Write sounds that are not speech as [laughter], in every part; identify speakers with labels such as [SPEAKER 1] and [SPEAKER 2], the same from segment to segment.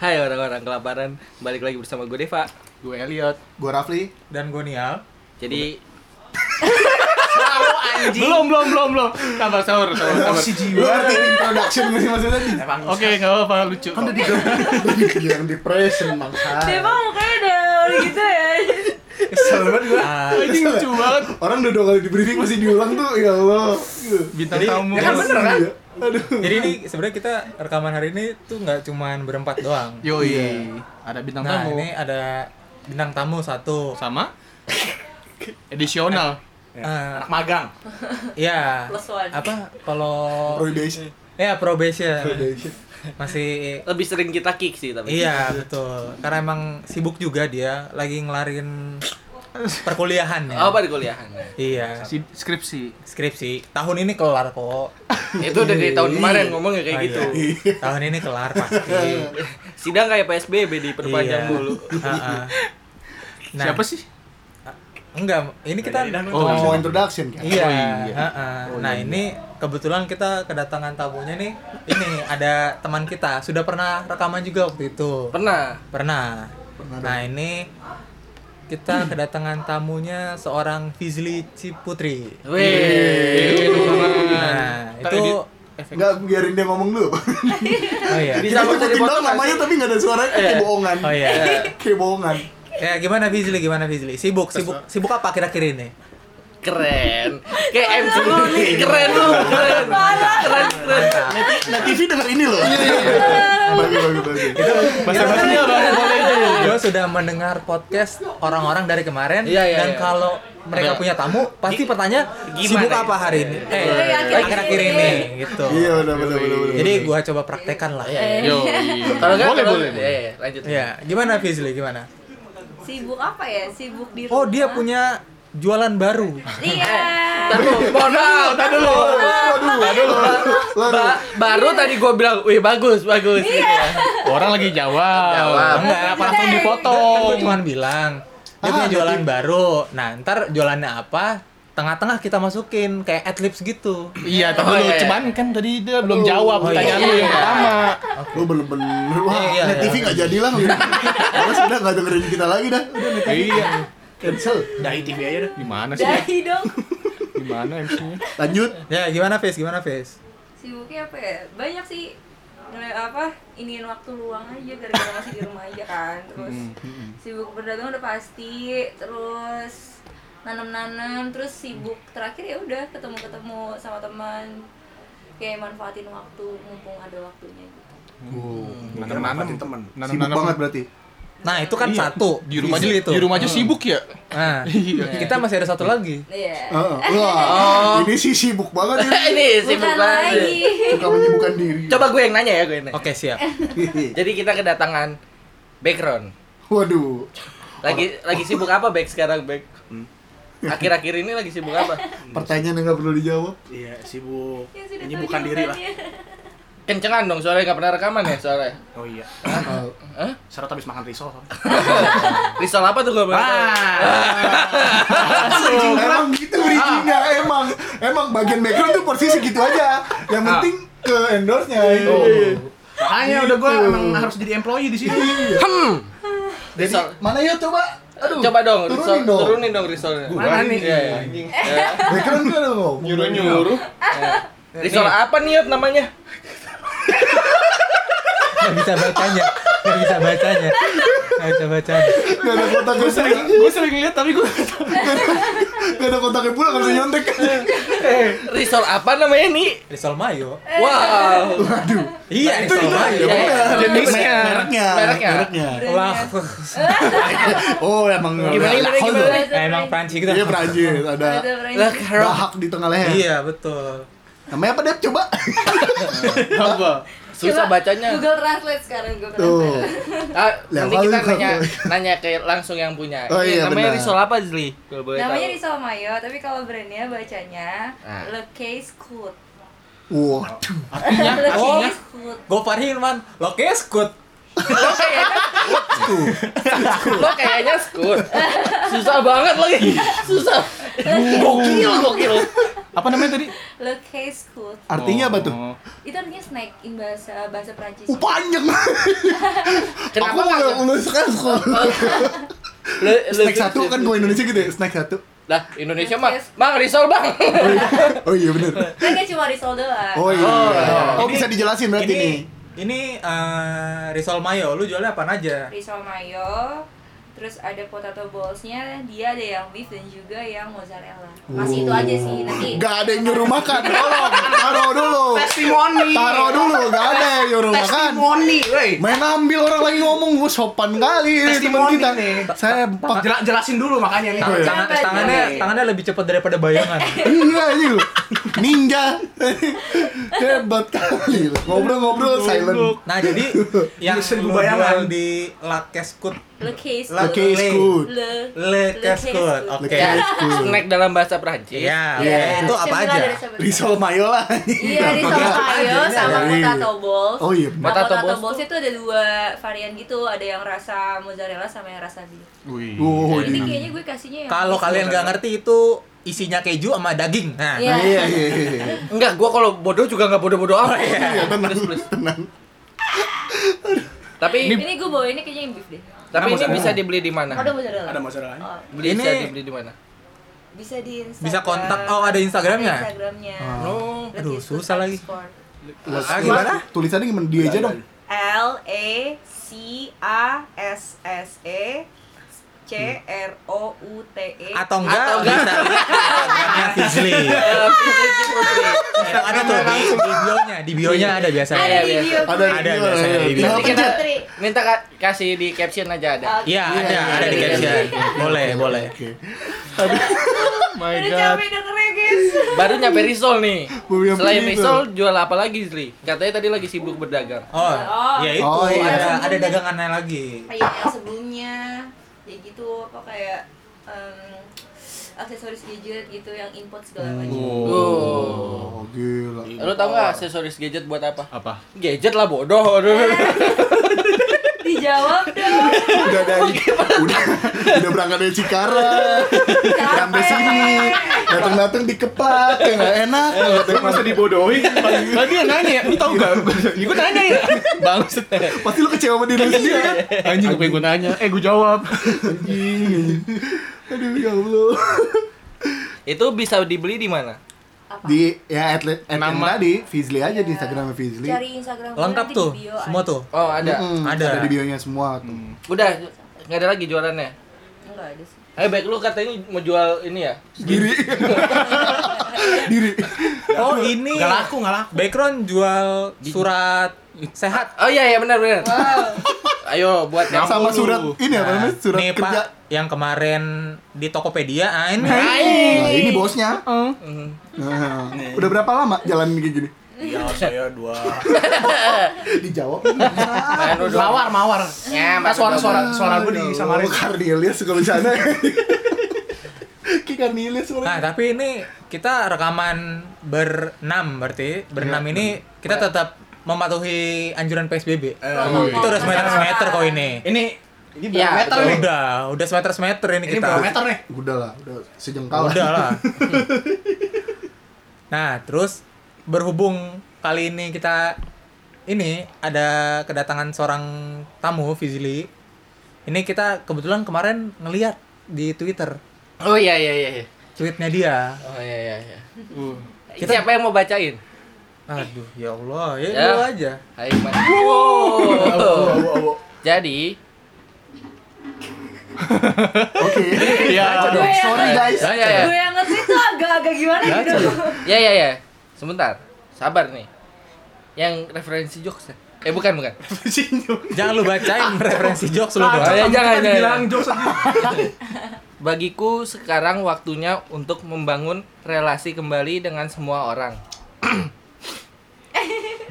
[SPEAKER 1] orang kelaparan balik lagi bersama gue Deva
[SPEAKER 2] Gue Elliot.
[SPEAKER 3] Gue Rafli.
[SPEAKER 4] dan gue Nial
[SPEAKER 1] jadi
[SPEAKER 2] Belum, belum, belum, belum. Sabar, sabar, sabar. sabar.
[SPEAKER 4] si
[SPEAKER 3] Lu
[SPEAKER 4] jiwa
[SPEAKER 3] ngerti introduction gue sih maksudnya tadi?
[SPEAKER 2] Oke, nggak apa-apa, lucu.
[SPEAKER 3] Kan tadi gue bilang depression bangsa.
[SPEAKER 5] Deva mukanya udah gitu ya
[SPEAKER 4] kesel banget gue
[SPEAKER 2] Anjing lucu banget.
[SPEAKER 3] Ah, Orang udah dua kali di briefing masih diulang tuh, ya Allah. Gitu.
[SPEAKER 2] Bintang
[SPEAKER 4] Jadi-
[SPEAKER 2] tamu.
[SPEAKER 4] Ya kan bener kan?
[SPEAKER 3] Iya. Aduh.
[SPEAKER 4] jadi ini sebenarnya kita rekaman hari ini tuh nggak cuman berempat doang
[SPEAKER 1] Iya,
[SPEAKER 2] Yoi, ada bintang
[SPEAKER 4] Iya. nah
[SPEAKER 2] tamu.
[SPEAKER 4] ini ada bintang tamu satu
[SPEAKER 2] Sama? Edisional.
[SPEAKER 4] Eh,
[SPEAKER 2] magang.
[SPEAKER 4] ya
[SPEAKER 5] Plus one.
[SPEAKER 4] apa kalau
[SPEAKER 3] Prohibition.
[SPEAKER 4] ya probation
[SPEAKER 3] Prohibition.
[SPEAKER 4] masih
[SPEAKER 1] lebih sering kita kick sih tapi
[SPEAKER 4] iya betul karena emang sibuk juga dia lagi ngelarin perkuliahan
[SPEAKER 1] Oh,
[SPEAKER 4] ya
[SPEAKER 1] apa di
[SPEAKER 4] [laughs]
[SPEAKER 1] kuliahan
[SPEAKER 4] iya
[SPEAKER 2] Si skripsi.
[SPEAKER 4] skripsi tahun ini kelar kok
[SPEAKER 1] itu udah dari tahun kemarin ngomongnya kayak
[SPEAKER 4] Ah,
[SPEAKER 1] gitu
[SPEAKER 4] iya. tahun ini kelar pasti
[SPEAKER 1] sidang kayak PSBB diperpanjang
[SPEAKER 4] Iya.
[SPEAKER 2] [laughs]
[SPEAKER 1] mulu
[SPEAKER 4] Ha-ha. Nah, Ah,
[SPEAKER 2] Siapa sih?
[SPEAKER 4] Enggak, ini kita
[SPEAKER 3] Oh,
[SPEAKER 2] Oh,
[SPEAKER 3] mau introduction kan?
[SPEAKER 4] Iya.
[SPEAKER 2] Oh, iya.
[SPEAKER 4] ha-ha. nah, ini kebetulan kita kedatangan tamunya nih. Ini ada teman kita, sudah pernah rekaman juga waktu itu.
[SPEAKER 1] pernah
[SPEAKER 4] Pernah. Nah, ini
[SPEAKER 2] Hmm.
[SPEAKER 4] kita kedatangan tamunya seorang Fizli Ciputri.
[SPEAKER 2] Iya.
[SPEAKER 1] Weh,
[SPEAKER 4] Nah, itu
[SPEAKER 3] Enggak biarin dia ngomong dulu.
[SPEAKER 4] oh iya.
[SPEAKER 1] Bisa
[SPEAKER 3] Kita
[SPEAKER 1] mau jadi
[SPEAKER 3] sebutin doang
[SPEAKER 1] podcast
[SPEAKER 3] namanya tapi enggak ada suaranya kayak bohongan.
[SPEAKER 4] Oh iya.
[SPEAKER 3] Kayak bohongan.
[SPEAKER 4] Ya, gimana Fizli? Gimana Fizli? Sibuk, sibuk, sibuk apa akhir-akhir ini?
[SPEAKER 1] [laughs] keren kayak MC lu nih [laughs] keren lu keren keren keren
[SPEAKER 3] Nah, TV denger ini loh. Iya, iya, Bagi, bagi, bagi.
[SPEAKER 2] Bahasa-bahasanya bahasa boleh itu.
[SPEAKER 4] Gue sudah mendengar podcast orang-orang dari kemarin
[SPEAKER 1] Iya, iya,
[SPEAKER 4] dan
[SPEAKER 1] iya.
[SPEAKER 4] kalau mereka punya tamu pasti pertanyaan
[SPEAKER 1] gimana
[SPEAKER 4] sibuk
[SPEAKER 1] ya?"
[SPEAKER 4] apa hari ini? Eh,
[SPEAKER 5] Iya, akhir-akhir
[SPEAKER 4] akhir-akhir
[SPEAKER 5] ini.
[SPEAKER 4] ini gitu.
[SPEAKER 3] Iya, udah, udah, udah, udah.
[SPEAKER 4] Jadi gua coba praktekan lah. Iya.
[SPEAKER 2] Yoi.
[SPEAKER 1] kalau enggak
[SPEAKER 2] boleh,
[SPEAKER 1] kalau-
[SPEAKER 2] boleh.
[SPEAKER 1] Iya, iya, lanjut
[SPEAKER 4] Gimana Fizli? Gimana?
[SPEAKER 5] sibuk apa ya sibuk di
[SPEAKER 4] Oh, dia
[SPEAKER 5] rumah.
[SPEAKER 4] punya jualan baru.
[SPEAKER 5] iya
[SPEAKER 1] Ntar dulu, mohon maaf, ntar dulu.
[SPEAKER 3] Lalu,
[SPEAKER 1] Ba- baru tadi gue bilang, wih bagus, bagus. gitu ya.
[SPEAKER 2] [laughs] Orang lagi jawab.
[SPEAKER 1] Jawab.
[SPEAKER 2] Enggak, apa
[SPEAKER 4] Kan
[SPEAKER 2] langsung
[SPEAKER 4] gua
[SPEAKER 2] dipotong.
[SPEAKER 4] cuman bilang
[SPEAKER 3] Ah,
[SPEAKER 4] dia punya jualan
[SPEAKER 3] nanti-
[SPEAKER 4] baru. Nah, ntar jualannya apa? Tengah-tengah kita masukin kayak adlibs gitu.
[SPEAKER 2] Iya,
[SPEAKER 1] Oh,
[SPEAKER 2] tapi lu
[SPEAKER 1] iya.
[SPEAKER 2] cuman kan tadi dia belum jawab
[SPEAKER 4] Oh, iya.
[SPEAKER 2] pertanyaan lu ya. yang pertama.
[SPEAKER 3] lu bener-bener wah,
[SPEAKER 4] Iya, iya,
[SPEAKER 3] net
[SPEAKER 4] iya.
[SPEAKER 3] TV nggak jadi lah. Awas udah nggak dengerin kita lagi dah. Udah net TV.
[SPEAKER 2] Iya.
[SPEAKER 3] Cancel.
[SPEAKER 2] Dari TV aja dah. Gimana sih?
[SPEAKER 5] dahi dong
[SPEAKER 2] Gimana MC-nya?
[SPEAKER 3] Lanjut.
[SPEAKER 4] Ya, gimana Fiz? Gimana Fiz?
[SPEAKER 5] sibuknya apa ya banyak sih Ngel- apa ingin waktu luang aja gara-gara masih di rumah aja kan terus sibuk berdagang udah pasti terus nanam-nanam terus sibuk terakhir ya udah ketemu-ketemu sama teman kayak manfaatin waktu mumpung ada waktunya gitu
[SPEAKER 2] Nanam-nanam teman.
[SPEAKER 3] Sibuk banget berarti.
[SPEAKER 4] Nah, itu kan
[SPEAKER 6] Iya.
[SPEAKER 4] satu.
[SPEAKER 2] Di rumah aja
[SPEAKER 4] Fizli itu.
[SPEAKER 2] Di rumah aja sibuk ya.
[SPEAKER 6] [laughs]
[SPEAKER 4] Nah,
[SPEAKER 6] Iya.
[SPEAKER 4] kita masih ada satu lagi.
[SPEAKER 5] iya
[SPEAKER 3] Heeh.
[SPEAKER 4] Oh.
[SPEAKER 3] Wah, ini sih sibuk banget ya.
[SPEAKER 1] [laughs] Ini sibuk
[SPEAKER 5] bukan
[SPEAKER 1] lagi.
[SPEAKER 5] lagi
[SPEAKER 3] Suka menyibukkan diri.
[SPEAKER 1] Coba gue yang nanya ya, gue yang nanya.
[SPEAKER 4] Oke, siap.
[SPEAKER 1] Jadi kita kedatangan background.
[SPEAKER 3] Waduh.
[SPEAKER 1] Lagi lagi sibuk apa back sekarang back?
[SPEAKER 2] Hmm.
[SPEAKER 1] Akhir-akhir ini lagi sibuk apa? [laughs]
[SPEAKER 3] Pertanyaan yang nggak perlu dijawab.
[SPEAKER 6] Iya, sibuk
[SPEAKER 5] Ya sudah
[SPEAKER 6] menyibukkan
[SPEAKER 5] tahu
[SPEAKER 6] diri lah.
[SPEAKER 5] jawabannya.
[SPEAKER 1] Kencengan dong, soalnya nggak pernah rekaman ya soalnya.
[SPEAKER 6] Oh iya.
[SPEAKER 3] Oh,
[SPEAKER 6] Seret habis makan risol.
[SPEAKER 1] [laughs] Risol apa tuh gue baru tahu.
[SPEAKER 4] Ah.
[SPEAKER 3] emang gitu bridgingnya emang emang bagian background tuh porsi segitu aja. Yang penting
[SPEAKER 4] Ah.
[SPEAKER 3] ke endorse-nya.
[SPEAKER 4] Iya.
[SPEAKER 6] Makanya udah gua
[SPEAKER 3] Gitu.
[SPEAKER 6] emang harus jadi employee di sini.
[SPEAKER 3] Jadi
[SPEAKER 1] Risol.
[SPEAKER 3] mana yuk coba? Aduh.
[SPEAKER 1] Coba dong,
[SPEAKER 3] turunin
[SPEAKER 1] risol,
[SPEAKER 3] dong.
[SPEAKER 1] turunin dong risolnya. Iya, Ya.
[SPEAKER 6] Mana nih?
[SPEAKER 1] [laughs]
[SPEAKER 3] Background gue dong.
[SPEAKER 2] nyuruh.
[SPEAKER 1] Risol apa nih Yot, namanya?
[SPEAKER 4] Gak bisa bacanya. Gak bisa bacanya. Gak bisa bacanya.
[SPEAKER 3] Gak ada kontak gue sering
[SPEAKER 2] Gue sering lihat tapi gue
[SPEAKER 3] [laughs] Gak ada kontaknya pula gak bisa nyontek
[SPEAKER 1] Risol apa namanya nih?
[SPEAKER 4] Risol Mayo.
[SPEAKER 1] Wow.
[SPEAKER 4] Iya,
[SPEAKER 3] Itu
[SPEAKER 4] Risol
[SPEAKER 3] itu
[SPEAKER 4] Mayo.
[SPEAKER 3] ya bener.
[SPEAKER 6] iya.
[SPEAKER 2] jenisnya.
[SPEAKER 3] Mereknya
[SPEAKER 1] Mereknya.
[SPEAKER 3] Mereknya
[SPEAKER 4] Wah,
[SPEAKER 3] Oh emang
[SPEAKER 1] Gimana gimana
[SPEAKER 3] Halo.
[SPEAKER 1] gimana?
[SPEAKER 4] emang Prancis gitu. kita.
[SPEAKER 3] Iya Perancis Ada
[SPEAKER 5] Ada berani.
[SPEAKER 1] Lah, karo-
[SPEAKER 3] bahak di tengah leher
[SPEAKER 4] Iya, betul.
[SPEAKER 3] Namanya apa Dep coba
[SPEAKER 2] apa?
[SPEAKER 1] Susah
[SPEAKER 5] Coba
[SPEAKER 1] bacanya.
[SPEAKER 5] Google Translate sekarang Google
[SPEAKER 3] Tuh
[SPEAKER 5] Translate.
[SPEAKER 1] Ah,
[SPEAKER 3] Lah,
[SPEAKER 1] nanti
[SPEAKER 3] kalau
[SPEAKER 1] kita
[SPEAKER 3] kalau-
[SPEAKER 1] nanya nanya ke langsung yang punya.
[SPEAKER 3] Oh,
[SPEAKER 1] Ini
[SPEAKER 3] iya,
[SPEAKER 1] namanya
[SPEAKER 3] benar.
[SPEAKER 1] risol apa, Zli? Kalau boleh
[SPEAKER 5] Namanya
[SPEAKER 1] tahu.
[SPEAKER 5] Risol Mayo, tapi kalau brandnya bacanya
[SPEAKER 1] Ah.
[SPEAKER 5] Le Case Coot.
[SPEAKER 3] Waduh
[SPEAKER 1] Iya?
[SPEAKER 5] [laughs] Le
[SPEAKER 4] Oh.
[SPEAKER 5] Case Coot.
[SPEAKER 4] Gopar Hilman, Lokes Kut.
[SPEAKER 1] Lo
[SPEAKER 5] Iya,
[SPEAKER 1] kayaknya
[SPEAKER 5] kan?
[SPEAKER 1] Lo kayaknya [laughs] skut. Susah banget lagi. Susah. Gokil, gokil.
[SPEAKER 2] Apa namanya tadi?
[SPEAKER 5] Le case cool.
[SPEAKER 3] Artinya apa tuh?
[SPEAKER 2] Oh.
[SPEAKER 5] Itu artinya snack in bahasa bahasa Prancis.
[SPEAKER 3] Uh, panjang. Aku
[SPEAKER 1] Kenapa
[SPEAKER 3] mau lulus kan sekolah.
[SPEAKER 1] Lu, lu-
[SPEAKER 3] Snack satu kan gue Indonesia gitu ya, snack satu.
[SPEAKER 1] Lah, Indonesia mah. Bang, risol, Bang.
[SPEAKER 3] Oh iya bener.
[SPEAKER 5] Kan nggak cuma risol doang.
[SPEAKER 3] Oh iya. Oh,
[SPEAKER 4] Ini-
[SPEAKER 3] bisa dijelasin berarti
[SPEAKER 4] ini,
[SPEAKER 3] nih.
[SPEAKER 4] Ini eh, risol mayo, lu jualnya apaan aja?
[SPEAKER 5] Risol mayo. Terus ada potato ballsnya, dia ada yang beef dan juga yang mozzarella. Masih itu aja sih nanti.
[SPEAKER 3] Gak ada yang nyuruh makan. Tolong, taruh dulu.
[SPEAKER 6] Testimoni.
[SPEAKER 3] Taruh dulu, gak ada yang nyuruh makan.
[SPEAKER 6] Testimoni, woi.
[SPEAKER 3] Main ambil orang lagi ngomong, gue sopan kali ini teman
[SPEAKER 6] Testimoni
[SPEAKER 3] kita.
[SPEAKER 6] nih.
[SPEAKER 3] Saya
[SPEAKER 6] Pak,
[SPEAKER 3] pak.
[SPEAKER 6] jela- jelasin dulu makanya nih.
[SPEAKER 4] Tangan-
[SPEAKER 3] Iya.
[SPEAKER 4] tangan-
[SPEAKER 5] Coba,
[SPEAKER 4] tangannya,
[SPEAKER 6] coba.
[SPEAKER 4] tangannya lebih cepat daripada bayangan.
[SPEAKER 3] Iya ini lu. Ninja. Hebat kali lu. Ngobrol-ngobrol silent.
[SPEAKER 4] Nah jadi yang
[SPEAKER 6] Bisa
[SPEAKER 4] lu
[SPEAKER 6] kebayangan.
[SPEAKER 4] jual di Lakeskut
[SPEAKER 5] Le case
[SPEAKER 4] Le
[SPEAKER 5] cool.
[SPEAKER 3] Lucky is
[SPEAKER 4] Le-
[SPEAKER 3] good.
[SPEAKER 5] Le,
[SPEAKER 4] Le Keskut,
[SPEAKER 5] Keskut.
[SPEAKER 3] Lucky
[SPEAKER 4] oke.
[SPEAKER 3] is
[SPEAKER 1] Iya.
[SPEAKER 3] good.
[SPEAKER 1] [laughs] Snack dalam bahasa Perancis.
[SPEAKER 4] Ya,
[SPEAKER 5] Iya,
[SPEAKER 4] itu apa
[SPEAKER 5] cemilan
[SPEAKER 4] aja?
[SPEAKER 5] dari sebenarnya.
[SPEAKER 3] Risol mayo lah.
[SPEAKER 5] Iya, risol mayo sama
[SPEAKER 3] Iya.
[SPEAKER 5] potato balls.
[SPEAKER 3] Oh iya
[SPEAKER 5] Nah,
[SPEAKER 3] benar.
[SPEAKER 1] Potato
[SPEAKER 5] potato,
[SPEAKER 1] balls
[SPEAKER 5] balls, itu ada dua varian gitu, ada yang rasa mozzarella sama yang rasa beef.
[SPEAKER 2] Wih.
[SPEAKER 3] Oh
[SPEAKER 5] Ini
[SPEAKER 3] iya.
[SPEAKER 5] kayaknya gue kasihnya yang
[SPEAKER 4] Hmm. Kalau kalian nggak ngerti itu isinya keju sama daging. Nah,
[SPEAKER 5] Iya.
[SPEAKER 3] Iya iya iya.
[SPEAKER 1] Enggak, gua kalau bodoh juga enggak bodoh-bodoh amat.
[SPEAKER 3] Iya, Tenang, tenang.
[SPEAKER 1] Tapi
[SPEAKER 5] ini gue bawa ini kayaknya yang beef deh.
[SPEAKER 4] Hmm.
[SPEAKER 1] tapi ini
[SPEAKER 6] Mozzarella.
[SPEAKER 1] bisa dibeli di mana?
[SPEAKER 5] Ada mozzarella.
[SPEAKER 6] Ada masalah.
[SPEAKER 5] Oh,
[SPEAKER 1] Beli
[SPEAKER 4] Ini-
[SPEAKER 1] bisa dibeli di mana?
[SPEAKER 5] bisa di Instagram.
[SPEAKER 4] bisa kontak. Oh, ada Instagramnya?
[SPEAKER 5] Ada Instagramnya.
[SPEAKER 1] Oh.
[SPEAKER 5] Let
[SPEAKER 4] Aduh,
[SPEAKER 5] it go
[SPEAKER 4] susah lagi.
[SPEAKER 5] underscore.
[SPEAKER 4] Ah, gimana?
[SPEAKER 3] Tulisannya gimana? Dia aja dong.
[SPEAKER 5] L A C A S S E C R O U T E.
[SPEAKER 4] Atau enggak, bisa lihat di Instagramnya Fizli.
[SPEAKER 5] [laughs]
[SPEAKER 1] Eh,
[SPEAKER 4] Itu ada tuh di, di bio-nya, di bio-nya ada biasanya.
[SPEAKER 5] ada di video.
[SPEAKER 3] Ada
[SPEAKER 5] gue.
[SPEAKER 4] Ada,
[SPEAKER 3] ada
[SPEAKER 4] ada,
[SPEAKER 3] ada. Tinggal
[SPEAKER 4] ada.
[SPEAKER 1] Nanti
[SPEAKER 3] pencet.
[SPEAKER 1] kita
[SPEAKER 5] Putri.
[SPEAKER 1] minta ka- kasih di caption aja ada.
[SPEAKER 5] Oke.
[SPEAKER 4] Iya, ada, ada
[SPEAKER 5] Iya,
[SPEAKER 4] di
[SPEAKER 5] iya,
[SPEAKER 4] caption. Boleh, boleh.
[SPEAKER 3] Oke.
[SPEAKER 5] Udah capek dengernya guys.
[SPEAKER 1] Baru nyampe risol nih.
[SPEAKER 3] Gua bilang
[SPEAKER 1] Selain
[SPEAKER 3] begitu.
[SPEAKER 1] risol jual apa lagi, Zli? Katanya tadi lagi sibuk berdagang.
[SPEAKER 4] Oh,
[SPEAKER 5] Oh.
[SPEAKER 4] ya itu
[SPEAKER 3] Oh, iya.
[SPEAKER 4] ada ada dagangannya lagi.
[SPEAKER 5] kayak yang sebelumnya ya gitu apa kayak em, aksesoris gadget gitu yang import segala
[SPEAKER 4] Hmm.
[SPEAKER 5] macam
[SPEAKER 1] Oh.
[SPEAKER 3] Oh gila.
[SPEAKER 1] Lu tau gak aksesoris gadget buat apa?
[SPEAKER 2] Apa?
[SPEAKER 1] Gadget lah bodoh.
[SPEAKER 5] dijawab dong
[SPEAKER 3] Udah dari udah udah berangkat dari Cikarang. Sampai sini. Datang-datang dikepak, ya nggak enak.
[SPEAKER 6] Eh, Tapi masa dibodohi?
[SPEAKER 2] Tadi yang nanya ya, lu tau gak? Gue nanya ya Bangsat
[SPEAKER 3] Iya. Pasti lu kecewa sama diri lu sendiri kan?
[SPEAKER 2] Anjing gue pengen nanya Eh gue jawab
[SPEAKER 3] Anjing. Aduh, ya Allah.
[SPEAKER 1] Itu bisa dibeli di mana?
[SPEAKER 5] apa
[SPEAKER 3] Di ya atlet
[SPEAKER 2] Nama.
[SPEAKER 3] tadi Fizli aja di Instagramnya Fizli.
[SPEAKER 5] cari instagram gue
[SPEAKER 4] Lengkap
[SPEAKER 5] nanti di
[SPEAKER 4] tuh,
[SPEAKER 5] bio
[SPEAKER 4] semua
[SPEAKER 5] ada.
[SPEAKER 4] tuh.
[SPEAKER 1] Oh, ada. Mm.
[SPEAKER 3] Mm-mm,
[SPEAKER 4] Ada.
[SPEAKER 3] ada di bionya semua tuh.
[SPEAKER 1] Udah, nggak ada lagi jualannya.
[SPEAKER 5] enggak ada sih
[SPEAKER 1] Eh, baik lu katanya mau jual ini ya?
[SPEAKER 3] Diri. Diri.
[SPEAKER 6] Ya,
[SPEAKER 4] Oh, ini
[SPEAKER 6] Gak laku, gak laku.
[SPEAKER 4] background jual surat sehat.
[SPEAKER 1] Oh iya iya benar benar. Ayo buat yang
[SPEAKER 3] Sama surat ini
[SPEAKER 6] Ya,
[SPEAKER 3] apa
[SPEAKER 4] Nah,
[SPEAKER 3] namanya? Surat
[SPEAKER 4] nih,
[SPEAKER 3] kerja.
[SPEAKER 4] Pak, yang kemarin di Tokopedia, ah, ini.
[SPEAKER 3] Nah, ini bosnya. Nah, udah berapa lama jalan kayak gini?
[SPEAKER 6] Iya, saya dua.
[SPEAKER 3] Dijawab.
[SPEAKER 6] Mawar, mawar.
[SPEAKER 1] Ya,
[SPEAKER 6] Nah,
[SPEAKER 1] suara suara.
[SPEAKER 6] suara suara gue disamarin.
[SPEAKER 3] Oh, Cornelius suka
[SPEAKER 6] [laughs]
[SPEAKER 3] bercanda. Ki Cornelius suara.
[SPEAKER 4] Nah, tapi ini kita rekaman berenam berarti. Berenam
[SPEAKER 6] Iya,
[SPEAKER 4] ini kita tetap mematuhi anjuran PSBB.
[SPEAKER 5] Protokol
[SPEAKER 4] Itu udah semester semester kok ini.
[SPEAKER 6] Eh, iya. Ini
[SPEAKER 4] Iya.
[SPEAKER 6] ini
[SPEAKER 1] Ya,
[SPEAKER 6] berapa meter
[SPEAKER 1] betul.
[SPEAKER 6] nih?
[SPEAKER 4] Udah, udah semester semester ini
[SPEAKER 6] Ini
[SPEAKER 4] kita.
[SPEAKER 6] berapa meter nih?
[SPEAKER 3] Eh, Udah lah, udah sejengkal
[SPEAKER 4] Udah lah. Nah, terus berhubung kali ini kita ini ada kedatangan seorang tamu Fizli. Ini kita kebetulan kemarin ngeliat di Twitter
[SPEAKER 1] Oh iya iya iya. iya.
[SPEAKER 4] tweetnya dia.
[SPEAKER 1] Oh iya iya iya.
[SPEAKER 2] Uh.
[SPEAKER 1] Kita... Siapa yang mau bacain?
[SPEAKER 4] Aduh, ya Allah, ya,
[SPEAKER 1] Ya.
[SPEAKER 4] lu aja.
[SPEAKER 1] Hai Mas. Wow. Jadi,
[SPEAKER 3] [laughs] Oke. Iya,
[SPEAKER 2] Ya
[SPEAKER 5] Gue yang-
[SPEAKER 3] Sorry guys.
[SPEAKER 6] [laughs]
[SPEAKER 1] ya ya ya.
[SPEAKER 5] gue yang ngerti tuh agak-agak gimana gitu
[SPEAKER 1] Ya ya ya. Sebentar. Sabar nih. Yang referensi jokes. ya? Eh bukan bukan.
[SPEAKER 3] Iya,
[SPEAKER 4] Jangan lu bacain referensi jokes lu
[SPEAKER 1] Ah,
[SPEAKER 4] doang.
[SPEAKER 1] ya, jangan,
[SPEAKER 6] Kan
[SPEAKER 1] jangan.
[SPEAKER 6] bilang jokes aja.
[SPEAKER 1] Bagiku sekarang waktunya untuk membangun relasi kembali dengan semua [clears throat] orang.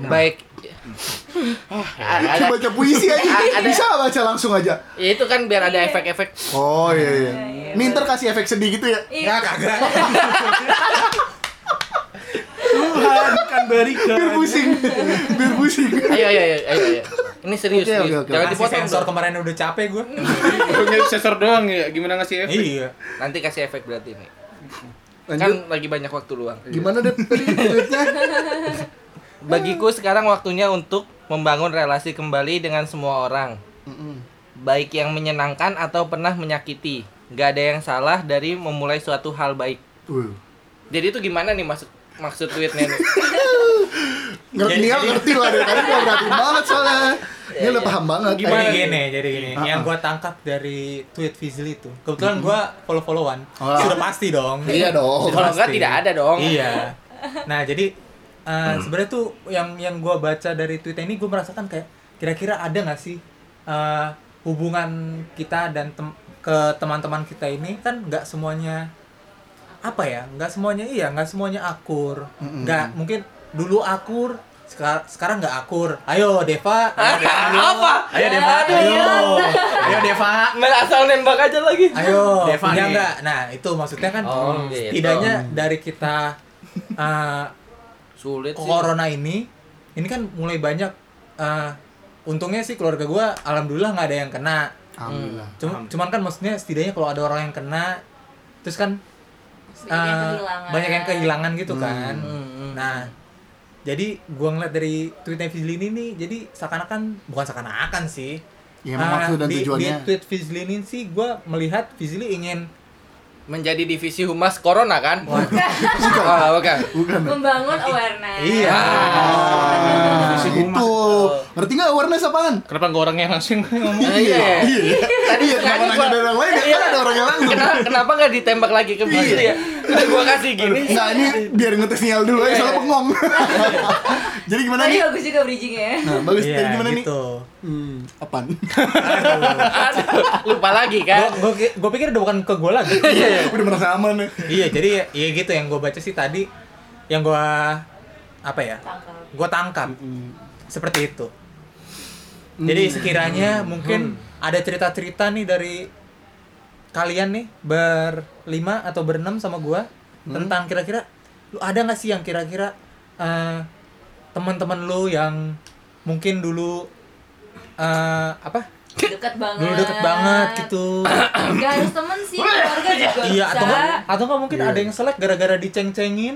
[SPEAKER 1] Baik.
[SPEAKER 3] Ki
[SPEAKER 1] Ah, ada-
[SPEAKER 3] baca puisi aja.
[SPEAKER 1] Ada-
[SPEAKER 3] Bisa nggak baca langsung aja.
[SPEAKER 1] ya itu kan biar
[SPEAKER 3] Iya.
[SPEAKER 1] ada efek-efek
[SPEAKER 3] Oh iya iya. Minter kasih efek sedih gitu ya.
[SPEAKER 5] Iya.
[SPEAKER 4] Ya kagak.
[SPEAKER 6] Tuhan kan berikan.
[SPEAKER 3] Biar pusing. Biar pusing.
[SPEAKER 1] ayo ayo ayo ayo, ayo. ini serius,
[SPEAKER 3] Oke,
[SPEAKER 1] serius.
[SPEAKER 3] oke, oke.
[SPEAKER 1] jangan
[SPEAKER 4] Kasih
[SPEAKER 1] dipotong
[SPEAKER 4] sensor
[SPEAKER 1] dong.
[SPEAKER 4] kemarin udah capek gua.
[SPEAKER 2] Punya sensor doang ya Gimana ngasih efek
[SPEAKER 4] iya.
[SPEAKER 1] nanti kasih efek berarti nih
[SPEAKER 3] Lanjut.
[SPEAKER 1] Kan lagi banyak waktu luang.
[SPEAKER 3] Gimana deh tweetnya?
[SPEAKER 1] Bagiku sekarang waktunya untuk membangun relasi kembali dengan semua orang. Baik yang menyenangkan atau pernah menyakiti. Gak ada yang salah dari memulai suatu hal baik.
[SPEAKER 3] Wuh.
[SPEAKER 1] Jadi itu gimana nih maksud maksud tweetnya
[SPEAKER 4] [laughs]
[SPEAKER 1] nih?
[SPEAKER 3] Ngerti
[SPEAKER 4] Jadi-
[SPEAKER 3] dia
[SPEAKER 4] jadi-
[SPEAKER 3] ngerti lah dari tadi gua perhatiin banget soalnya. Dia udah paham banget.
[SPEAKER 4] Jadi
[SPEAKER 3] Eh,
[SPEAKER 4] gini, jadi gini. Yang gua tangkap dari tweet Fizli itu, kebetulan gua follow-followan,
[SPEAKER 3] Oh.
[SPEAKER 4] sudah pasti dong.
[SPEAKER 3] Iya dong.
[SPEAKER 1] Kalau enggak
[SPEAKER 4] Pasti.
[SPEAKER 1] tidak ada dong.
[SPEAKER 4] Iya. Nah, jadi eh,
[SPEAKER 3] Hmm.
[SPEAKER 4] sebenarnya tuh yang yang gua baca dari tweetnya ini gua merasakan kayak kira-kira ada nggak sih eh, hubungan kita dan tem- ke teman-teman kita ini kan nggak semuanya apa ya? nggak semuanya iya, nggak semuanya akur. nggak mungkin dulu akur sekar- sekarang nggak akur. Ayo Deva, ayo
[SPEAKER 1] Ah.
[SPEAKER 4] Deva.
[SPEAKER 1] [laughs] Apa?
[SPEAKER 4] Ayo Deva,
[SPEAKER 1] Aduh. iya.
[SPEAKER 4] ayo. Ayo Deva.
[SPEAKER 1] Nggak asal nembak aja lagi.
[SPEAKER 4] Ayo,
[SPEAKER 6] Deva
[SPEAKER 4] punya
[SPEAKER 6] nih.
[SPEAKER 4] nggak? Nah, itu maksudnya kan
[SPEAKER 1] Oh,
[SPEAKER 4] hmm,
[SPEAKER 1] gitu.
[SPEAKER 4] setidaknya dari kita eh,
[SPEAKER 1] Sulit sih.
[SPEAKER 4] corona ini, ini kan mulai banyak eh, untungnya sih keluarga gua alhamdulillah nggak ada yang kena.
[SPEAKER 3] Alhamdulillah.
[SPEAKER 4] Cuma, cuman kan maksudnya setidaknya kalau ada orang yang kena terus kan
[SPEAKER 5] Banyak yang
[SPEAKER 4] eh,
[SPEAKER 5] kehilangan.
[SPEAKER 4] banyak yang kehilangan gitu kan.
[SPEAKER 1] hmm.
[SPEAKER 4] Nah, jadi gua ngeliat dari tweetnya Fizli ini nih, jadi seakan-akan bukan seakan-akan sih.
[SPEAKER 3] Ya, emang
[SPEAKER 4] Ah,
[SPEAKER 3] maksud dan
[SPEAKER 4] di-
[SPEAKER 3] tujuannya.
[SPEAKER 4] Di tweet Fizli ini sih gua melihat Fizli ingin
[SPEAKER 1] Menjadi divisi humas corona kan? [laughs] Oh, bukan.
[SPEAKER 3] Bukan.
[SPEAKER 5] Membangun awareness.
[SPEAKER 4] Iya.
[SPEAKER 3] Ah,
[SPEAKER 6] Divisi humas.
[SPEAKER 3] itu. Ngerti nggak awareness apaan?
[SPEAKER 2] Kenapa nggak orangnya langsung [laughs] ngomong?
[SPEAKER 1] Nah, iya.
[SPEAKER 3] Iya. Tadi ya kenapa
[SPEAKER 1] tadi
[SPEAKER 3] nanya
[SPEAKER 1] gua-
[SPEAKER 3] dari orang lain?
[SPEAKER 1] Iya.
[SPEAKER 3] Kan ada orang yang langsung.
[SPEAKER 1] Kenapa, kenapa nggak ditembak lagi ke Fizli ya? Udah gua kasih gini.
[SPEAKER 3] Enggak, Nah, ini biar ngetes sinyal dulu
[SPEAKER 1] Iya,
[SPEAKER 3] ya, soalnya bengong. [laughs] Jadi gimana
[SPEAKER 5] Tadi
[SPEAKER 3] nih?
[SPEAKER 5] bagus juga ya. bridgingnya.
[SPEAKER 3] Nah, bagus
[SPEAKER 4] Iya,
[SPEAKER 3] Tadi gimana nih?
[SPEAKER 4] gitu.
[SPEAKER 3] Hmm, apaan?
[SPEAKER 1] Aduh, lupa lagi
[SPEAKER 4] Gua,
[SPEAKER 1] kan?
[SPEAKER 4] gua, ki- gua pikir udah bukan ke gua lagi.
[SPEAKER 1] Iya,
[SPEAKER 3] [laughs] Udah merasa aman ya.
[SPEAKER 1] Hmm.
[SPEAKER 4] iya, jadi ya, ya gitu yang gua baca sih tadi yang gua apa ya?
[SPEAKER 5] Tangkap.
[SPEAKER 4] Gua tangkap. Seperti itu. Jadi sekiranya mungkin ada cerita-cerita nih dari kalian nih berlima atau berenam sama gua tentang kira-kira lu ada nggak sih yang kira-kira eh, teman-teman lu yang mungkin dulu eh, apa
[SPEAKER 5] Dekat banget.
[SPEAKER 4] dulu deket banget
[SPEAKER 5] [coughs]
[SPEAKER 4] gitu
[SPEAKER 5] Gak harus temen sih, keluarga juga
[SPEAKER 4] iya
[SPEAKER 5] bisa.
[SPEAKER 4] atau nggak atau nggak mungkin ada yang selek gara-gara diceng-cengin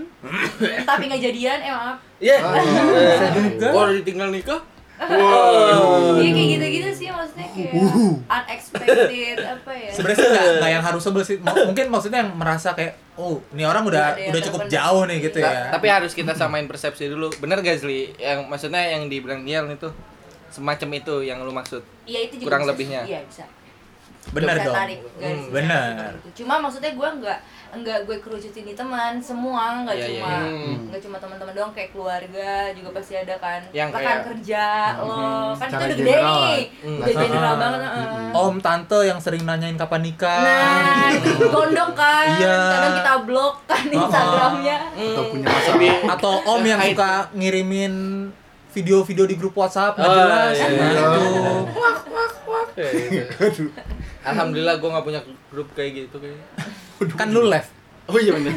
[SPEAKER 5] Tapi nggak jadian, eh maaf.
[SPEAKER 1] Iya.
[SPEAKER 4] bisa juga
[SPEAKER 1] Kalau ditinggal nikah?
[SPEAKER 5] Iya kayak gitu-gitu sih maksudnya kayak unexpected apa ya?
[SPEAKER 4] sebenarnya sih nggak nggak yang harus sebel sih M- mungkin maksudnya yang merasa kayak oh ini orang udah
[SPEAKER 5] Ada yang
[SPEAKER 4] udah cukup
[SPEAKER 5] terpenuhi.
[SPEAKER 4] jauh nih gitu
[SPEAKER 1] Ta-
[SPEAKER 4] ya
[SPEAKER 1] Tapi harus kita samain persepsi dulu. Bener gak Zli? Yang maksudnya yang dibilang Niel itu semacam itu yang lu maksud.
[SPEAKER 5] Iya itu juga
[SPEAKER 1] kurang
[SPEAKER 5] bisa
[SPEAKER 1] lebihnya.
[SPEAKER 5] sih. Iya bisa.
[SPEAKER 4] bener
[SPEAKER 5] Bisa
[SPEAKER 4] dong
[SPEAKER 5] tarik garis
[SPEAKER 4] Hmm,
[SPEAKER 5] besar
[SPEAKER 4] bener.
[SPEAKER 5] seperti itu. Cuma maksudnya gue nggak nggak gue kerucutin di teman semua nggak
[SPEAKER 1] Iya, iya,
[SPEAKER 5] cuma
[SPEAKER 1] iya.
[SPEAKER 5] nggak cuma teman-teman doang kayak keluarga juga pasti ada kan
[SPEAKER 1] Yang
[SPEAKER 5] rekan
[SPEAKER 1] kayak-
[SPEAKER 5] kerja lo kan kita
[SPEAKER 3] Secara
[SPEAKER 5] udah gede
[SPEAKER 3] general
[SPEAKER 5] nih
[SPEAKER 1] Hmm.
[SPEAKER 5] udah general
[SPEAKER 4] Ah.
[SPEAKER 5] banget heeh.
[SPEAKER 4] om tante yang sering nanyain kapan nikah
[SPEAKER 5] nah itu gondok kan
[SPEAKER 4] Iya.
[SPEAKER 5] kadang kita blok kan
[SPEAKER 4] Ah.
[SPEAKER 5] instagramnya
[SPEAKER 3] Atau punya masalah.
[SPEAKER 1] Iya,
[SPEAKER 4] atau om yang suka ngirimin video-video di grup WhatsApp nggak
[SPEAKER 1] Oh,
[SPEAKER 4] jelas
[SPEAKER 1] iya, iya.
[SPEAKER 4] gitu.
[SPEAKER 1] Alhamdulillah gua nggak punya grup kayak gitu kayaknya.
[SPEAKER 4] kan lu left
[SPEAKER 3] Oh iya benar.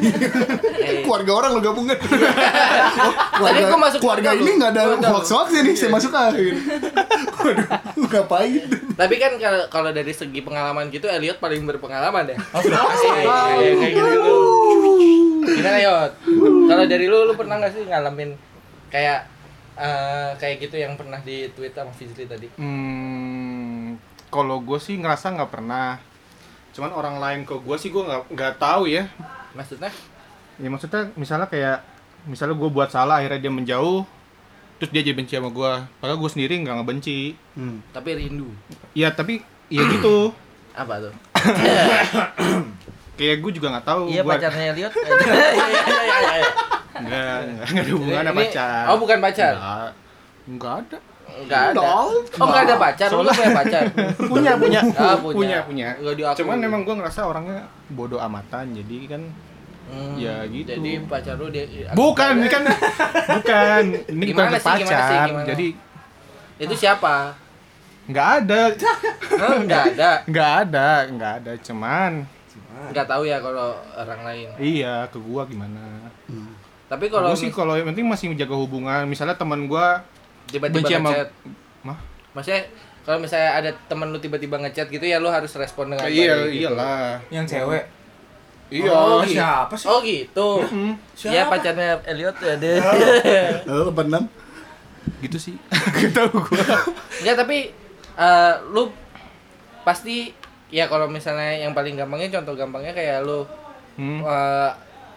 [SPEAKER 1] Eh,
[SPEAKER 3] keluarga orang lo
[SPEAKER 1] [laughs]
[SPEAKER 3] gabungan. Oh, keluarga,
[SPEAKER 1] Tadi gua masuk
[SPEAKER 3] keluarga
[SPEAKER 1] keluarga
[SPEAKER 3] ini
[SPEAKER 1] gua.
[SPEAKER 3] nggak ada
[SPEAKER 1] Gua Iya. tahu.
[SPEAKER 3] hoax hoaxnya nih, saya masuk akhir. [laughs] Waduh, ngapain?
[SPEAKER 1] Tapi kan kalau kalau dari segi pengalaman gitu Elliot paling berpengalaman ya. deh.
[SPEAKER 4] oh sudah pasti
[SPEAKER 1] Kayak kayak gitu. Gimana Yot? Kalau dari lu lu pernah nggak sih ngalamin kayak eh, kayak gitu yang pernah di Twitter sama Fizli tadi?
[SPEAKER 2] Hmm, kalau gue sih ngerasa nggak pernah. Cuman orang lain ke gue sih gue nggak nggak tahu ya.
[SPEAKER 1] Maksudnya?
[SPEAKER 2] Ya maksudnya misalnya kayak misalnya gue buat salah akhirnya dia menjauh, terus dia jadi benci sama gue. Padahal gue sendiri nggak ngebenci.
[SPEAKER 3] Hmm.
[SPEAKER 1] Tapi rindu.
[SPEAKER 2] Ya tapi ya gitu.
[SPEAKER 1] Apa tuh?
[SPEAKER 2] Kayak gue juga nggak tahu.
[SPEAKER 1] Iya
[SPEAKER 2] gua-
[SPEAKER 1] pacarnya Elliot. [laughs] Iya iya iya iya, iya.
[SPEAKER 2] Nggak, nggak, nggak ada hubungan sama
[SPEAKER 1] Ini-
[SPEAKER 2] pacar.
[SPEAKER 1] Oh, bukan pacar.
[SPEAKER 2] Nggak. Nggak ada.
[SPEAKER 1] Enggak ada.
[SPEAKER 3] Dong.
[SPEAKER 1] Oh, enggak ada pacar. Lu
[SPEAKER 2] Soalnya-
[SPEAKER 1] punya
[SPEAKER 2] [laughs]
[SPEAKER 1] pacar.
[SPEAKER 2] punya punya
[SPEAKER 1] Ah, punya.
[SPEAKER 2] punya punya
[SPEAKER 1] Nggak diakui.
[SPEAKER 2] cuman memang gue ngerasa orangnya bodoh amatan jadi kan
[SPEAKER 1] Hmm,
[SPEAKER 2] Ya, gitu.
[SPEAKER 1] Jadi pacar lu dia
[SPEAKER 2] bukan ini
[SPEAKER 1] [laughs]
[SPEAKER 2] kan bukan ini bukan
[SPEAKER 1] Gimana sih,
[SPEAKER 2] pacar
[SPEAKER 1] gimana sih, gimana?
[SPEAKER 2] jadi
[SPEAKER 1] Itu siapa?
[SPEAKER 2] nggak ada
[SPEAKER 1] Hah, Enggak ada.
[SPEAKER 2] nggak ada nggak ada cuman
[SPEAKER 1] Enggak tahu ya kalau orang lain.
[SPEAKER 2] iya ke gua gimana
[SPEAKER 1] Tapi kalau
[SPEAKER 2] kalau sih kalau yang penting masih menjaga hubungan misalnya teman gua
[SPEAKER 1] tiba-tiba
[SPEAKER 2] benci sama-
[SPEAKER 1] ngechat.
[SPEAKER 2] mah
[SPEAKER 1] Maksudnya kalau misalnya ada temen lu tiba-tiba ngechat gitu ya lu harus respon dengan
[SPEAKER 2] iya
[SPEAKER 1] baik gitu.
[SPEAKER 2] iyalah
[SPEAKER 4] yang cewek
[SPEAKER 2] Iya.
[SPEAKER 1] Oh, gitu.
[SPEAKER 6] siapa sih?
[SPEAKER 1] Oh gitu.
[SPEAKER 6] Siapa?
[SPEAKER 1] Ya pacarnya Elliot ya deh. [laughs]
[SPEAKER 3] Lalu apa enam?
[SPEAKER 2] Gitu sih. Gak tau gua.
[SPEAKER 1] Enggak tapi eh, lu pasti ya kalau misalnya yang paling gampangnya contoh gampangnya kayak lu
[SPEAKER 2] Hmm.
[SPEAKER 1] eh,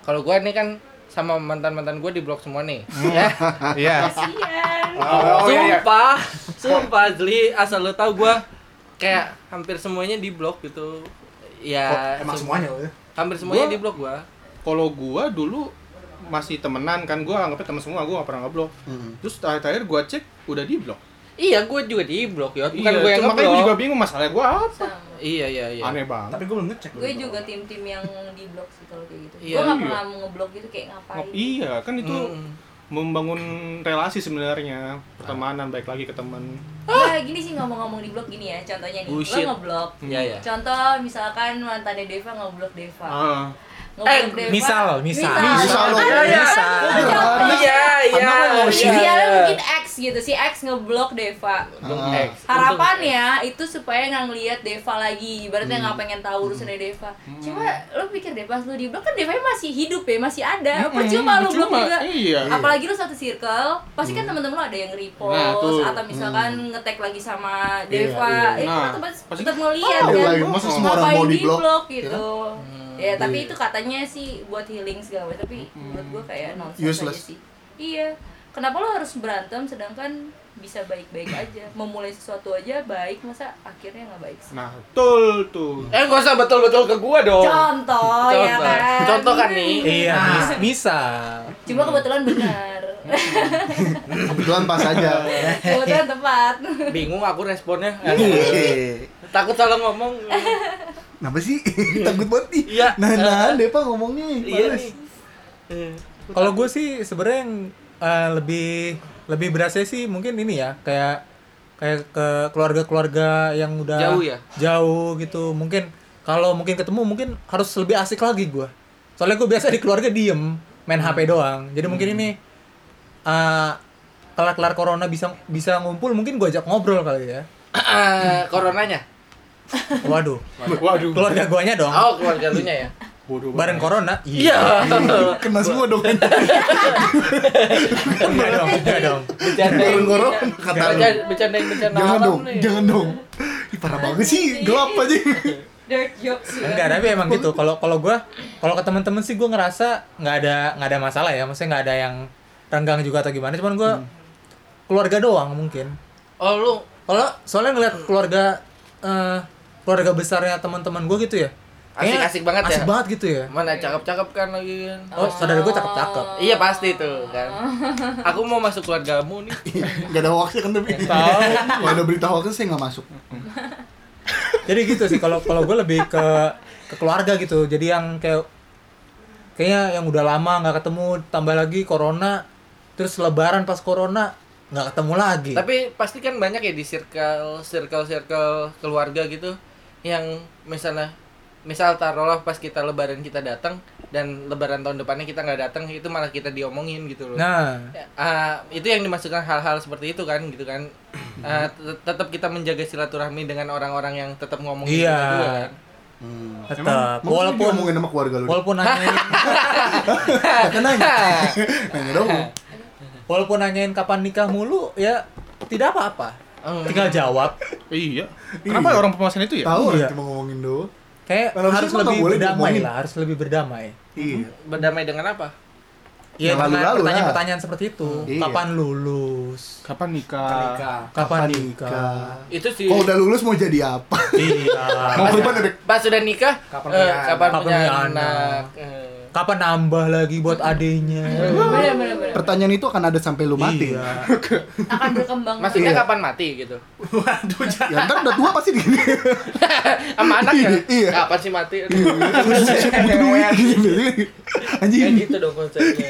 [SPEAKER 1] kalau gua nih kan sama mantan-mantan gua di blok semua nih. Ya.
[SPEAKER 2] Iya.
[SPEAKER 5] Kasian.
[SPEAKER 6] Oh, iya,
[SPEAKER 1] [laughs]
[SPEAKER 6] iya.
[SPEAKER 1] sumpah, sumpah Zli, asal lu tahu gua kayak hampir semuanya di blok gitu. Ya,
[SPEAKER 6] Emang
[SPEAKER 1] sem-
[SPEAKER 6] semuanya loh ya.
[SPEAKER 1] hampir semuanya
[SPEAKER 2] Gua-
[SPEAKER 1] di blok gua.
[SPEAKER 2] Kalau gua dulu masih temenan kan gua anggapnya teman semua, gua gak pernah ngeblok.
[SPEAKER 1] Hmm.
[SPEAKER 2] Terus terakhir gua cek udah di blok.
[SPEAKER 1] Iya, gua juga di blok ya. Bukan
[SPEAKER 2] iya,
[SPEAKER 1] gua yang
[SPEAKER 2] cuma makanya gua juga
[SPEAKER 1] ngeblok.
[SPEAKER 2] bingung masalahnya gua apa.
[SPEAKER 5] Sama.
[SPEAKER 1] Iya, iya, iya.
[SPEAKER 2] Aneh banget.
[SPEAKER 6] Tapi gue belum ngecek.
[SPEAKER 5] Gue juga tim-tim yang di blok sih kalau kayak gitu.
[SPEAKER 1] Iya.
[SPEAKER 5] Gue nggak pernah mau ngeblok gitu kayak ngapain.
[SPEAKER 2] Iya, kan itu
[SPEAKER 1] Mm.
[SPEAKER 2] membangun relasi sebenarnya, pertemanan baik lagi ke teman.
[SPEAKER 5] Nah, gini sih ngomong-ngomong di blok gini ya, contohnya nih,
[SPEAKER 1] Bullshit.
[SPEAKER 5] lo ngeblok.
[SPEAKER 1] Iya, iya.
[SPEAKER 5] Contoh misalkan mantannya Deva ngeblok Deva.
[SPEAKER 2] Ah.
[SPEAKER 5] Ngeblok
[SPEAKER 1] Eh,
[SPEAKER 5] Deva.
[SPEAKER 4] misal, misal.
[SPEAKER 5] Misal.
[SPEAKER 3] Misal lo.
[SPEAKER 1] Iya, iya.
[SPEAKER 5] Misal.
[SPEAKER 1] Iya, iya.
[SPEAKER 5] Iya,
[SPEAKER 1] iya.
[SPEAKER 5] Idealnya mungkin X gitu, si X ngeblok Deva.
[SPEAKER 1] X.
[SPEAKER 5] Harapannya ya, itu supaya nggak ngelihat Deva lagi, ibaratnya
[SPEAKER 2] Hmm.
[SPEAKER 5] nggak pengen tahu urusannya Deva. Cuma lo pikir deh pas lo di blok kan Deva masih hidup ya, masih ada. Percuma lo blok
[SPEAKER 2] Hmm, percuma.
[SPEAKER 5] juga.
[SPEAKER 2] Iya. Hmm.
[SPEAKER 5] Apalagi lo satu circle, pasti kan teman-teman lo ada yang
[SPEAKER 2] Nah,
[SPEAKER 5] repost
[SPEAKER 2] tuh. Hmm.
[SPEAKER 5] atau misalkan nge-tag lagi sama Deva.
[SPEAKER 2] iya.
[SPEAKER 5] Eh,
[SPEAKER 2] Nah,
[SPEAKER 5] kan tetap
[SPEAKER 2] pasti-
[SPEAKER 5] tetap ngelihat
[SPEAKER 3] Ada
[SPEAKER 5] kan.
[SPEAKER 3] lagi, masa semua orang
[SPEAKER 5] Ngapain
[SPEAKER 3] mau di blok?
[SPEAKER 2] kan?
[SPEAKER 5] gitu.
[SPEAKER 2] Hmm.
[SPEAKER 5] Ya, tapi
[SPEAKER 2] Iya.
[SPEAKER 5] itu katanya sih buat healing segala macam, tapi menurut gua kayak nonsense aja
[SPEAKER 3] Useless.
[SPEAKER 5] sih. Iya. Kenapa lo harus berantem sedangkan bisa baik-baik aja? Memulai sesuatu aja baik, masa akhirnya nggak baik sih?
[SPEAKER 2] Nah, betul tuh.
[SPEAKER 1] Eh, gak usah betul-betul ke gua dong.
[SPEAKER 5] Contoh, ya kan.
[SPEAKER 1] Contoh kan nih.
[SPEAKER 4] Iya, mis- misal.
[SPEAKER 5] Cuma kebetulan benar.
[SPEAKER 3] Kebetulan pas
[SPEAKER 6] [laughs]
[SPEAKER 3] aja.
[SPEAKER 5] kebetulan tepat.
[SPEAKER 1] Bingung aku responnya. [laughs]
[SPEAKER 3] Hehehe.
[SPEAKER 1] Takut salah ngomong.
[SPEAKER 3] Kenapa sih? Takut banget nih.
[SPEAKER 1] Iya.
[SPEAKER 3] Nah, nah, Depa ngomongnya.
[SPEAKER 1] Iya
[SPEAKER 3] males.
[SPEAKER 1] nih. Eh,
[SPEAKER 4] Kalau gue sih sebenarnya yang eh, lebih lebih berasa sih mungkin ini ya kayak kayak ke keluarga-keluarga yang udah
[SPEAKER 1] Jauh ya?
[SPEAKER 4] jauh gitu mungkin kalau mungkin ketemu mungkin harus lebih asik lagi gue soalnya gue biasa di keluarga diem main HP doang jadi mungkin ini eh kelar-kelar corona bisa bisa ngumpul mungkin gue ajak ngobrol kali ya
[SPEAKER 1] eh, coronanya.
[SPEAKER 4] waduh
[SPEAKER 2] Waduh.
[SPEAKER 4] keluarga guanya dong
[SPEAKER 1] Oh, keluarga lu nya ya.
[SPEAKER 2] Bodoh banget.
[SPEAKER 4] bareng corona
[SPEAKER 1] Iya.
[SPEAKER 3] [laughs] Kena semua dong.
[SPEAKER 4] enggak Iya dong enggak dong
[SPEAKER 1] Bercandain.
[SPEAKER 3] Gorong-gorong kata lu.
[SPEAKER 1] Bercandain, bercandain, bercandain
[SPEAKER 3] Jangan
[SPEAKER 1] malam
[SPEAKER 3] dong,
[SPEAKER 1] nih.
[SPEAKER 3] jangan dong. Ih, parah banget sih, gelap aja.
[SPEAKER 5] Dirt jokes. ya.
[SPEAKER 4] Enggak, tapi emang gitu. Kalau kalau gua kalau ke teman-teman sih gua ngerasa nggak ada nggak ada masalah ya. Maksudnya nggak ada yang renggang juga atau gimana. Cuman gua keluarga doang mungkin.
[SPEAKER 1] Oh, lu
[SPEAKER 4] Kalau soalnya ngeliat keluarga eh, keluarga besarnya teman-teman gua gitu ya. kayaknya
[SPEAKER 1] Asik-asik banget ya?
[SPEAKER 4] Asik banget gitu ya.
[SPEAKER 1] mana cakep-cakep kan lagi kan.
[SPEAKER 4] Oh, saudara gua cakep-cakep.
[SPEAKER 1] Iya pasti tuh kan. Aku mau masuk keluargamu nih.
[SPEAKER 3] Gak ada hoaxnya kan tapi. Kalau ada berita hoaxnya saya nggak masuk.
[SPEAKER 4] Jadi gitu sih kalau kalau gua lebih ke ke keluarga gitu. Jadi yang kayak kayaknya yang udah lama nggak ketemu tambah lagi corona terus lebaran pas corona nggak ketemu lagi.
[SPEAKER 1] Tapi pasti kan banyak ya di circle circle circle keluarga gitu yang misalnya misal taruhlah pas kita lebaran kita datang dan lebaran tahun depannya kita nggak datang itu malah kita diomongin gitu loh.
[SPEAKER 4] Nah,
[SPEAKER 1] Ah, itu yang dimaksudkan hal-hal seperti itu kan gitu kan. Ah, tet- tetap kita menjaga silaturahmi dengan orang-orang yang tetap ngomongin
[SPEAKER 4] Iya.
[SPEAKER 1] kita juga kan.
[SPEAKER 4] tetap
[SPEAKER 3] Maksudnya
[SPEAKER 4] walaupun
[SPEAKER 3] ngomongin sama keluarga lu.
[SPEAKER 4] walaupun nanyain
[SPEAKER 3] [laughs] Nanya dong.
[SPEAKER 4] walaupun nanyain kapan nikah mulu ya tidak apa-apa
[SPEAKER 3] Oh,
[SPEAKER 1] Hmm.
[SPEAKER 4] tinggal jawab
[SPEAKER 2] Iya. Kenapa ya orang pemasan itu ya?
[SPEAKER 3] Tahu orang
[SPEAKER 4] Iya.
[SPEAKER 3] cuma ngomongin doang.
[SPEAKER 4] kayak
[SPEAKER 3] Harusnya
[SPEAKER 4] harus
[SPEAKER 3] mah nggak
[SPEAKER 4] lebih
[SPEAKER 3] boleh
[SPEAKER 4] berdamai
[SPEAKER 3] diomongin.
[SPEAKER 4] lah harus lebih berdamai
[SPEAKER 3] Iya.
[SPEAKER 1] [laughs] Berdamai dengan apa?
[SPEAKER 4] ya
[SPEAKER 3] Yang lalu-lalu
[SPEAKER 4] dengan
[SPEAKER 3] lah.
[SPEAKER 4] pertanyaan-pertanyaan seperti itu
[SPEAKER 3] Iya.
[SPEAKER 4] kapan lulus
[SPEAKER 2] Kapan nikah?
[SPEAKER 6] Ketika.
[SPEAKER 4] kapan nikah
[SPEAKER 1] Itu sih.
[SPEAKER 3] Kalau udah lulus mau jadi apa?
[SPEAKER 4] iya
[SPEAKER 3] Mau ke depan ada
[SPEAKER 1] Pas sudah nikah,
[SPEAKER 6] Kapan
[SPEAKER 1] eh,
[SPEAKER 6] punya anak?
[SPEAKER 1] kapan
[SPEAKER 4] Kapan
[SPEAKER 1] punya
[SPEAKER 4] punya
[SPEAKER 1] anak?
[SPEAKER 4] anak?
[SPEAKER 1] Eh,
[SPEAKER 4] kapan nambah lagi buat adenya
[SPEAKER 5] Bener, bener, bener.
[SPEAKER 3] pertanyaan itu akan ada sampai lu mati.
[SPEAKER 4] Iya.
[SPEAKER 5] Akan berkembang.
[SPEAKER 1] Maksudnya
[SPEAKER 3] Iya.
[SPEAKER 1] kapan mati gitu?
[SPEAKER 6] Waduh, jangan.
[SPEAKER 3] Ya ntar udah tua pasti gini.
[SPEAKER 1] Sama anak ya?
[SPEAKER 3] Iya.
[SPEAKER 1] Kapan sih mati? Aduh, [laughs]
[SPEAKER 3] butuh duit gitu.
[SPEAKER 1] ya
[SPEAKER 3] Anjing.
[SPEAKER 1] gitu dong konsepnya.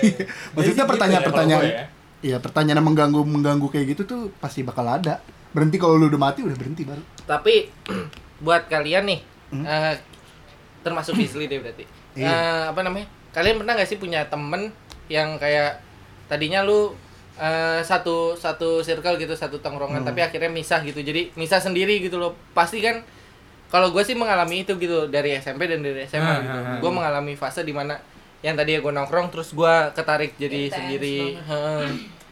[SPEAKER 3] Maksudnya
[SPEAKER 4] Jadi gitu ya kalau
[SPEAKER 3] pertanyaan-pertanyaan
[SPEAKER 4] gua ya.
[SPEAKER 3] Iya, pertanyaan yang mengganggu mengganggu kayak gitu tuh pasti bakal ada. Berhenti kalau lu udah mati udah berhenti baru.
[SPEAKER 1] Tapi [clears throat] buat kalian nih, eh, termasuk Isli deh berarti.
[SPEAKER 3] Iya.
[SPEAKER 1] Eh, apa namanya? Kalian pernah nggak sih punya temen yang kayak tadinya lu eh, satu satu circle gitu, satu tongkrongan, tapi akhirnya misah gitu. Jadi misah sendiri gitu loh. Pasti kan kalau gue sih mengalami itu gitu dari SMP dan dari SMA
[SPEAKER 4] Ah,
[SPEAKER 1] gitu
[SPEAKER 4] ah, ah.
[SPEAKER 1] gue mengalami fase dimana yang tadi gue nongkrong terus gue ketarik jadi
[SPEAKER 5] Intens
[SPEAKER 1] sendiri Heeh.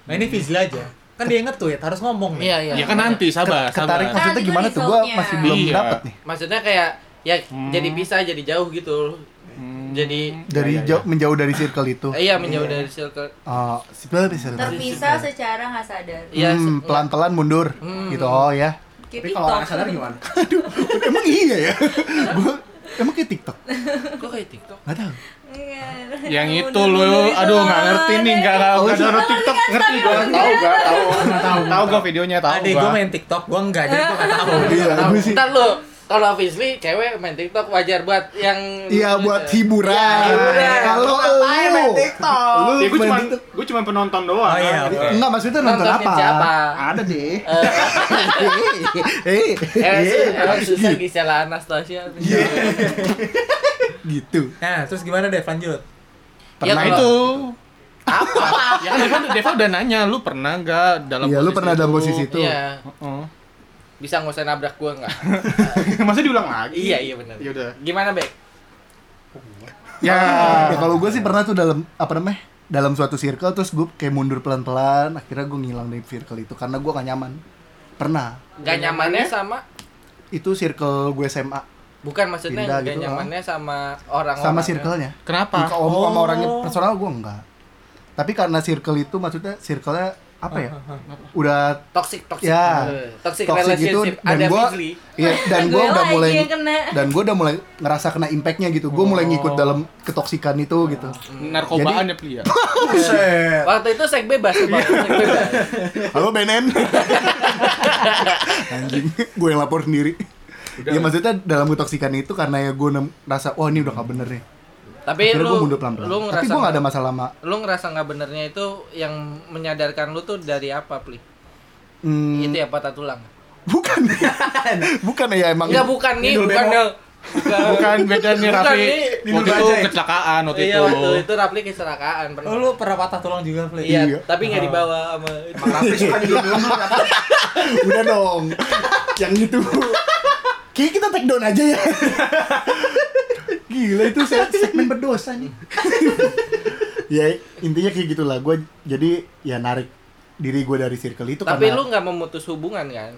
[SPEAKER 4] Nah ini Fizli aja. Kan dia inget tuh ya, harus ngomong nih.
[SPEAKER 1] iya iya kan?
[SPEAKER 2] Ya kan nanti sabar,
[SPEAKER 3] Ketarik
[SPEAKER 2] sabar.
[SPEAKER 3] maksudnya
[SPEAKER 5] Nanti
[SPEAKER 3] gimana tuh? Gua
[SPEAKER 5] resultnya.
[SPEAKER 3] masih belum
[SPEAKER 2] Iya.
[SPEAKER 3] dapet nih.
[SPEAKER 1] maksudnya kayak ya jadi pisah jadi jauh gitu
[SPEAKER 2] Hmm,
[SPEAKER 1] jadi
[SPEAKER 3] Dari
[SPEAKER 2] Iya, iya,
[SPEAKER 3] jauh- menjauh dari circle itu.
[SPEAKER 1] eh, iya menjauh dari circle
[SPEAKER 3] Oh, circle dari circle.
[SPEAKER 5] terpisah secara nggak sadar
[SPEAKER 1] Iya,
[SPEAKER 3] Hmm,
[SPEAKER 1] se-
[SPEAKER 3] pelan-pelan mundur. Gitu. Oh ya.
[SPEAKER 7] Tapi
[SPEAKER 5] Kayak
[SPEAKER 7] kalau nggak
[SPEAKER 5] TikTok.
[SPEAKER 7] sadar
[SPEAKER 3] [laughs]
[SPEAKER 7] gimana?
[SPEAKER 3] Emang iya ya? [laughs] Gua emang kayak TikTok.
[SPEAKER 1] kok kayak TikTok
[SPEAKER 3] Gak tahu.
[SPEAKER 5] Iya.
[SPEAKER 2] Yang itu
[SPEAKER 5] Mundur-mundur
[SPEAKER 2] lu,
[SPEAKER 5] gitu
[SPEAKER 2] aduh nggak
[SPEAKER 5] loh.
[SPEAKER 2] ngerti nih, nggak
[SPEAKER 1] Oh,
[SPEAKER 2] nggak nggak
[SPEAKER 1] iya.
[SPEAKER 2] download TikTok, ngerti gue.
[SPEAKER 8] Tahu gak? Tahu.
[SPEAKER 2] Tahu, tahu gue videonya, tahu
[SPEAKER 4] Adik gue
[SPEAKER 2] gue.
[SPEAKER 4] main TikTok, gue enggak, jadi gue gak [laughs] tau.
[SPEAKER 3] Iya, gua sih.
[SPEAKER 1] ntar lo kalau Fisli cewek main TikTok wajar buat yang
[SPEAKER 3] Iya buat hiburan.
[SPEAKER 1] hiburan.
[SPEAKER 3] Kalau lu main TikTok. Lu
[SPEAKER 2] Ya gue
[SPEAKER 3] main
[SPEAKER 2] cuma
[SPEAKER 3] TikTok.
[SPEAKER 2] gue cuma penonton doang.
[SPEAKER 4] Oh iya,
[SPEAKER 2] Nah.
[SPEAKER 4] oke.
[SPEAKER 3] Enggak maksudnya nonton
[SPEAKER 1] Nontonin
[SPEAKER 3] apa? [laughs]
[SPEAKER 1] siapa?
[SPEAKER 3] Ada deh.
[SPEAKER 1] Eh,
[SPEAKER 3] Eh,
[SPEAKER 1] eh,
[SPEAKER 3] eh,
[SPEAKER 1] emang susah Gisela Anastasia
[SPEAKER 3] Iya, gitu.
[SPEAKER 4] Nah, terus gimana deh,
[SPEAKER 1] Ya,
[SPEAKER 4] lanjut.
[SPEAKER 3] Pernah
[SPEAKER 2] Nah
[SPEAKER 1] kalau-
[SPEAKER 2] itu.
[SPEAKER 3] itu.
[SPEAKER 2] Apa? ya kan Deva, Deva udah nanya, lu pernah gak dalam
[SPEAKER 3] Iya, lu pernah dalam posisi itu.
[SPEAKER 1] iya
[SPEAKER 2] Heeh.
[SPEAKER 1] bisa nggak usah nabrak gua nggak
[SPEAKER 2] [laughs] Masa diulang lagi?
[SPEAKER 1] iya iya benar
[SPEAKER 2] Ya udah.
[SPEAKER 1] gimana Bek?
[SPEAKER 2] Ya.
[SPEAKER 3] Ya kalau gue sih pernah tuh dalam apa namanya? Dalam suatu circle terus gue kayak mundur pelan-pelan, akhirnya gue ngilang dari circle itu karena gue gak nyaman. Pernah.
[SPEAKER 1] gak nyamannya sama
[SPEAKER 3] Itu circle gue SMA
[SPEAKER 1] bukan maksudnya
[SPEAKER 3] Pindah
[SPEAKER 1] gak
[SPEAKER 3] gitu,
[SPEAKER 1] nyamannya sama orang
[SPEAKER 3] sama circle-nya. Bukan
[SPEAKER 2] Kenapa?
[SPEAKER 3] om- sama
[SPEAKER 4] Oh.
[SPEAKER 3] orangnya personal gue enggak. Tapi karena circle itu maksudnya circle-nya apa ya? Udah
[SPEAKER 1] toxic toxic
[SPEAKER 3] Ya.
[SPEAKER 1] Eh, toxic,
[SPEAKER 3] toxic gitu
[SPEAKER 1] relationship
[SPEAKER 3] dan
[SPEAKER 1] ada
[SPEAKER 3] gua
[SPEAKER 1] Fizli
[SPEAKER 3] iya,
[SPEAKER 5] [laughs]
[SPEAKER 3] dan gua
[SPEAKER 5] Gue
[SPEAKER 3] udah
[SPEAKER 5] lagi
[SPEAKER 3] mulai
[SPEAKER 5] yang kena.
[SPEAKER 3] dan gua udah mulai ngerasa kena impactnya gitu gue
[SPEAKER 1] Oh.
[SPEAKER 3] mulai ngikut dalam ketoksikan itu gitu
[SPEAKER 2] Narkobaan ya, Pli, ya.
[SPEAKER 1] waktu itu seks bebas Bang.
[SPEAKER 3] Iya.
[SPEAKER 1] Seks bebas.
[SPEAKER 3] halo Benen [laughs] anjing gue yang lapor sendiri ya maksudnya dalam ketoksikan itu karena ya gue ngerasa wah ini udah gak bener nih
[SPEAKER 1] tapi
[SPEAKER 3] akhirnya gue
[SPEAKER 1] lu
[SPEAKER 3] mundur pelan-pelan
[SPEAKER 1] lu
[SPEAKER 3] tapi
[SPEAKER 1] ngerasa
[SPEAKER 3] gue gak ada masalah sama
[SPEAKER 1] lu ngerasa nggak benernya itu yang menyadarkan lu tuh dari apa Pli?
[SPEAKER 3] hmm,
[SPEAKER 1] itu ya patah tulang
[SPEAKER 3] bukan bukan ya emang
[SPEAKER 1] Enggak bukan nih
[SPEAKER 7] Ngidul
[SPEAKER 1] bukan
[SPEAKER 7] bemo.
[SPEAKER 1] Del. bukan
[SPEAKER 2] [laughs] Bukan beda nih
[SPEAKER 1] Bukan,
[SPEAKER 2] Raffi.
[SPEAKER 1] nih.
[SPEAKER 2] Waktu itu kecelakaan waktu
[SPEAKER 1] iya
[SPEAKER 2] itu.
[SPEAKER 1] waktu itu Rapli kecelakaan pernah
[SPEAKER 4] Oh, lu pernah patah tulang juga, Fli?
[SPEAKER 1] iya,
[SPEAKER 3] Iya.
[SPEAKER 1] tapi nggak dibawa sama
[SPEAKER 7] Emang Raffi suka didulung-dulung kenapa?
[SPEAKER 3] udah dong yang itu kayak kita take down aja ya gila itu se- segmen berdosa nih ya intinya kayak gitulah gue jadi ya narik diri gue dari circle itu
[SPEAKER 1] tapi
[SPEAKER 3] karena
[SPEAKER 1] lu nggak memutus hubungan kan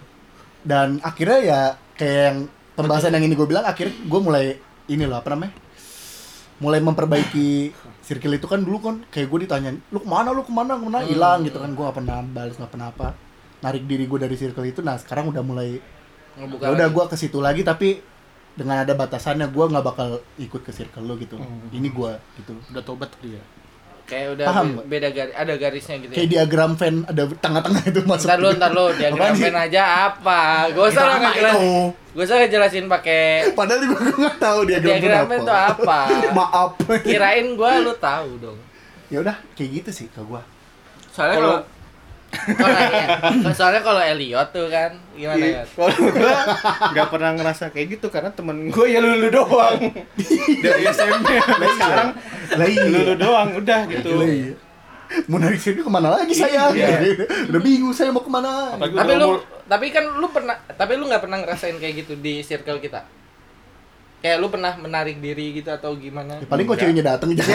[SPEAKER 3] dan akhirnya ya kayak yang pembahasan yang ini gue bilang akhirnya gue mulai ini loh apa namanya mulai memperbaiki circle itu kan dulu kan kayak gue ditanyain lu kemana lu kemana kemana hilang gitu kan gue gak pernah balas gak pernah apa narik diri gue dari circle itu nah sekarang udah mulai
[SPEAKER 1] ngebuka
[SPEAKER 3] ya udah
[SPEAKER 1] lagi.
[SPEAKER 3] gue ke situ lagi tapi dengan ada batasannya gue nggak bakal ikut ke circle lo gitu ini gue gitu
[SPEAKER 2] Hmm. Udah tobat dia.
[SPEAKER 1] kayak udah
[SPEAKER 3] Paham,
[SPEAKER 1] be-
[SPEAKER 3] Pak?
[SPEAKER 1] beda garis ada garisnya gitu
[SPEAKER 3] kayak
[SPEAKER 1] ya.
[SPEAKER 3] diagram fan ada tengah-tengah itu masuk
[SPEAKER 1] Ntar lu, ntar lu, diagram
[SPEAKER 3] Apaan sih?
[SPEAKER 1] pen aja apa? Gak usah lah ngejelasin Gak usah ngejelasin pakai
[SPEAKER 3] [laughs] padahal gue nggak tahu diagram,
[SPEAKER 1] diagram pen
[SPEAKER 3] itu
[SPEAKER 1] tuh apa
[SPEAKER 3] [laughs] maaf
[SPEAKER 1] Kirain gua lu tahu dong
[SPEAKER 3] ya udah kayak gitu sih ke gue
[SPEAKER 1] Soalnya kalau kalau ya, [laughs] soalnya kalau Elliot tuh kan gimana ya?
[SPEAKER 2] Kalau gue nggak pernah ngerasa kayak gitu karena temen gue ya lulu doang
[SPEAKER 3] [laughs]
[SPEAKER 2] dari
[SPEAKER 3] Iya.
[SPEAKER 2] SMP. Nah, sekarang
[SPEAKER 3] lagi
[SPEAKER 2] lulu doang udah gitu.
[SPEAKER 3] iya. mau narik sini kemana lagi saya
[SPEAKER 2] Iya.
[SPEAKER 3] Gitu. udah bingung saya mau kemana
[SPEAKER 2] Apalagi
[SPEAKER 1] Tapi
[SPEAKER 2] udah
[SPEAKER 1] lu
[SPEAKER 2] umur-
[SPEAKER 1] tapi kan lu pernah tapi lu nggak pernah ngerasain kayak gitu di circle kita. Kayak lu pernah menarik diri gitu atau gimana?
[SPEAKER 6] Iya.
[SPEAKER 3] Ya, paling kok ceweknya dateng
[SPEAKER 2] [laughs]
[SPEAKER 3] aja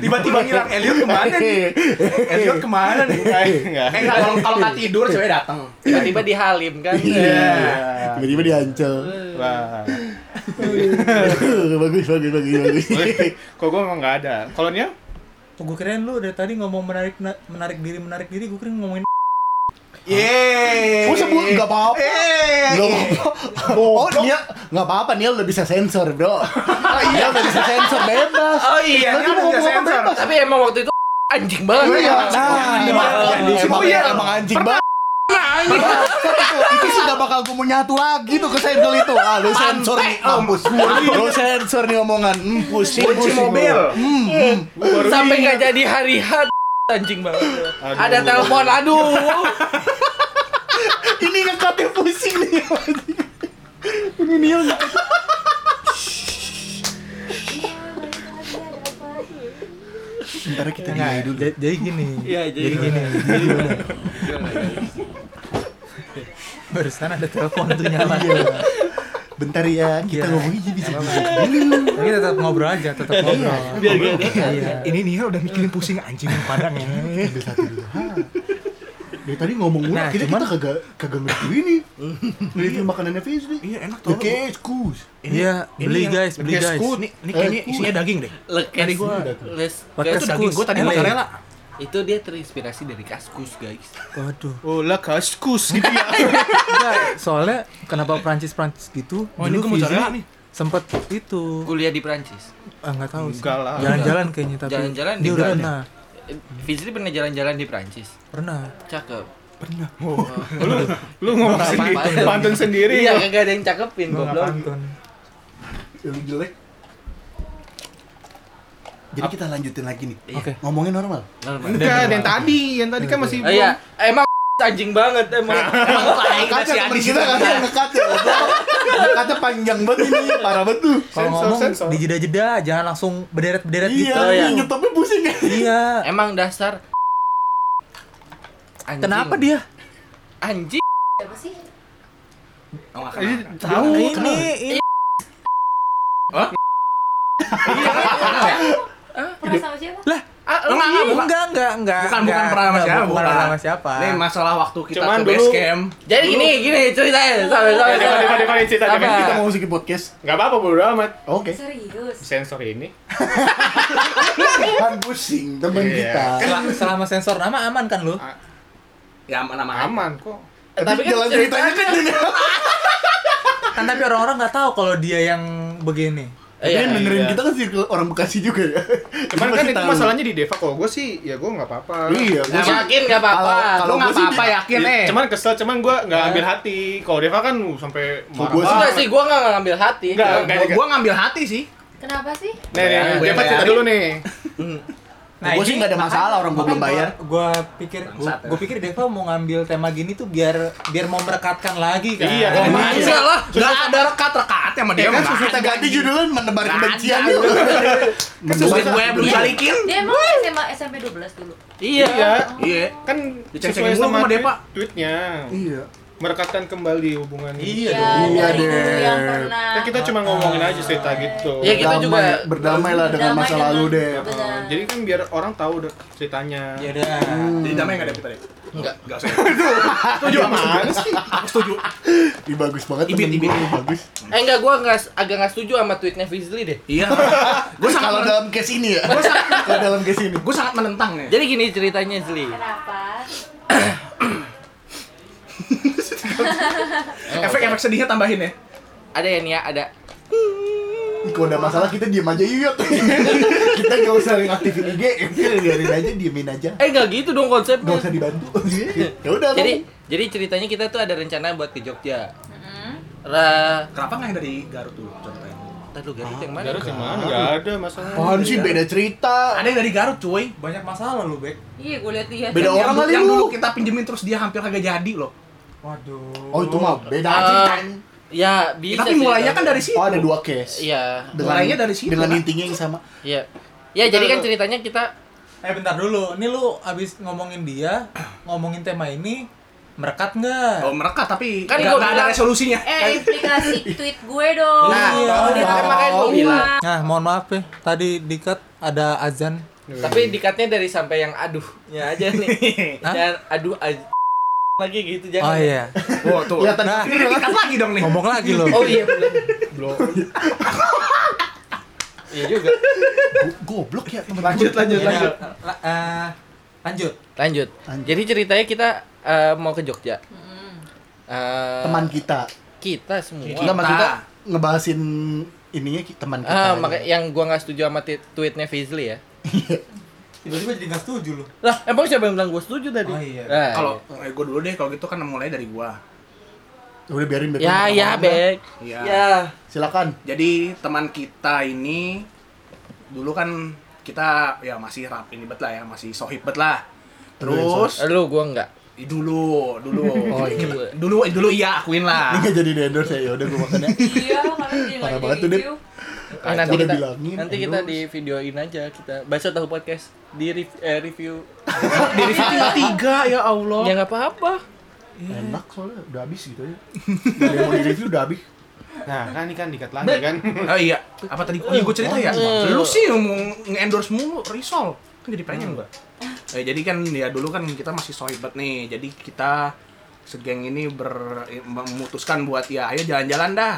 [SPEAKER 7] Tiba-tiba ngilang Elliot kemana nih?
[SPEAKER 3] [laughs]
[SPEAKER 2] "Eh,
[SPEAKER 7] Elliot kemana
[SPEAKER 2] [laughs]
[SPEAKER 7] nih?
[SPEAKER 2] Enggak.
[SPEAKER 7] Eh kalau kalau nggak tidur cewek datang.
[SPEAKER 1] Tiba-tiba dihalim kan?
[SPEAKER 3] Iya.
[SPEAKER 6] Iya.
[SPEAKER 3] tiba-tiba diancel
[SPEAKER 2] Eh. Wah.
[SPEAKER 3] bagus bagus bagus bagus
[SPEAKER 2] Kok gue emang nggak ada. Kalau Nia?
[SPEAKER 4] Oh, gue kirain lu dari tadi ngomong menarik na- menarik diri, menarik diri, gue kirain ngomongin
[SPEAKER 6] Iya,
[SPEAKER 7] Yeay.
[SPEAKER 3] Oh sebut nggak apa-apa. Nggak apa-apa. Oh, dia nggak apa-apa Niel udah bisa sensor bro. Iya udah bisa sensor bebas.
[SPEAKER 7] Oh iya,
[SPEAKER 3] Lagi
[SPEAKER 7] Niel bisa
[SPEAKER 3] mau ngomong apa
[SPEAKER 7] sensor.
[SPEAKER 3] bebas.
[SPEAKER 1] Tapi emang waktu itu [laughs] anjing banget.
[SPEAKER 3] Iya.
[SPEAKER 1] Emang.
[SPEAKER 3] Nah, emang, emang, emang anjing banget. Itu, itu sih gak bakal gue mau nyatu lagi tuh ke sensor itu ah lu sensor nih mampus lu sensor nih omongan hmm, pusing
[SPEAKER 7] Kunci
[SPEAKER 3] pusing Hmm,
[SPEAKER 7] mobil.
[SPEAKER 1] sampai nggak jadi hari hat [laughs] anjing banget. Ada telepon, aduh.
[SPEAKER 3] gua. ini ngekatnya pusing nih anjing. ini Niel Bentar ya, kita nilai dulu
[SPEAKER 4] Nah, Ja-
[SPEAKER 6] [laughs] Iya,
[SPEAKER 4] jadi gini.
[SPEAKER 1] Iya, jadi
[SPEAKER 4] gini. Barusan ada telepon tuh nyala.
[SPEAKER 6] Iya.
[SPEAKER 3] Bentar ya, kita
[SPEAKER 4] Iya.
[SPEAKER 3] ngomongin jadi bisa jadi
[SPEAKER 4] Tapi tetap ngobrol aja, tetap ngobrol. Iya.
[SPEAKER 6] Biar gak Iya. Ini nih udah mikirin pusing anjing padang ya.
[SPEAKER 3] Ambil satu dulu. Ha. Dari tadi ngomong mulu,
[SPEAKER 4] Nah,
[SPEAKER 3] akhirnya
[SPEAKER 4] cuman-
[SPEAKER 3] kita kagak kagak ngerti ini. Ngerti makanannya Fizri.
[SPEAKER 6] Iya, enak tau.
[SPEAKER 3] tuh. Oke, excuse.
[SPEAKER 4] Iya,
[SPEAKER 6] ini
[SPEAKER 4] beli
[SPEAKER 6] yang-
[SPEAKER 4] guys,
[SPEAKER 6] yang
[SPEAKER 4] beli
[SPEAKER 6] kayak
[SPEAKER 4] guys.
[SPEAKER 6] skut. Nih, ini
[SPEAKER 3] Eh,
[SPEAKER 6] kayaknya
[SPEAKER 3] skut.
[SPEAKER 6] isinya daging deh.
[SPEAKER 1] Lekes
[SPEAKER 3] gua ada tuh.
[SPEAKER 1] les-
[SPEAKER 4] Lekes
[SPEAKER 1] kes-
[SPEAKER 4] Skut,
[SPEAKER 6] Daging gua tadi
[SPEAKER 4] LA.
[SPEAKER 6] mozzarella.
[SPEAKER 1] Itu dia terinspirasi dari kaskus, guys.
[SPEAKER 4] Waduh.
[SPEAKER 2] Oh, lah kaskus gitu ya.
[SPEAKER 4] Enggak, soalnya kenapa Prancis Prancis gitu?
[SPEAKER 6] Oh, ini gua mozzarella nih.
[SPEAKER 4] sempet itu
[SPEAKER 1] Kuliah di Prancis.
[SPEAKER 4] ah nggak tahu sih.
[SPEAKER 2] [laughs] Enggak lah.
[SPEAKER 4] Jalan-jalan kayaknya tapi.
[SPEAKER 1] Jalan-jalan
[SPEAKER 4] dia
[SPEAKER 1] di
[SPEAKER 4] udah
[SPEAKER 6] ya?
[SPEAKER 1] Bali.
[SPEAKER 4] pernah.
[SPEAKER 1] Eh, Fizri pernah jalan-jalan di Prancis.
[SPEAKER 4] Pernah.
[SPEAKER 1] Cakep.
[SPEAKER 2] lu lu ngomong sendiri,
[SPEAKER 1] apa-apa.
[SPEAKER 2] pantun sendiri.
[SPEAKER 1] Iya, kagak ada yang cakepin goblok.
[SPEAKER 4] Nonton.
[SPEAKER 3] Yang jelek. Jadi kita lanjutin lagi nih.
[SPEAKER 1] Iya.
[SPEAKER 4] Oke.
[SPEAKER 3] Ngomongin normal.
[SPEAKER 1] Normal.
[SPEAKER 2] Enggak, ada yang tadi, yang tadi kan masih
[SPEAKER 1] Oh iya, emang [laughs] anjing banget emang.
[SPEAKER 3] Kaca Kan temen kita kaca
[SPEAKER 1] Nah.
[SPEAKER 3] ngekat ya. Ngekatnya panjang banget ini, parah banget tuh.
[SPEAKER 4] Kalau
[SPEAKER 2] Sensor,
[SPEAKER 4] ngomong
[SPEAKER 2] sensor.
[SPEAKER 4] di jeda-jeda, jangan langsung berderet-berderet gitu.
[SPEAKER 3] Iya,
[SPEAKER 1] ya.
[SPEAKER 3] ini nyetopnya pusing ya.
[SPEAKER 4] [laughs] Iya.
[SPEAKER 1] Emang dasar anjing.
[SPEAKER 4] Kenapa dia?
[SPEAKER 1] Anjing. Oh,
[SPEAKER 5] Apa sih?
[SPEAKER 2] tahu.
[SPEAKER 3] Iya,
[SPEAKER 4] ini, ini.
[SPEAKER 2] Iya.
[SPEAKER 5] Pernah sama siapa?
[SPEAKER 1] Ah, lu
[SPEAKER 6] Enggak, enggak, bukan.
[SPEAKER 4] Oh, Enggak, enggak, enggak.
[SPEAKER 6] Bukan, bukan
[SPEAKER 4] Enggak,
[SPEAKER 6] pernah sama
[SPEAKER 4] enggak,
[SPEAKER 6] siapa,
[SPEAKER 4] Bukan
[SPEAKER 6] bukan.
[SPEAKER 4] pernah sama siapa.
[SPEAKER 6] Ini masalah waktu kita
[SPEAKER 2] Cuman
[SPEAKER 6] ke base
[SPEAKER 2] dulu-
[SPEAKER 6] camp.
[SPEAKER 1] Jadi gini, gini ceritanya. Sabar, sabar,
[SPEAKER 2] Deva,
[SPEAKER 1] sabar.
[SPEAKER 2] Deva, Deva, ini cerita, Deva.
[SPEAKER 1] Sabar.
[SPEAKER 3] Kita mau masukin podcast.
[SPEAKER 2] Enggak apa-apa bodo amat.
[SPEAKER 3] Oke.
[SPEAKER 5] Serius.
[SPEAKER 2] Sensor ini.
[SPEAKER 3] Kan pusing temen
[SPEAKER 2] Iya.
[SPEAKER 3] kita.
[SPEAKER 4] Sel- Selama sensor nama aman kan lu?
[SPEAKER 6] Ya nama
[SPEAKER 2] Aman kok.
[SPEAKER 3] Tapi jalan ceritanya kan ini.
[SPEAKER 4] Kan tapi orang-orang nggak tahu kalau dia yang begini.
[SPEAKER 1] Iya.
[SPEAKER 3] Dia dengerin kita kan circle orang Bekasi juga ya.
[SPEAKER 2] Cuman
[SPEAKER 3] Dia
[SPEAKER 2] kan
[SPEAKER 3] pasti
[SPEAKER 2] itu
[SPEAKER 3] tahu.
[SPEAKER 2] masalahnya di Deva kalau gue sih ya gue nggak apa-apa.
[SPEAKER 3] Iya,
[SPEAKER 1] Nggak
[SPEAKER 3] gua sih-
[SPEAKER 1] yakin nggak apa-apa.
[SPEAKER 3] Kalau-
[SPEAKER 1] Lu
[SPEAKER 3] kalau
[SPEAKER 1] nggak
[SPEAKER 3] gua sih
[SPEAKER 1] apa-apa
[SPEAKER 3] di-
[SPEAKER 1] yakin
[SPEAKER 2] Iya,
[SPEAKER 1] eh.
[SPEAKER 2] Cuman kesel, cuman gue nggak ambil hati. Kalau Deva kan uh, sampai
[SPEAKER 3] Kalau gua
[SPEAKER 2] marah.
[SPEAKER 3] sih-
[SPEAKER 1] Enggak
[SPEAKER 2] banget.
[SPEAKER 1] sih, gua nggak ngambil hati.
[SPEAKER 2] Enggak, enggak.
[SPEAKER 6] Gua, gua ngambil hati sih.
[SPEAKER 5] Kenapa sih?
[SPEAKER 2] Nih, nih, nih,
[SPEAKER 1] Gua
[SPEAKER 2] Deva
[SPEAKER 1] ya.
[SPEAKER 2] cerita dulu nih.
[SPEAKER 4] Nah,
[SPEAKER 3] Gua sih nggak ada masalah, orang gua belum bayar.
[SPEAKER 4] Gue pikir, gue pikir Deva mau ngambil tema gini tuh biar biar mau merekatkan lagi kan.
[SPEAKER 2] Iya, kan?
[SPEAKER 4] Jadi-
[SPEAKER 1] Enggak lah.
[SPEAKER 6] Enggak ada rekat-rekat sama dia.
[SPEAKER 3] Ya kan
[SPEAKER 6] nggak
[SPEAKER 3] susah
[SPEAKER 6] ada.
[SPEAKER 3] kita ganti judulnya menebar kebencian
[SPEAKER 6] ada.
[SPEAKER 3] yuk.
[SPEAKER 6] Duit gue belum
[SPEAKER 3] Iya.
[SPEAKER 6] dibalikin.
[SPEAKER 5] Dia emang SMA SMP 12 dulu.
[SPEAKER 1] Iya.
[SPEAKER 2] Iya.
[SPEAKER 6] Iya.
[SPEAKER 2] Kan sesuai
[SPEAKER 6] Diceng-cengin mulu
[SPEAKER 2] sama
[SPEAKER 6] sama Deva.
[SPEAKER 2] tweet- tweetnya.
[SPEAKER 3] Iya.
[SPEAKER 2] Merekatkan kembali hubungan
[SPEAKER 5] Iya,
[SPEAKER 2] ini.
[SPEAKER 3] Iya
[SPEAKER 5] dari
[SPEAKER 3] deh.
[SPEAKER 5] dulu yang pernah.
[SPEAKER 2] Kan kita cuma ngomongin aja cerita gitu.
[SPEAKER 1] Iya, kita
[SPEAKER 3] Damai-
[SPEAKER 1] juga
[SPEAKER 3] berdamai lah dengan
[SPEAKER 5] Damai
[SPEAKER 3] masa
[SPEAKER 5] dengan-
[SPEAKER 3] lalu deh.
[SPEAKER 5] Benar.
[SPEAKER 2] Jadi kan biar orang tahu deh ceritanya.
[SPEAKER 4] Ya udah.
[SPEAKER 6] Jadi damai enggak ada kita deh.
[SPEAKER 1] Enggak.
[SPEAKER 6] Enggak usah. ya.
[SPEAKER 2] Setuju mana sih?
[SPEAKER 6] Setuju.
[SPEAKER 3] Ih bagus banget
[SPEAKER 6] Ibit,
[SPEAKER 3] temen
[SPEAKER 6] ibit.
[SPEAKER 3] gua, bagus.
[SPEAKER 1] Eh enggak gua nggak agak nggak setuju sama tweetnya Fizli deh.
[SPEAKER 6] Iya. Gue sangat
[SPEAKER 3] Kalau
[SPEAKER 6] menen-
[SPEAKER 3] dalam case ini ya. Kalau dalam case ini.
[SPEAKER 6] gua sangat menentang nih.
[SPEAKER 1] Jadi gini ceritanya Zli.
[SPEAKER 5] Kenapa?
[SPEAKER 6] Efek-efek sedihnya tambahin ya.
[SPEAKER 1] Ada ya Nia, ada.
[SPEAKER 3] Ih, Kalau ada masalah kita diem aja yuk. Kita nggak usah ngaktifin IG. ya Biarin aja diemin aja.
[SPEAKER 1] Eh enggak gitu dong konsepnya.
[SPEAKER 3] Nggak usah dibantu. Ya udah.
[SPEAKER 1] Jadi
[SPEAKER 3] ngomong.
[SPEAKER 1] jadi ceritanya kita tuh ada rencana buat ke Jogja. Ra,
[SPEAKER 6] Kenapa nggak yang dari Garut dulu contohnya?
[SPEAKER 1] Ntar lu Garut yang mana?
[SPEAKER 2] Garut yang mana? Enggak ada masalah.
[SPEAKER 3] Apaan sih beda cerita.
[SPEAKER 6] Ada yang dari Garut cuy.
[SPEAKER 4] Banyak masalah lu, Bek.
[SPEAKER 5] Iya, gue lihat-lihat.
[SPEAKER 3] Beda
[SPEAKER 6] Yang-
[SPEAKER 3] orang kali
[SPEAKER 6] yang dulu
[SPEAKER 3] lu.
[SPEAKER 6] kita pinjemin terus dia hampir kagak jadi loh.
[SPEAKER 4] Waduh.
[SPEAKER 3] Oh itu mah beda
[SPEAKER 1] Ah.
[SPEAKER 3] cerita.
[SPEAKER 1] Ya, bisa
[SPEAKER 6] Tapi
[SPEAKER 1] sih,
[SPEAKER 6] mulainya
[SPEAKER 1] Garut.
[SPEAKER 6] kan dari situ.
[SPEAKER 3] Oh ada dua case.
[SPEAKER 1] Iya.
[SPEAKER 6] Mulainya dari situ,
[SPEAKER 3] Dengan
[SPEAKER 6] kan?
[SPEAKER 3] intinya yang sama.
[SPEAKER 1] Iya. Ya, jadi kan ceritanya kita
[SPEAKER 4] Eh bentar dulu, ini lu abis ngomongin dia, [clears throat] ngomongin tema ini, merekat nggak?
[SPEAKER 6] Oh mereka tapi
[SPEAKER 1] Kan
[SPEAKER 6] kan
[SPEAKER 1] gua
[SPEAKER 6] nggak ada
[SPEAKER 1] bilang-
[SPEAKER 5] [laughs]
[SPEAKER 6] resolusinya.
[SPEAKER 5] Eh, implikasi tweet gue dong.
[SPEAKER 1] Nah,
[SPEAKER 4] Iya.
[SPEAKER 1] kan makanya gua bilang.
[SPEAKER 4] Nah, mohon maaf ya, tadi dikat ada azan.
[SPEAKER 1] Tapi dikatnya dari sampai yang aduh. Ya aja nih.
[SPEAKER 4] [laughs] Hah?
[SPEAKER 1] Jangan aduh aj- lagi gitu jangan.
[SPEAKER 4] Oh iya,
[SPEAKER 6] Wah tuh.
[SPEAKER 3] Kelihatan
[SPEAKER 4] Nah.
[SPEAKER 6] Ini dikat lagi dong nih.
[SPEAKER 4] ngomong lagi lu.
[SPEAKER 1] [laughs] Oh iya bener.
[SPEAKER 4] [laughs]
[SPEAKER 1] Iya juga.
[SPEAKER 3] Go- goblok ya teman lanjut
[SPEAKER 4] lanjut, lanjut. La- eh, lanjut.
[SPEAKER 1] Lanjut.
[SPEAKER 3] Lanjut.
[SPEAKER 1] Jadi ceritanya kita eh, mau ke Jogja. Eh,
[SPEAKER 3] teman kita
[SPEAKER 1] kita semua.
[SPEAKER 3] nggak maksudnya ngebahasin ininya ki- teman kita
[SPEAKER 1] Ah,
[SPEAKER 3] ya.
[SPEAKER 1] maka yang gua nggak setuju sama tweet- tweetnya Fizli ya.
[SPEAKER 4] Tiba-tiba jadi nggak setuju lu.
[SPEAKER 1] Lah, emang siapa yang bilang gue setuju tadi?
[SPEAKER 4] Oh, iya.
[SPEAKER 1] Nah,
[SPEAKER 6] Kalau eh, gua dulu deh kalau gitu kan mulai dari gua.
[SPEAKER 3] udah biarin biarin
[SPEAKER 1] ya ya, Bek.
[SPEAKER 6] Iya.
[SPEAKER 1] Ya.
[SPEAKER 3] silakan
[SPEAKER 6] Jadi teman kita ini dulu kan kita ya masih rap ini bet lah ya masih sohib bet lah. Terus
[SPEAKER 1] Lu gua enggak.
[SPEAKER 6] eh, dulu dulu
[SPEAKER 1] Oh, iya.
[SPEAKER 6] Kita- dulu dulu iya akuin
[SPEAKER 3] ini
[SPEAKER 6] lah.
[SPEAKER 3] nggak jadi di endorse ya udah gue makannya
[SPEAKER 5] Iya, kalian jadi
[SPEAKER 3] Parah
[SPEAKER 5] nggak
[SPEAKER 3] banget tuh,
[SPEAKER 5] jadi
[SPEAKER 3] Dit.
[SPEAKER 5] view.
[SPEAKER 1] Eh, nanti
[SPEAKER 3] udah
[SPEAKER 1] kita
[SPEAKER 3] bilangin,
[SPEAKER 1] nanti
[SPEAKER 3] aduh.
[SPEAKER 1] kita di videoin aja kita baca tahu
[SPEAKER 6] [laughs]
[SPEAKER 1] podcast di rev- eh, review
[SPEAKER 6] Dari tiga ya Allah.
[SPEAKER 1] ya nggak apa-apa
[SPEAKER 9] enak soalnya udah habis gitu [laughs] ya Gak ada yang mau di review udah habis
[SPEAKER 2] Nah, kan ini kan dikat lagi kan.
[SPEAKER 6] Oh iya, apa tadi? Oh iya, gue cerita ya. Lu sih yang mau nge-endorse mulu Risol. Kan jadi pengen gua. Eh, jadi kan ya dulu kan kita masih sohibat nih. Jadi kita segeng ini ber, eh, memutuskan buat ya ayo jalan-jalan dah.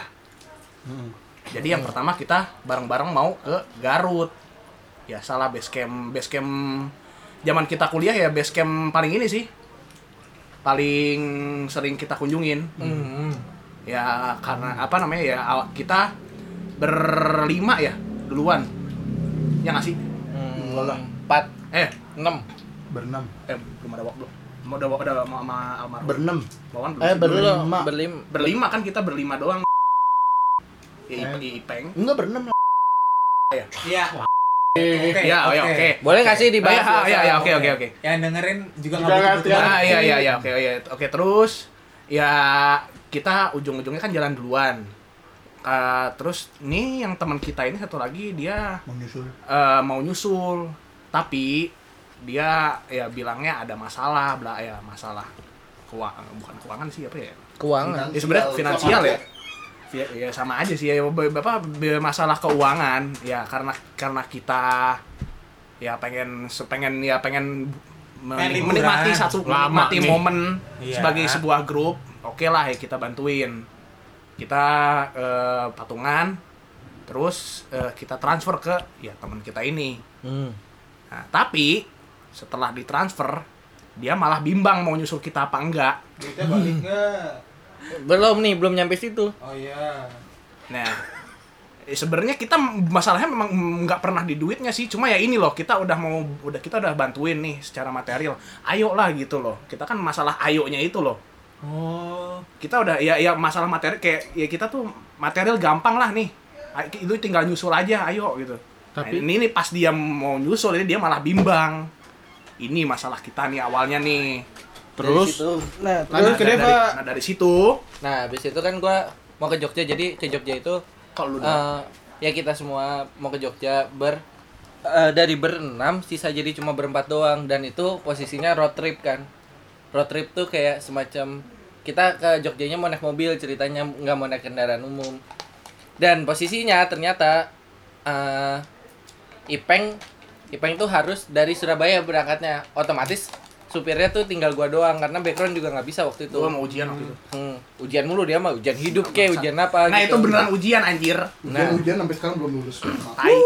[SPEAKER 6] Jadi yang pertama kita bareng-bareng mau ke Garut. Ya salah base camp, base camp zaman kita kuliah ya base camp paling ini sih. Paling sering kita kunjungin. Ya karena apa namanya ya aw- kita berlima ya duluan. Ya nggak sih? Hmm,
[SPEAKER 1] Enggak lah. Empat,
[SPEAKER 6] Eh,
[SPEAKER 1] enam.
[SPEAKER 9] berenam
[SPEAKER 6] eh belum ada waktu. Mau udah udah sama sama almarhum.
[SPEAKER 9] berenam
[SPEAKER 6] Wawan belum
[SPEAKER 9] eh
[SPEAKER 6] sih?
[SPEAKER 9] berlima
[SPEAKER 1] Berlim.
[SPEAKER 6] berlima kan kita berlima doang. Ya, Ip- Ipeng.
[SPEAKER 9] enggak berenam lah
[SPEAKER 4] Iya. Oke.
[SPEAKER 6] Ya, ya, oke.
[SPEAKER 1] Boleh nggak sih dibahas?
[SPEAKER 6] Ah, iya, iya, oke, oke, oke.
[SPEAKER 4] Yang dengerin juga
[SPEAKER 2] Juga
[SPEAKER 4] nggak
[SPEAKER 2] ngerti
[SPEAKER 4] butuh
[SPEAKER 2] ya.
[SPEAKER 6] Ah, iya, iya, iya, oke, iya. Oke, terus ya kita ujung-ujungnya kan jalan duluan. Ah, terus nih yang teman kita ini satu lagi dia
[SPEAKER 9] mau nyusul
[SPEAKER 6] eh, mau nyusul, tapi dia ya bilangnya ada masalah, bla ya masalah keuangan bukan keuangan sih apa ya?
[SPEAKER 1] Keuangan.
[SPEAKER 6] Ya sebenarnya finansial ya. Ya, ya sama aja sih ya B- bapak b- masalah keuangan ya karena karena kita ya pengen pengen ya pengen
[SPEAKER 4] Pengen
[SPEAKER 6] menik-
[SPEAKER 4] liburan.
[SPEAKER 6] menikmati satu
[SPEAKER 2] Lama
[SPEAKER 6] menikmati
[SPEAKER 2] nih.
[SPEAKER 6] momen
[SPEAKER 4] Iya.
[SPEAKER 6] sebagai sebuah grup oke lah ya kita bantuin kita eh, patungan terus eh, kita transfer ke ya teman kita ini
[SPEAKER 1] Hmm.
[SPEAKER 6] Nah, tapi setelah ditransfer dia malah bimbang mau nyusul kita apa enggak
[SPEAKER 2] Kita balik enggak?
[SPEAKER 1] Belum nih, belum nyampe situ.
[SPEAKER 2] Oh iya.
[SPEAKER 6] Nah, eh, sebenarnya kita m- masalahnya memang m- nggak pernah di duitnya sih, cuma ya ini loh kita udah mau udah kita udah bantuin nih secara material. Ayo lah gitu loh. Kita kan masalah ayonya itu loh.
[SPEAKER 4] Oh.
[SPEAKER 6] Kita udah ya ya masalah material kayak ya kita tuh material gampang lah nih. A- Itu tinggal nyusul aja, ayo gitu.
[SPEAKER 2] Tapi-
[SPEAKER 6] Nah, ini, ini pas dia mau nyusul ini dia malah bimbang. Ini masalah kita nih awalnya nih.
[SPEAKER 1] Dari
[SPEAKER 2] Terus?
[SPEAKER 1] situ. Nah,
[SPEAKER 2] Lanjut
[SPEAKER 1] terus.
[SPEAKER 2] ke
[SPEAKER 6] dari,
[SPEAKER 2] Deva.
[SPEAKER 6] nah, dari situ
[SPEAKER 1] Nah, habis itu kan gua mau ke Jogja. Jadi ke Jogja itu
[SPEAKER 6] kalau lu
[SPEAKER 1] eh, ya kita semua mau ke Jogja ber eh, dari berenam sisa jadi cuma berempat doang dan itu posisinya road trip kan. Road trip tuh kayak semacam kita ke Jogjanya mau naik mobil ceritanya nggak mau naik kendaraan umum. Dan posisinya ternyata eh, Ipeng Ipeng tuh harus dari Surabaya berangkatnya otomatis supirnya tuh tinggal gua doang karena background juga nggak bisa waktu itu.
[SPEAKER 6] gua mau ujian waktu itu.
[SPEAKER 1] Hmm, ujian mulu dia mah ujian hidup kayak ujian apa
[SPEAKER 6] Nah, itu
[SPEAKER 1] gitu. Nah,
[SPEAKER 6] beneran ujian anjir.
[SPEAKER 9] ujian ujian sampai sekarang belum lulus
[SPEAKER 6] Tai.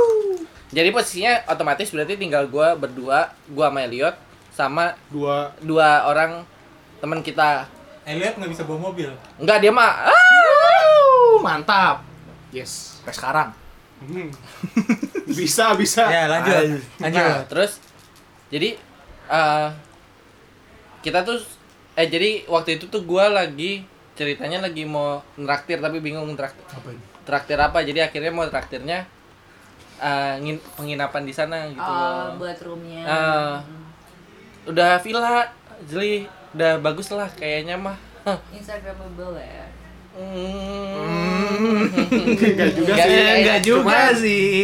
[SPEAKER 1] Jadi posisinya otomatis berarti tinggal gua berdua, gua sama Elliot sama
[SPEAKER 2] Dua
[SPEAKER 1] dua orang teman kita.
[SPEAKER 4] Elliot nggak bisa bawa mobil.
[SPEAKER 1] Enggak dia mah ah!
[SPEAKER 6] Wuh, mantap.
[SPEAKER 2] yes.
[SPEAKER 6] Sampai sekarang.
[SPEAKER 2] Hmm. bisa, bisa.
[SPEAKER 4] Ya lanjut.
[SPEAKER 1] Nah,
[SPEAKER 4] Lanjut.
[SPEAKER 1] terus jadi eh kita tuh eh jadi waktu itu tuh gua lagi ceritanya lagi mau nraktir tapi bingung nraktir
[SPEAKER 9] apa ini
[SPEAKER 1] traktir apa. Jadi akhirnya mau traktirnya eh, ngin- penginapan di sana
[SPEAKER 6] Ah,
[SPEAKER 1] gitu.
[SPEAKER 5] Oh,
[SPEAKER 1] loh.
[SPEAKER 5] buat roomnya
[SPEAKER 1] Eh, udah villa jadi udah bagus lah kayaknya mah Hah,
[SPEAKER 5] Instagramable ya
[SPEAKER 1] hmm.
[SPEAKER 2] Enggak juga
[SPEAKER 1] Enggak
[SPEAKER 2] sih.
[SPEAKER 1] sih,
[SPEAKER 6] enggak
[SPEAKER 1] Cuma-
[SPEAKER 6] juga sih.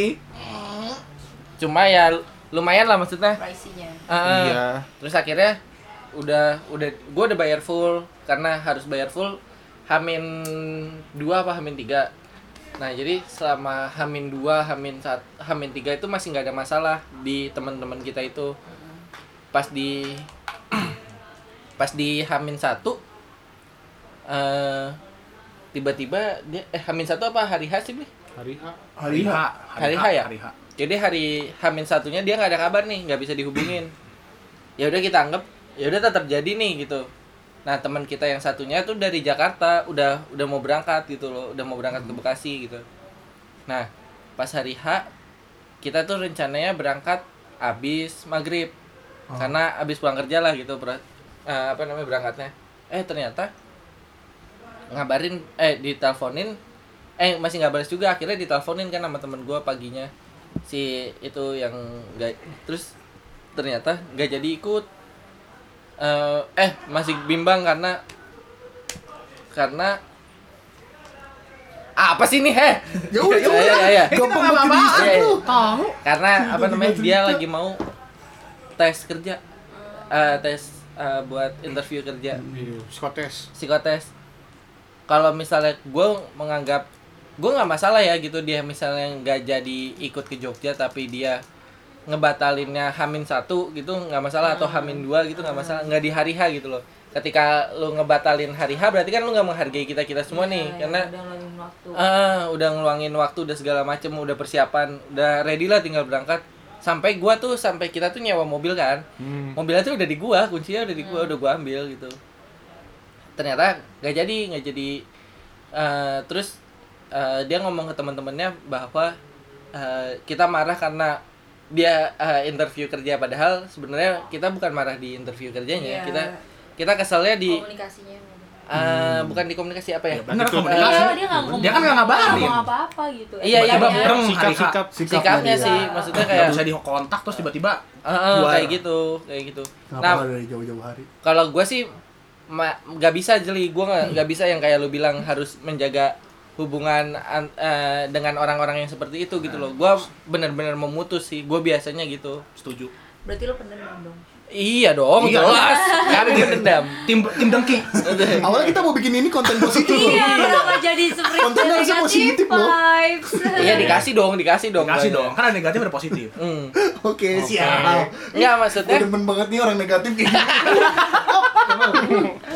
[SPEAKER 1] cuma ya lumayan lah maksudnya
[SPEAKER 5] pricingnya
[SPEAKER 1] Eh, eh.
[SPEAKER 2] Iya.
[SPEAKER 1] terus akhirnya udah udah gue udah bayar full karena harus bayar full hamin dua apa hamin tiga nah jadi selama hamin dua hamin saat hamin tiga itu masih nggak ada masalah di teman-teman kita itu pas di [clears throat] pas di hamin satu eh tiba-tiba dia eh hamin satu apa hari H sih Bi?
[SPEAKER 2] Hari H.
[SPEAKER 6] Hari H,
[SPEAKER 1] Hari H ya?
[SPEAKER 6] Hari H.
[SPEAKER 1] Jadi hari Hamin satunya dia nggak ada kabar nih, nggak bisa dihubungin. Ya udah kita anggap, ya udah tetap jadi nih gitu. Nah teman kita yang satunya tuh dari Jakarta, udah udah mau berangkat gitu loh, udah mau berangkat ke Bekasi gitu. Nah pas hari H kita tuh rencananya berangkat abis maghrib, karena abis pulang kerja lah gitu, ber- eh, apa namanya berangkatnya. Eh ternyata ngabarin, eh diteleponin, eh masih nggak balas juga. Akhirnya diteleponin kan sama temen gue paginya si itu yang nggak terus ternyata nggak jadi ikut Eh, eh masih bimbang karena karena apa sih ini heh
[SPEAKER 9] [laughs] ya udah
[SPEAKER 1] [laughs] Ya, ya, ya, ya.
[SPEAKER 9] gampang banget
[SPEAKER 1] Iya,
[SPEAKER 9] jadi
[SPEAKER 1] iya.
[SPEAKER 9] lu tahu
[SPEAKER 1] karena apa namanya
[SPEAKER 9] tiba
[SPEAKER 1] dia
[SPEAKER 9] cerita.
[SPEAKER 1] lagi mau tes kerja Eh, tes eh, buat interview kerja
[SPEAKER 2] psikotes
[SPEAKER 1] psikotes kalau misalnya gue menganggap gue nggak masalah ya gitu dia misalnya nggak jadi ikut ke Jogja tapi dia ngebatalinnya Hamin satu gitu nggak masalah atau Hamin dua gitu nggak masalah nggak di hari H gitu loh ketika lu ngebatalin hari H berarti kan lu nggak menghargai kita kita semua
[SPEAKER 5] Iya,
[SPEAKER 1] nih karena
[SPEAKER 5] Ah, udah ngelaluin waktu
[SPEAKER 1] Ah, udah ngeluangin waktu, udah segala macem, udah persiapan, udah ready lah tinggal berangkat. Sampai gua tuh, sampai kita tuh nyewa mobil kan.
[SPEAKER 2] Hmm.
[SPEAKER 1] Mobilnya tuh udah di gua, kuncinya udah di gua, udah gua ambil gitu. Ternyata nggak jadi, nggak jadi. Eh, terus eh, dia ngomong ke teman-temannya bahwa eh, kita marah karena dia eh, interview kerja padahal sebenarnya kita bukan marah di interview kerjanya ya.
[SPEAKER 5] Iya.
[SPEAKER 1] kita kita keselnya di
[SPEAKER 5] komunikasinya
[SPEAKER 1] eh, bukan di komunikasi apa
[SPEAKER 9] Iya,
[SPEAKER 1] ya
[SPEAKER 6] Bener
[SPEAKER 5] Enggak,
[SPEAKER 6] komunikasi.
[SPEAKER 5] dia nggak ngomong
[SPEAKER 6] Dia kan nggak ngabarin.
[SPEAKER 5] ngomong apa-apa gitu
[SPEAKER 1] Iya, iya,
[SPEAKER 5] Emang
[SPEAKER 1] Bang.
[SPEAKER 5] ya,
[SPEAKER 6] bareng hari H.
[SPEAKER 2] sikap-sikap
[SPEAKER 1] sikapnya
[SPEAKER 9] dia.
[SPEAKER 1] sih maksudnya
[SPEAKER 6] Nggak
[SPEAKER 1] kayak
[SPEAKER 6] bisa dikontak terus tiba-tiba
[SPEAKER 1] Heeh,
[SPEAKER 6] Buar.
[SPEAKER 1] kayak gitu, kayak gitu.
[SPEAKER 9] Kenapa
[SPEAKER 1] Nah,
[SPEAKER 9] nggak dari jauh-jauh hari?
[SPEAKER 1] kalau gue sih ma- nggak bisa jeli, gue
[SPEAKER 6] Hmm.
[SPEAKER 1] nggak nggak bisa yang kayak lu bilang harus menjaga hubungan an- eh, dengan orang-orang yang seperti itu gitu
[SPEAKER 6] Nah,
[SPEAKER 1] loh. Gue bener-bener memutus sih, gue biasanya gitu.
[SPEAKER 6] setuju.
[SPEAKER 5] berarti lo pendendam dong
[SPEAKER 1] Iya dong,
[SPEAKER 6] Iya. [laughs]
[SPEAKER 1] jelas. Kan Kami berdendam.
[SPEAKER 6] Tim tim dengki.
[SPEAKER 9] [laughs] Awalnya kita mau bikin ini konten positif loh.
[SPEAKER 3] Oh,
[SPEAKER 5] iya kenapa jadi seperti
[SPEAKER 9] Kontennya harusnya positif, loh.
[SPEAKER 5] vibes
[SPEAKER 1] Iya dikasih dong, dikasih dong.
[SPEAKER 6] Kasih
[SPEAKER 1] banyak.
[SPEAKER 6] dong, kan ada negatif ada positif.
[SPEAKER 1] Hmm.
[SPEAKER 9] Oke, siap.
[SPEAKER 1] Nggak maksudnya
[SPEAKER 9] Gue demen banget nih orang negatif kayak gini.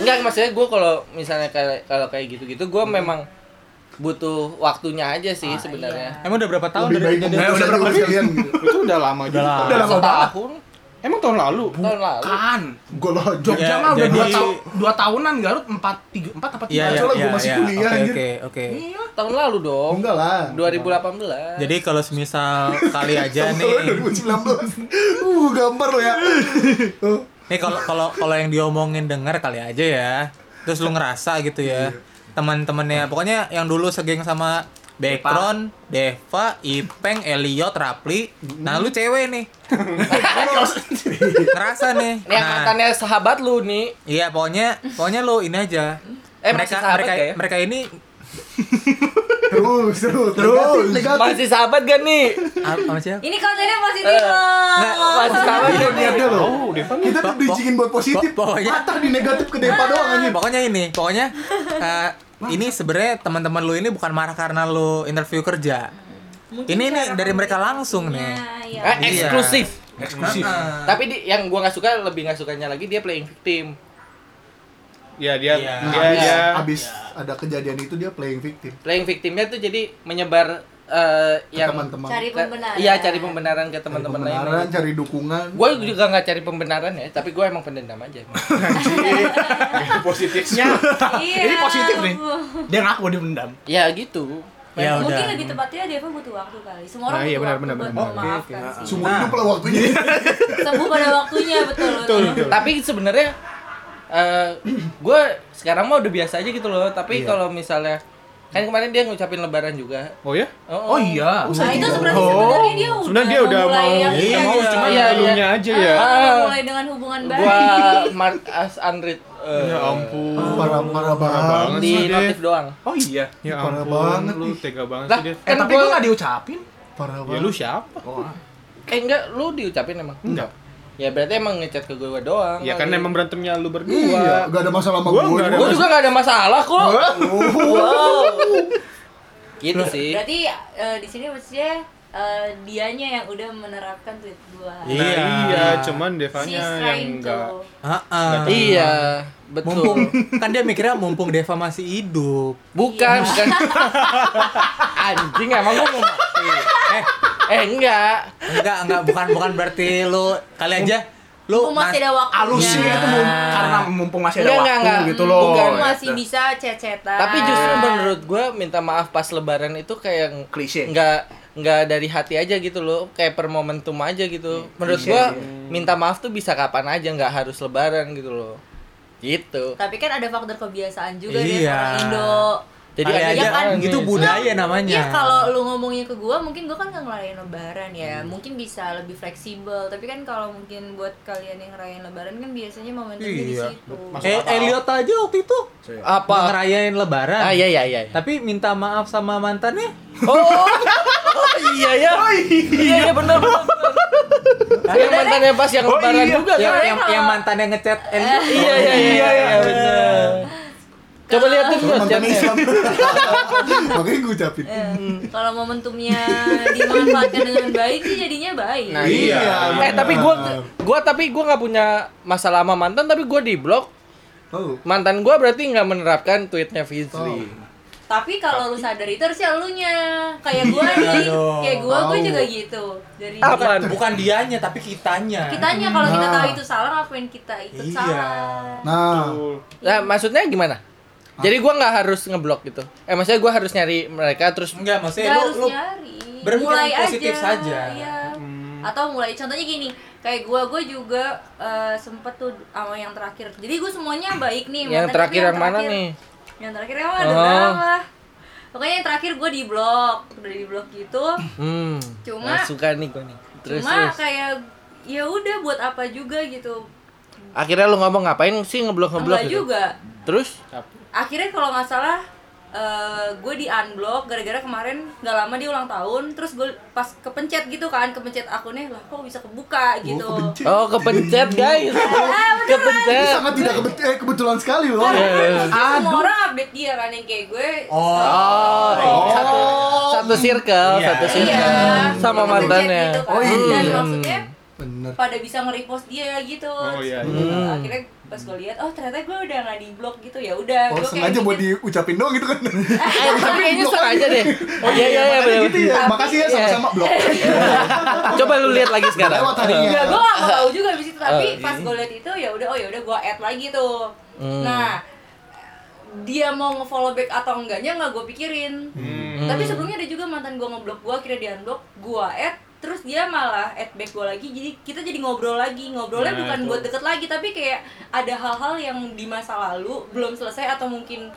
[SPEAKER 1] Enggak maksudnya gue kalau misalnya kayak kalau kayak gitu-gitu gue
[SPEAKER 6] Hmm.
[SPEAKER 1] memang butuh waktunya aja
[SPEAKER 6] Ah,
[SPEAKER 1] sih sebenarnya.
[SPEAKER 6] iya.
[SPEAKER 4] Emang udah berapa tahun
[SPEAKER 9] Lebih
[SPEAKER 4] dari
[SPEAKER 9] baik
[SPEAKER 4] kejadian?
[SPEAKER 9] memutus
[SPEAKER 6] udah
[SPEAKER 9] aja
[SPEAKER 6] berapa
[SPEAKER 9] urusan kalian.
[SPEAKER 2] itu udah lama juga
[SPEAKER 6] Udah lama banget.
[SPEAKER 1] Tahun
[SPEAKER 2] emang tahun lalu
[SPEAKER 1] tahun lalu.
[SPEAKER 6] Kan.
[SPEAKER 9] Gue loh, Jok.
[SPEAKER 6] Jogja
[SPEAKER 4] Ya,
[SPEAKER 6] mah udah
[SPEAKER 4] jadi-
[SPEAKER 6] 2 tahun, 2 tahunan Garut 4 3 4 apa 3.
[SPEAKER 4] Iya, iya,
[SPEAKER 9] Soalnya
[SPEAKER 4] iya,
[SPEAKER 9] gua masih
[SPEAKER 4] iya.
[SPEAKER 9] kuliah,
[SPEAKER 4] Oke,
[SPEAKER 9] anjir.
[SPEAKER 4] oke, oke.
[SPEAKER 1] Tahun lalu dong.
[SPEAKER 9] Oh, Enggak lah.
[SPEAKER 1] 2018.
[SPEAKER 4] Jadi kalau semisal
[SPEAKER 9] [laughs]
[SPEAKER 4] kali aja
[SPEAKER 9] Kalau
[SPEAKER 4] nih,
[SPEAKER 9] 2019. Iya, Uh, gambar lo ya. Uh,
[SPEAKER 4] nih kalau kalau kalau yang diomongin dengar kali aja ya. Terus lu ngerasa gitu
[SPEAKER 9] Iya.
[SPEAKER 4] ya. Teman-temannya, pokoknya yang dulu segeng sama Background, Deva, Ipeng, Elliot, Rapli. Nah, lu cewek nih. ngerasa nih.
[SPEAKER 1] ini yang ya?
[SPEAKER 4] Nah,
[SPEAKER 1] mantannya sahabat lu nih.
[SPEAKER 4] Iya, pokoknya pokoknya lu ini aja.
[SPEAKER 1] Eh, masih
[SPEAKER 4] mereka
[SPEAKER 1] sahabat
[SPEAKER 4] mereka
[SPEAKER 1] nggak ya?
[SPEAKER 4] mereka ini
[SPEAKER 9] Terus, terus, terus. Negatif,
[SPEAKER 1] Masih sahabat gak nih?
[SPEAKER 4] ah, sama siapa? Iya.
[SPEAKER 5] ini kontennya positif
[SPEAKER 4] nah,
[SPEAKER 1] Nggak,
[SPEAKER 5] loh
[SPEAKER 1] Iya,
[SPEAKER 5] Nah,
[SPEAKER 1] masih
[SPEAKER 9] negatif.
[SPEAKER 1] sahabat gak nih?
[SPEAKER 2] Iya,
[SPEAKER 9] Niatnya lo.
[SPEAKER 2] Oh,
[SPEAKER 9] Kita tuh diizinin buat positif.
[SPEAKER 4] po-
[SPEAKER 2] ya.
[SPEAKER 4] pokoknya-
[SPEAKER 9] Patah di negatif ke depan doang
[SPEAKER 1] Iya,
[SPEAKER 9] anjir.
[SPEAKER 4] Iya, Pokoknya ini, pokoknya eh, ini sebenarnya teman-teman lu ini bukan marah karena lu interview kerja. ini nih dari mereka langsung nih.
[SPEAKER 5] Nah, iya.
[SPEAKER 1] Eh, eksklusif.
[SPEAKER 6] Eksklusif.
[SPEAKER 4] Nah.
[SPEAKER 1] Tapi di, yang gua nggak suka lebih nggak sukanya lagi dia playing victim.
[SPEAKER 2] ya dia
[SPEAKER 4] Iya.
[SPEAKER 2] dia dia
[SPEAKER 9] Abis ada kejadian itu dia playing victim.
[SPEAKER 1] Playing victimnya tuh jadi menyebar eh, yang
[SPEAKER 9] Teman-teman.
[SPEAKER 5] cari
[SPEAKER 1] ke-
[SPEAKER 5] pembenaran
[SPEAKER 1] Iya, cari pembenaran ke teman-teman
[SPEAKER 9] Pembenaran,
[SPEAKER 1] lain.
[SPEAKER 9] cari dukungan.
[SPEAKER 1] Gue juga nggak cari pembenaran ya, tapi gue emang pendendam aja. emang.
[SPEAKER 2] positifnya
[SPEAKER 6] Ya.
[SPEAKER 5] Iya,
[SPEAKER 6] Ini positif nih.
[SPEAKER 5] Bu.
[SPEAKER 6] Dia ngaku dia mendam.
[SPEAKER 1] ya gitu.
[SPEAKER 4] Ya udah.
[SPEAKER 5] mungkin lebih tepatnya Deva butuh waktu kali semua orang
[SPEAKER 2] Nah, iya,
[SPEAKER 5] butuh
[SPEAKER 2] benar,
[SPEAKER 5] waktu
[SPEAKER 2] benar,
[SPEAKER 5] buat
[SPEAKER 2] benar.
[SPEAKER 5] memaafkan
[SPEAKER 1] ya.
[SPEAKER 5] sih
[SPEAKER 9] Semua hidup lah waktunya.
[SPEAKER 1] Iya.
[SPEAKER 5] sembuh pada waktunya betul betul,
[SPEAKER 1] tapi sebenarnya gue sekarang mah udah biasa aja gitu loh tapi kalau misalnya kan kemarin dia ngucapin lebaran juga
[SPEAKER 2] oh ya
[SPEAKER 6] Oh iya.
[SPEAKER 5] nah itu sebenarnya
[SPEAKER 2] Oh.
[SPEAKER 5] sebenarnya dia udah
[SPEAKER 2] sebenarnya dia udah
[SPEAKER 5] memulai
[SPEAKER 2] mau
[SPEAKER 5] yang
[SPEAKER 2] udah
[SPEAKER 5] iya,
[SPEAKER 2] mau
[SPEAKER 5] iya,
[SPEAKER 2] cuma
[SPEAKER 1] iya,
[SPEAKER 2] belumnya aja ya
[SPEAKER 5] Ah, mulai dengan hubungan baik
[SPEAKER 1] gue mark as unread eh,
[SPEAKER 2] ya ampun
[SPEAKER 9] [laughs] Parah, parah banget.
[SPEAKER 2] banget
[SPEAKER 1] di
[SPEAKER 2] sih dia
[SPEAKER 1] notif doang
[SPEAKER 6] Oh iya.
[SPEAKER 2] ya
[SPEAKER 9] Parah
[SPEAKER 2] ampun
[SPEAKER 9] banget
[SPEAKER 2] lu
[SPEAKER 9] nih.
[SPEAKER 2] tega banget
[SPEAKER 1] lah
[SPEAKER 2] sih dia
[SPEAKER 6] Eh
[SPEAKER 1] kan
[SPEAKER 6] tapi
[SPEAKER 1] gua-
[SPEAKER 6] gua nggak diucapin.
[SPEAKER 9] Parah
[SPEAKER 2] ya
[SPEAKER 9] banget.
[SPEAKER 2] lu siapa
[SPEAKER 1] eh enggak lu diucapin emang
[SPEAKER 2] enggak
[SPEAKER 1] ya berarti emang ngechat ke gue doang
[SPEAKER 2] ya kan
[SPEAKER 1] kali.
[SPEAKER 2] emang berantemnya lu
[SPEAKER 9] Iya,
[SPEAKER 2] berdua
[SPEAKER 9] gak ada masalah sama
[SPEAKER 2] Gua
[SPEAKER 9] gue.
[SPEAKER 2] nggak ada
[SPEAKER 1] gue juga gak ada masalah kok wow gitu sih
[SPEAKER 5] berarti eh, di sini maksudnya eh, dianya yang udah menerapkan tweet gua
[SPEAKER 2] Nah,
[SPEAKER 4] Iya.
[SPEAKER 2] iya cuman
[SPEAKER 5] She's
[SPEAKER 2] Devanya yang
[SPEAKER 5] trying to
[SPEAKER 2] enggak
[SPEAKER 4] Heeh.
[SPEAKER 1] iya
[SPEAKER 4] Mumpung
[SPEAKER 1] betul
[SPEAKER 4] kan dia mikirnya mumpung Deva masih hidup.
[SPEAKER 1] bukan bukan anjing emang gue mau mati
[SPEAKER 4] Eh,
[SPEAKER 1] eh enggak
[SPEAKER 4] enggak enggak bukan bukan berarti lu kali aja lu
[SPEAKER 5] Mumpung masih ada waktunya
[SPEAKER 6] Alusin itu mum-
[SPEAKER 4] Nah.
[SPEAKER 6] karena mumpung masih ada
[SPEAKER 1] Enggak,
[SPEAKER 6] waktu
[SPEAKER 1] enggak, enggak.
[SPEAKER 6] gitu loh.
[SPEAKER 1] Bukan,
[SPEAKER 2] Iya.
[SPEAKER 5] Mumpung masih bisa cecetan
[SPEAKER 1] Iya. Tapi justru menurut gue minta maaf pas lebaran itu kayak
[SPEAKER 6] Klise.
[SPEAKER 1] nggak nggak dari hati aja gitu loh, kayak per momentum aja gitu. Menurut
[SPEAKER 6] klise,
[SPEAKER 1] gue
[SPEAKER 6] iya.
[SPEAKER 1] minta maaf tuh bisa kapan aja, nggak harus lebaran gitu loh. Gitu.
[SPEAKER 5] tapi kan ada faktor kebiasaan juga
[SPEAKER 4] Iya.
[SPEAKER 5] dia orang Indo
[SPEAKER 1] Jadi
[SPEAKER 4] kali
[SPEAKER 1] ada
[SPEAKER 4] aja
[SPEAKER 5] kan,
[SPEAKER 4] itu
[SPEAKER 1] misalnya.
[SPEAKER 4] budaya namanya.
[SPEAKER 5] Iya kalau lu ngomongnya ke gua mungkin gua kan nggak ngerayain lebaran ya mungkin bisa lebih fleksibel tapi kan kalau mungkin buat kalian yang ngerayain lebaran kan biasanya momentumnya di
[SPEAKER 4] Iya.
[SPEAKER 5] situ
[SPEAKER 4] eh, Elliot aja waktu itu
[SPEAKER 1] Apa?
[SPEAKER 4] udah ngerayain lebaran.
[SPEAKER 1] Ah iya iya iya.
[SPEAKER 4] Tapi minta maaf sama mantannya.
[SPEAKER 1] Iya,
[SPEAKER 6] Oh,
[SPEAKER 1] Oh, oh, iya ya. Iya iya benar benar. benar. Yang
[SPEAKER 5] Sebenarnya
[SPEAKER 1] kan yang pas yang
[SPEAKER 6] Oh,
[SPEAKER 1] lebaran
[SPEAKER 6] iya.
[SPEAKER 1] juga
[SPEAKER 4] yang,
[SPEAKER 1] kan?
[SPEAKER 4] yang, yang mantannya ngechat and
[SPEAKER 1] Iya iya iya iya. bener. Coba lihat tuh ya? Bro,
[SPEAKER 3] Mantan
[SPEAKER 1] chatnya. [laughs]
[SPEAKER 3] Islam. Makanya gue ucapin.
[SPEAKER 1] Iya.
[SPEAKER 5] Iya. Kalau momentumnya dimanfaatkan dengan baik sih jadinya baik.
[SPEAKER 1] Nah, iya. Eh tapi gua gua tapi gua nggak punya masalah sama mantan tapi gua di blok.
[SPEAKER 3] Oh.
[SPEAKER 1] Mantan gua berarti nggak menerapkan tweetnya Fizli.
[SPEAKER 5] Tapi kalau lu sadar itu harusnya elunya. Kayak gua nih, kayak gua gua juga gitu. Dari
[SPEAKER 1] Apa?
[SPEAKER 4] bukan dianya tapi kitanya
[SPEAKER 5] kitanya kalau kita
[SPEAKER 3] Nah.
[SPEAKER 5] tahu itu salah ngakuin kita ikut
[SPEAKER 4] Iya.
[SPEAKER 5] salah.
[SPEAKER 3] Nah,
[SPEAKER 1] Nah, maksudnya gimana? Jadi gua nggak harus ngeblok gitu. Eh maksudnya gua harus nyari mereka terus
[SPEAKER 4] enggak maksudnya
[SPEAKER 5] Nggak
[SPEAKER 4] lu,
[SPEAKER 5] harus
[SPEAKER 4] lu
[SPEAKER 5] nyari.
[SPEAKER 4] berpikiran
[SPEAKER 5] mulai
[SPEAKER 4] positif
[SPEAKER 5] aja,
[SPEAKER 4] saja.
[SPEAKER 5] Iya.
[SPEAKER 1] Hmm.
[SPEAKER 5] Atau mulai contohnya gini, kayak gua gua juga eh, sempet tuh sama yang terakhir. Jadi gua semuanya baik nih.
[SPEAKER 1] yang
[SPEAKER 5] mantan, tapi
[SPEAKER 1] terakhir yang mana
[SPEAKER 5] terakhir-
[SPEAKER 1] nih?
[SPEAKER 5] Yang terakhir yang mana?
[SPEAKER 1] Oh.
[SPEAKER 5] Apa? Pokoknya yang terakhir gua di blok, udah di blok gitu.
[SPEAKER 1] Hmm.
[SPEAKER 5] Cuma-
[SPEAKER 1] nggak suka nih gua nih. Terus
[SPEAKER 5] Cuma
[SPEAKER 1] terus.
[SPEAKER 5] kayak ya udah buat apa juga gitu.
[SPEAKER 1] Akhirnya lu ngomong ngapain sih ngeblok-ngeblok
[SPEAKER 5] Enggak
[SPEAKER 1] gitu?
[SPEAKER 5] juga.
[SPEAKER 1] Terus
[SPEAKER 5] akhirnya kalau nggak salah eh, gue di unblock gara-gara kemarin nggak lama dia ulang tahun terus gue pas kepencet gitu kan kepencet akunnya lah kok bisa kebuka gitu
[SPEAKER 3] kepencet.
[SPEAKER 1] Oh kepencet
[SPEAKER 5] Ah,
[SPEAKER 1] guys,
[SPEAKER 3] Ini
[SPEAKER 1] kepencet.
[SPEAKER 3] sangat tidak kebet- eh, kebetulan sekali loh.
[SPEAKER 1] Iya.
[SPEAKER 5] Terus semua orang update dia kan yang kayak gue
[SPEAKER 3] iya,
[SPEAKER 1] Oh, satu, satu circle, satu
[SPEAKER 5] iya,
[SPEAKER 1] circle sama
[SPEAKER 5] kepencet
[SPEAKER 1] mantannya.
[SPEAKER 5] gitu kan.
[SPEAKER 3] Oh, iya.
[SPEAKER 5] dan maksudnya
[SPEAKER 3] Bener.
[SPEAKER 5] pada bisa nge-repost dia gitu
[SPEAKER 2] Oh, iya,
[SPEAKER 5] Terus, uh, akhirnya pas gue lihat oh ternyata gue udah nggak di blok gitu ya udah
[SPEAKER 3] Oh,
[SPEAKER 5] gue
[SPEAKER 3] sengaja buat diucapin doang gitu kan.
[SPEAKER 1] Eh, tapi kayaknya sengaja deh. Oh iya iya iya. bener.
[SPEAKER 3] gitu ya. Makasih ya sama-sama blok.
[SPEAKER 1] Coba lu lihat lagi sekarang.
[SPEAKER 3] Lewat harinya.
[SPEAKER 5] Enggak, gue gak mau tahu juga abis itu tapi pas gue liat itu ya udah oh ya udah gue add lagi tuh. Nah dia mau nge-follow back atau enggaknya nggak gue pikirin. Tapi sebelumnya ada juga mantan gue ngeblok gue akhirnya di unblock gue add terus dia malah add back gue lagi jadi kita jadi ngobrol lagi ngobrolnya bukan buat deket lagi tapi kayak ada hal-hal yang di masa lalu belum selesai atau mungkin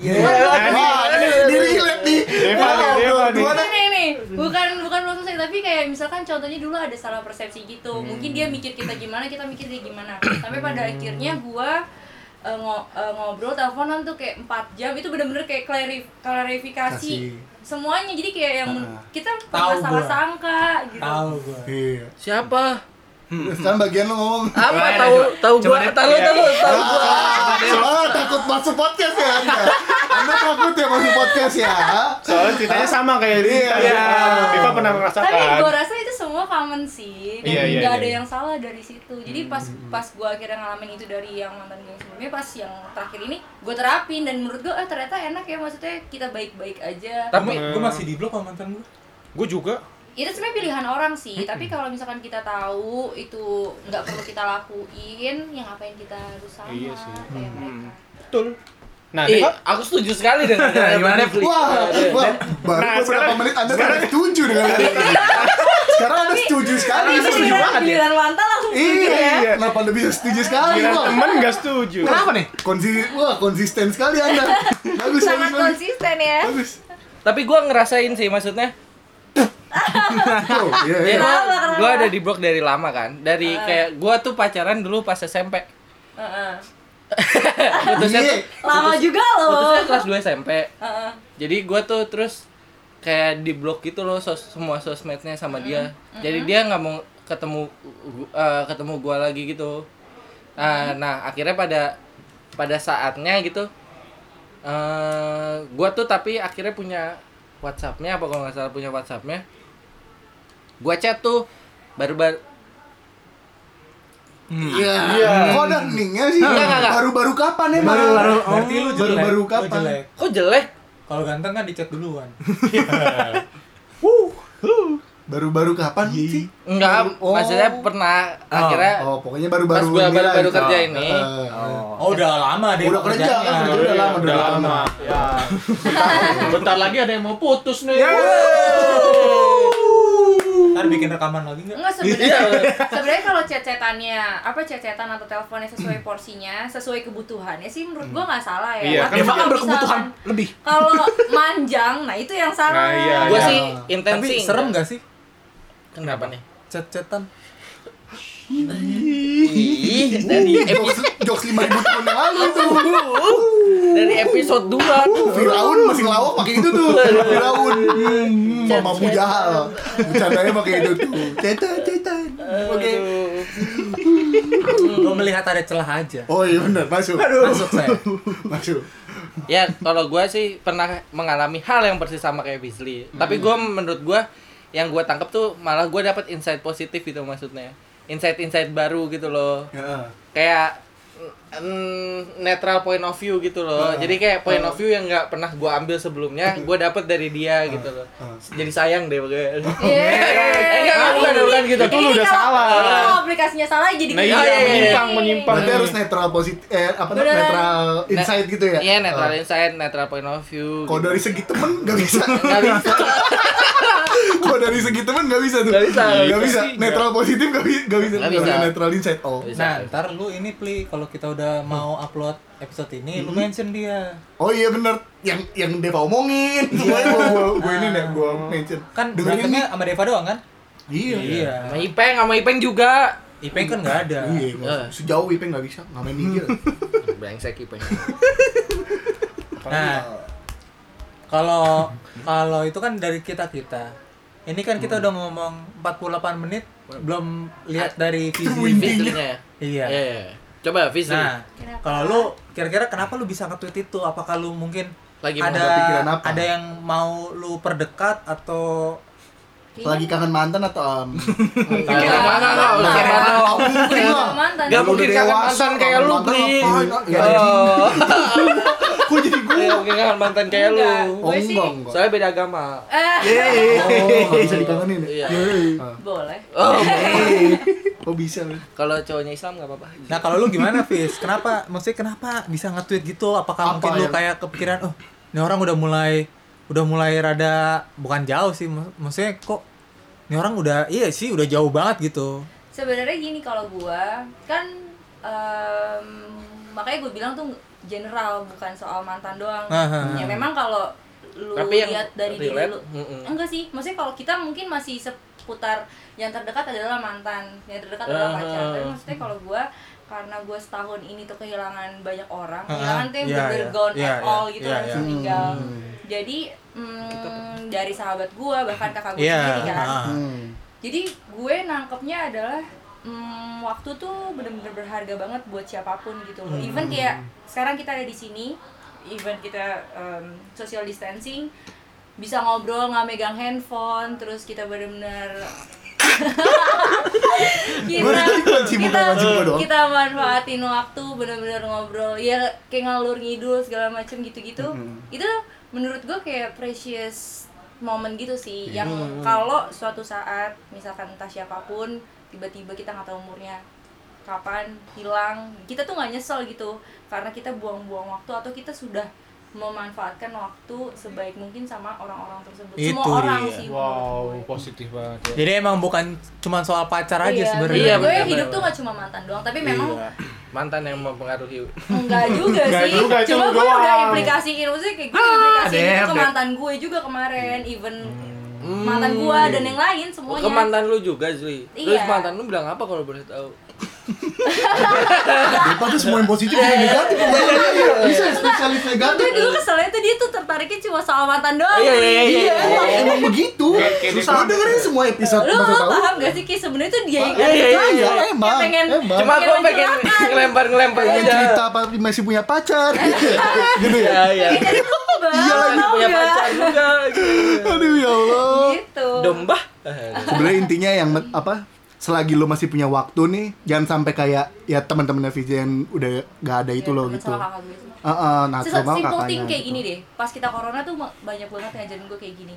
[SPEAKER 4] Iya.
[SPEAKER 3] Iya, Wah, ini sendiri lihat nih.
[SPEAKER 2] Eh, Deva nih, Deva nih.
[SPEAKER 5] bukan ini bukan bukan belum selesai tapi kayak misalkan contohnya dulu ada salah persepsi gitu
[SPEAKER 4] Hmm.
[SPEAKER 5] mungkin dia mikir kita gimana kita mikir dia
[SPEAKER 4] [coughs]
[SPEAKER 5] gimana sampai pada akhirnya gua eh, ngo- eh, ngobrol teleponan tuh kayak 4 jam itu bener-bener kayak klarif- klarifikasi
[SPEAKER 3] Kasih.
[SPEAKER 5] semuanya jadi kayak yang men- kita
[SPEAKER 4] Tahu
[SPEAKER 5] pernah salah
[SPEAKER 4] gua.
[SPEAKER 5] sangka gitu
[SPEAKER 4] tahu gua
[SPEAKER 3] Iya.
[SPEAKER 1] Siapa?
[SPEAKER 3] Sekarang bagian lu ngomong.
[SPEAKER 1] Apa tahu tahu gua? Tahu tahu
[SPEAKER 3] Iya.
[SPEAKER 1] tahu gua.
[SPEAKER 3] Soalnya takut masuk podcast ya Anda. Anda takut ya masuk podcast ya.
[SPEAKER 2] Soalnya ceritanya sama kayak
[SPEAKER 3] Iya.
[SPEAKER 2] dia. Viva pernah merasakan.
[SPEAKER 5] tapi gue rasa itu semua common sih dan
[SPEAKER 2] Iya, iya,
[SPEAKER 5] nggak
[SPEAKER 2] iya,
[SPEAKER 5] ada
[SPEAKER 2] iya.
[SPEAKER 5] yang salah dari situ
[SPEAKER 2] Hmm,
[SPEAKER 5] jadi pas pas gue akhirnya ngalamin itu dari yang mantan gue yang sebelumnya pas yang terakhir ini gue terapin dan menurut gue eh ternyata enak ya maksudnya kita baik baik aja
[SPEAKER 1] Tapi
[SPEAKER 4] Gua- gua masih di blok sama mantan gua
[SPEAKER 2] Gue juga.
[SPEAKER 5] itu sebenarnya pilihan orang sih tapi kalau misalkan kita tahu itu nggak perlu kita lakuin yang ngapain kita harus sama
[SPEAKER 2] Iya sih.
[SPEAKER 5] kayak mereka
[SPEAKER 2] Betul. Nah,
[SPEAKER 1] Ih,
[SPEAKER 2] Deva.
[SPEAKER 1] aku setuju sekali dengan gimana
[SPEAKER 3] Wah, wah, baru
[SPEAKER 2] Nah,
[SPEAKER 3] beberapa
[SPEAKER 2] sekarang-
[SPEAKER 3] menit Anda sekarang setuju dengan hal ini. Sekarang Anda setuju sekali.
[SPEAKER 5] tapi giliran giliran Iya, mantan langsung setuju ya
[SPEAKER 3] Iya, kenapa Anda bisa setuju sekali?
[SPEAKER 2] Gila,
[SPEAKER 3] Wah,
[SPEAKER 2] temen gak setuju.
[SPEAKER 3] Kenapa nih? Konsi wah konsisten sekali Anda. Bagus, bagus,
[SPEAKER 5] sangat
[SPEAKER 3] bagus.
[SPEAKER 5] konsisten ya
[SPEAKER 3] Bagus.
[SPEAKER 1] Tapi gua ngerasain sih maksudnya.
[SPEAKER 3] Oh, iya, iya.
[SPEAKER 1] Gua,
[SPEAKER 5] Kenapa, kenapa? Eh.
[SPEAKER 1] gua ada di blok dari lama kan. Dari kayak gua tuh pacaran dulu pas SMP.
[SPEAKER 5] Heeh.
[SPEAKER 1] [laughs] Putusnya
[SPEAKER 3] Iya.
[SPEAKER 1] tuh
[SPEAKER 5] lama juga loh
[SPEAKER 1] putusnya kelas 2 SMP.
[SPEAKER 5] Heeh.
[SPEAKER 1] jadi gua tuh terus kayak di blok gitu loh sos semua sosmednya sama dia jadi dia nggak mau ketemu eh, ketemu gua lagi gitu nah, nah akhirnya pada pada saatnya gitu eh gua tuh tapi akhirnya punya WhatsAppnya apa kalau nggak salah punya WhatsAppnya gua chat tuh baru baru
[SPEAKER 3] Iya. Kok ada heningnya sih?
[SPEAKER 1] Enggak, enggak, enggak.
[SPEAKER 3] Baru-baru kapan emang?
[SPEAKER 4] baru berarti lu jelek
[SPEAKER 3] oh, baru-baru
[SPEAKER 4] Lu
[SPEAKER 3] kapan?
[SPEAKER 4] jelek.
[SPEAKER 1] kok jelek
[SPEAKER 4] kalau ganteng kan dicat duluan
[SPEAKER 3] Baru-baru kapan sih?
[SPEAKER 1] enggak
[SPEAKER 3] Oh.
[SPEAKER 1] maksudnya pernah akhirnya
[SPEAKER 3] Oh, pokoknya
[SPEAKER 1] pas
[SPEAKER 3] baru-baru
[SPEAKER 1] gua
[SPEAKER 3] ini
[SPEAKER 1] baru
[SPEAKER 3] lah
[SPEAKER 1] baru
[SPEAKER 3] itu.
[SPEAKER 1] kerja ini
[SPEAKER 3] Heeh.
[SPEAKER 4] oh udah lama deh
[SPEAKER 3] Udah kerja,
[SPEAKER 4] kerjanya.
[SPEAKER 3] kan? Kerja udah lama, udah lama.
[SPEAKER 2] Ya. Bentar lagi ada yang mau putus nih.
[SPEAKER 4] ntar bikin rekaman lagi nggak
[SPEAKER 5] Enggak sebenarnya. sebenarnya kalau cecetannya apa cecetan atau teleponnya sesuai porsinya, sesuai kebutuhannya sih menurut gua nggak salah ya.
[SPEAKER 2] Iya,
[SPEAKER 5] Tapi
[SPEAKER 2] kan
[SPEAKER 5] kalau
[SPEAKER 6] berkebutuhan
[SPEAKER 5] misalkan-
[SPEAKER 6] lebih.
[SPEAKER 5] Kalau manjang, nah itu yang salah.
[SPEAKER 2] Nah, iya,
[SPEAKER 1] gua
[SPEAKER 2] iya.
[SPEAKER 1] sih
[SPEAKER 4] tapi
[SPEAKER 1] intensi
[SPEAKER 4] serem nggak sih
[SPEAKER 1] kenapa nih
[SPEAKER 4] cet-cetan
[SPEAKER 1] [laughs] Ih, dari
[SPEAKER 3] Jokes, jokes 5000 tahun yang lalu
[SPEAKER 1] [laughs]
[SPEAKER 3] itu.
[SPEAKER 1] dari episode 2
[SPEAKER 3] Firaun masih lawak pakai itu tuh. Firaun. Hmm, Mama mujahal. Bercandanya pakai itu tuh. Cetan, cetan. Oke.
[SPEAKER 4] Gue melihat ada celah aja.
[SPEAKER 3] Oh iya benar, masuk.
[SPEAKER 4] Masuk saya.
[SPEAKER 3] [laughs] Masuk.
[SPEAKER 1] ya kalau gua sih pernah mengalami hal yang persis sama kayak Bisli
[SPEAKER 2] Hmm.
[SPEAKER 1] tapi gua menurut gua yang gua tangkap tuh malah gua dapat insight positif gitu maksudnya insight-insight baru gitu loh
[SPEAKER 3] Ya.
[SPEAKER 1] kayak mm, netral point of view gitu
[SPEAKER 2] Ah.
[SPEAKER 1] loh jadi kayak point of view yang nggak pernah gua ambil
[SPEAKER 2] [laughs]
[SPEAKER 1] sebelumnya gua dapat dari
[SPEAKER 2] Ah.
[SPEAKER 1] dia gitu loh jadi sayang deh pokoknya Eh, enggak, enggak, bukan, bukan gitu.
[SPEAKER 2] Iya. Itu lu
[SPEAKER 5] Ini
[SPEAKER 2] udah
[SPEAKER 5] kalau-
[SPEAKER 2] salah.
[SPEAKER 5] ini Kalau aplikasinya salah jadi
[SPEAKER 2] Nah,
[SPEAKER 1] iya,
[SPEAKER 2] menyimpang, menyimpang.
[SPEAKER 3] Berarti harus netral positif eh apa namanya
[SPEAKER 5] Beneran.
[SPEAKER 3] netral insight gitu ya?
[SPEAKER 2] Ah.
[SPEAKER 1] Iya, netral
[SPEAKER 3] Eh,
[SPEAKER 1] insight, netral point of view.
[SPEAKER 3] Kalau
[SPEAKER 1] gitu.
[SPEAKER 3] dari segi temen nggak bisa.
[SPEAKER 1] [laughs] Nggak bisa.
[SPEAKER 3] Kalau dari segi temen nggak bisa tuh.
[SPEAKER 1] Nggak bisa.
[SPEAKER 3] Nggak bisa. Netral positif nggak bi- nggak bisa.
[SPEAKER 1] Nggak bisa.
[SPEAKER 3] Netral insight. Oh.
[SPEAKER 1] Nggak bisa.
[SPEAKER 4] Nah, ntar lu ini pli kalau kita
[SPEAKER 3] Mm.
[SPEAKER 4] udah mau upload episode ini, lu
[SPEAKER 3] Mm-hmm.
[SPEAKER 4] mention dia.
[SPEAKER 3] Oh iya benar. Yang yang Deva omongin.
[SPEAKER 1] Iya.
[SPEAKER 3] Semuanya gua gua, gua ini deh gua
[SPEAKER 1] Oh.
[SPEAKER 3] mention.
[SPEAKER 4] Kan
[SPEAKER 3] dengerin nih.
[SPEAKER 4] berantemnya sama Deva doang kan?
[SPEAKER 3] Iya.
[SPEAKER 1] Sama Ipeng, sama Ipeng juga.
[SPEAKER 4] Ipeng kan nggak ada.
[SPEAKER 3] Iya, nggak- sejauh IP nggak bisa, nggak main ninja.
[SPEAKER 1] Brengsek [laughs] Ipeng.
[SPEAKER 4] Nah, kalau kalau itu kan dari kita kita. Ini kan kita udah ngomong 48 menit belum lihat dari visi.
[SPEAKER 1] Bislinya. Iya.
[SPEAKER 4] Iya.
[SPEAKER 1] iya. Coba Bisli.
[SPEAKER 4] Nah, kalau lu kira-kira kenapa lu bisa nge-tweet itu? Apakah lu mungkin
[SPEAKER 1] Lagi mau
[SPEAKER 4] ada
[SPEAKER 3] ada pikiran apa?
[SPEAKER 4] ada yang mau lu perdekat atau
[SPEAKER 1] Iya.
[SPEAKER 3] Lagi kangen mantan atau um, em,
[SPEAKER 1] Enggak, enggak, enggak, enggak, enggak, enggak, enggak.
[SPEAKER 5] Udah sama mantan.
[SPEAKER 1] Nggak
[SPEAKER 3] Lu
[SPEAKER 1] mungkin
[SPEAKER 3] udah
[SPEAKER 1] kangen
[SPEAKER 3] dewasa,
[SPEAKER 1] mantan kayak
[SPEAKER 3] kangen
[SPEAKER 1] lu,
[SPEAKER 3] mantan
[SPEAKER 1] Bli.
[SPEAKER 3] ngapain? Ah, iya, iya.
[SPEAKER 1] Oh,
[SPEAKER 3] Kok jadi gue?
[SPEAKER 1] iya, mungkin kangen mantan kayak lu.
[SPEAKER 5] Enggak.
[SPEAKER 3] Oh
[SPEAKER 5] Gue sih-
[SPEAKER 3] enggak, enggak.
[SPEAKER 1] Soalnya beda agama.
[SPEAKER 5] Eh,
[SPEAKER 3] Oh, nggak bisa dikangenin ya?
[SPEAKER 1] Iya.
[SPEAKER 5] boleh.
[SPEAKER 1] Oh,
[SPEAKER 3] Kok bisa lu?
[SPEAKER 1] kalau cowoknya Islam nggak apa-apa.
[SPEAKER 4] Nah kalau lu gimana Fis? Kenapa? Maksudnya kenapa bisa nge-tweet gitu? Apakah
[SPEAKER 3] Apa
[SPEAKER 4] mungkin lu
[SPEAKER 3] yang-
[SPEAKER 4] kayak kepikiran, oh ini orang udah mulai udah mulai rada bukan jauh sih, mak- maksudnya kok ini orang udah iya sih udah jauh banget gitu.
[SPEAKER 5] Sebenarnya gini kalau gua kan em, makanya gue bilang tuh general bukan soal mantan doang.
[SPEAKER 4] Aha.
[SPEAKER 5] Ya memang kalau lu
[SPEAKER 1] Tapi yang
[SPEAKER 5] lihat dari diri
[SPEAKER 1] relate,
[SPEAKER 5] lu.
[SPEAKER 1] mm-mm.
[SPEAKER 5] Enggak sih, maksudnya kalau kita mungkin masih seputar yang terdekat adalah mantan, yang terdekat adalah pacar.
[SPEAKER 1] Aha.
[SPEAKER 5] Tapi maksudnya kalau gua karena gue setahun ini tuh kehilangan banyak orang,
[SPEAKER 4] Aha.
[SPEAKER 5] kehilangan tuh yang
[SPEAKER 4] Iya,
[SPEAKER 5] bener
[SPEAKER 4] iya.
[SPEAKER 5] gone
[SPEAKER 4] Iya,
[SPEAKER 5] at
[SPEAKER 4] iya.
[SPEAKER 5] all gitu
[SPEAKER 4] Iya,
[SPEAKER 5] harus
[SPEAKER 4] iya.
[SPEAKER 5] meninggal. Jadi mm, dari sahabat gua bahkan kakak gue
[SPEAKER 4] Iya.
[SPEAKER 5] sendiri kan
[SPEAKER 4] ah.
[SPEAKER 3] Hmm.
[SPEAKER 5] jadi gue nangkepnya adalah mm, waktu tuh bener-bener berharga banget buat siapapun gitu loh. Even kayak sekarang kita ada di sini, even kita em, social distancing, bisa ngobrol nggak megang handphone, terus kita bener-bener kita,
[SPEAKER 3] kunci muka,
[SPEAKER 5] kita,
[SPEAKER 3] kunci muka doang.
[SPEAKER 5] kita manfaatin waktu bener-bener ngobrol ya kayak ngalur ngidul segala macem gitu-gitu itu menurut gue kayak precious momen gitu sih
[SPEAKER 4] Iya.
[SPEAKER 5] yang kalau suatu saat misalkan entah siapapun tiba-tiba kita nggak tahu umurnya kapan hilang kita tuh nggak nyesel gitu karena kita buang-buang waktu atau kita sudah memanfaatkan waktu sebaik mungkin sama orang-orang tersebut semua
[SPEAKER 4] Itu
[SPEAKER 5] orang
[SPEAKER 4] dia.
[SPEAKER 5] sih menurut
[SPEAKER 2] Wow,
[SPEAKER 5] gue.
[SPEAKER 2] positif banget ya.
[SPEAKER 4] Jadi emang bukan cuma soal pacar aja
[SPEAKER 5] Iya,
[SPEAKER 4] sebenarnya. Iya.
[SPEAKER 1] Iya,
[SPEAKER 5] menurut gue
[SPEAKER 1] bener,
[SPEAKER 5] hidup
[SPEAKER 1] bener.
[SPEAKER 5] tuh gak cuma mantan doang, tapi memang
[SPEAKER 1] Mantan yang mempengaruhi.
[SPEAKER 5] Enggak juga
[SPEAKER 2] Enggak
[SPEAKER 5] sih.
[SPEAKER 2] juga, itu
[SPEAKER 5] Cuma
[SPEAKER 2] lu
[SPEAKER 5] gue udah
[SPEAKER 2] doang.
[SPEAKER 5] implikasiin maksudnya kayak gue
[SPEAKER 1] Ah,
[SPEAKER 5] implikasiin
[SPEAKER 6] Dev,
[SPEAKER 5] itu ke
[SPEAKER 6] Dev.
[SPEAKER 5] mantan gue juga kemarin, even mantan gue dan yang
[SPEAKER 1] Oh,
[SPEAKER 5] lain
[SPEAKER 1] Hmm. ke
[SPEAKER 5] semuanya.
[SPEAKER 1] mantan lu juga, Zli. Terus
[SPEAKER 5] Iya.
[SPEAKER 1] mantan lu bilang apa kalau boleh tahu?
[SPEAKER 3] Depa tuh semua yang positif yang negatif. Bisa spesialis negatif.
[SPEAKER 5] Gue Iya. dulu keselnya tuh dia tuh tertariknya cuma soal mantan doang.
[SPEAKER 1] Iya, iya, iya,
[SPEAKER 3] Iya,
[SPEAKER 1] iya.
[SPEAKER 3] emang, emang begitu. Susah. Lu dengerin semua episode
[SPEAKER 5] kan Lu,
[SPEAKER 3] Masa
[SPEAKER 5] lu
[SPEAKER 3] Tahu.
[SPEAKER 5] paham gak sih Ki sebenarnya tuh dia yang
[SPEAKER 1] Iya, iya, iya,
[SPEAKER 3] Iya,
[SPEAKER 1] iya.
[SPEAKER 3] emang.
[SPEAKER 5] pengen-
[SPEAKER 3] Emang.
[SPEAKER 1] Cuma
[SPEAKER 5] Pengen
[SPEAKER 1] gua pengen
[SPEAKER 5] mencerahkan.
[SPEAKER 1] ngelempar-ngelempar
[SPEAKER 3] pengen Iya,
[SPEAKER 2] Iya.
[SPEAKER 3] cerita
[SPEAKER 1] aja.
[SPEAKER 3] apa masih punya
[SPEAKER 5] [laughs]
[SPEAKER 3] pacar.
[SPEAKER 5] Iya.
[SPEAKER 3] gitu ya.
[SPEAKER 1] Iya, iya.
[SPEAKER 5] Jadi tuh tebal,
[SPEAKER 1] Iya, lagi
[SPEAKER 5] gitu. tau
[SPEAKER 1] punya
[SPEAKER 5] nggak?
[SPEAKER 1] pacar juga.
[SPEAKER 2] Iya.
[SPEAKER 3] Aduh ya Allah.
[SPEAKER 5] Gitu.
[SPEAKER 1] Domba.
[SPEAKER 5] Iya.
[SPEAKER 3] Sebenarnya intinya yang men- apa? Selagi lu masih punya waktu nih, jangan sampai kayak ya teman-temannya Vizi yang udah gak ada itu loh
[SPEAKER 5] Temen
[SPEAKER 3] gitu.
[SPEAKER 5] sama kakak gue semua.
[SPEAKER 3] Heeh, uh, nah
[SPEAKER 5] Iya, Sesuatu
[SPEAKER 3] sama
[SPEAKER 5] simple thing
[SPEAKER 3] kakaknya.
[SPEAKER 5] kayak gini
[SPEAKER 3] gitu.
[SPEAKER 5] deh. Pas kita corona tuh ma- banyak banget ngajarin gue kayak gini.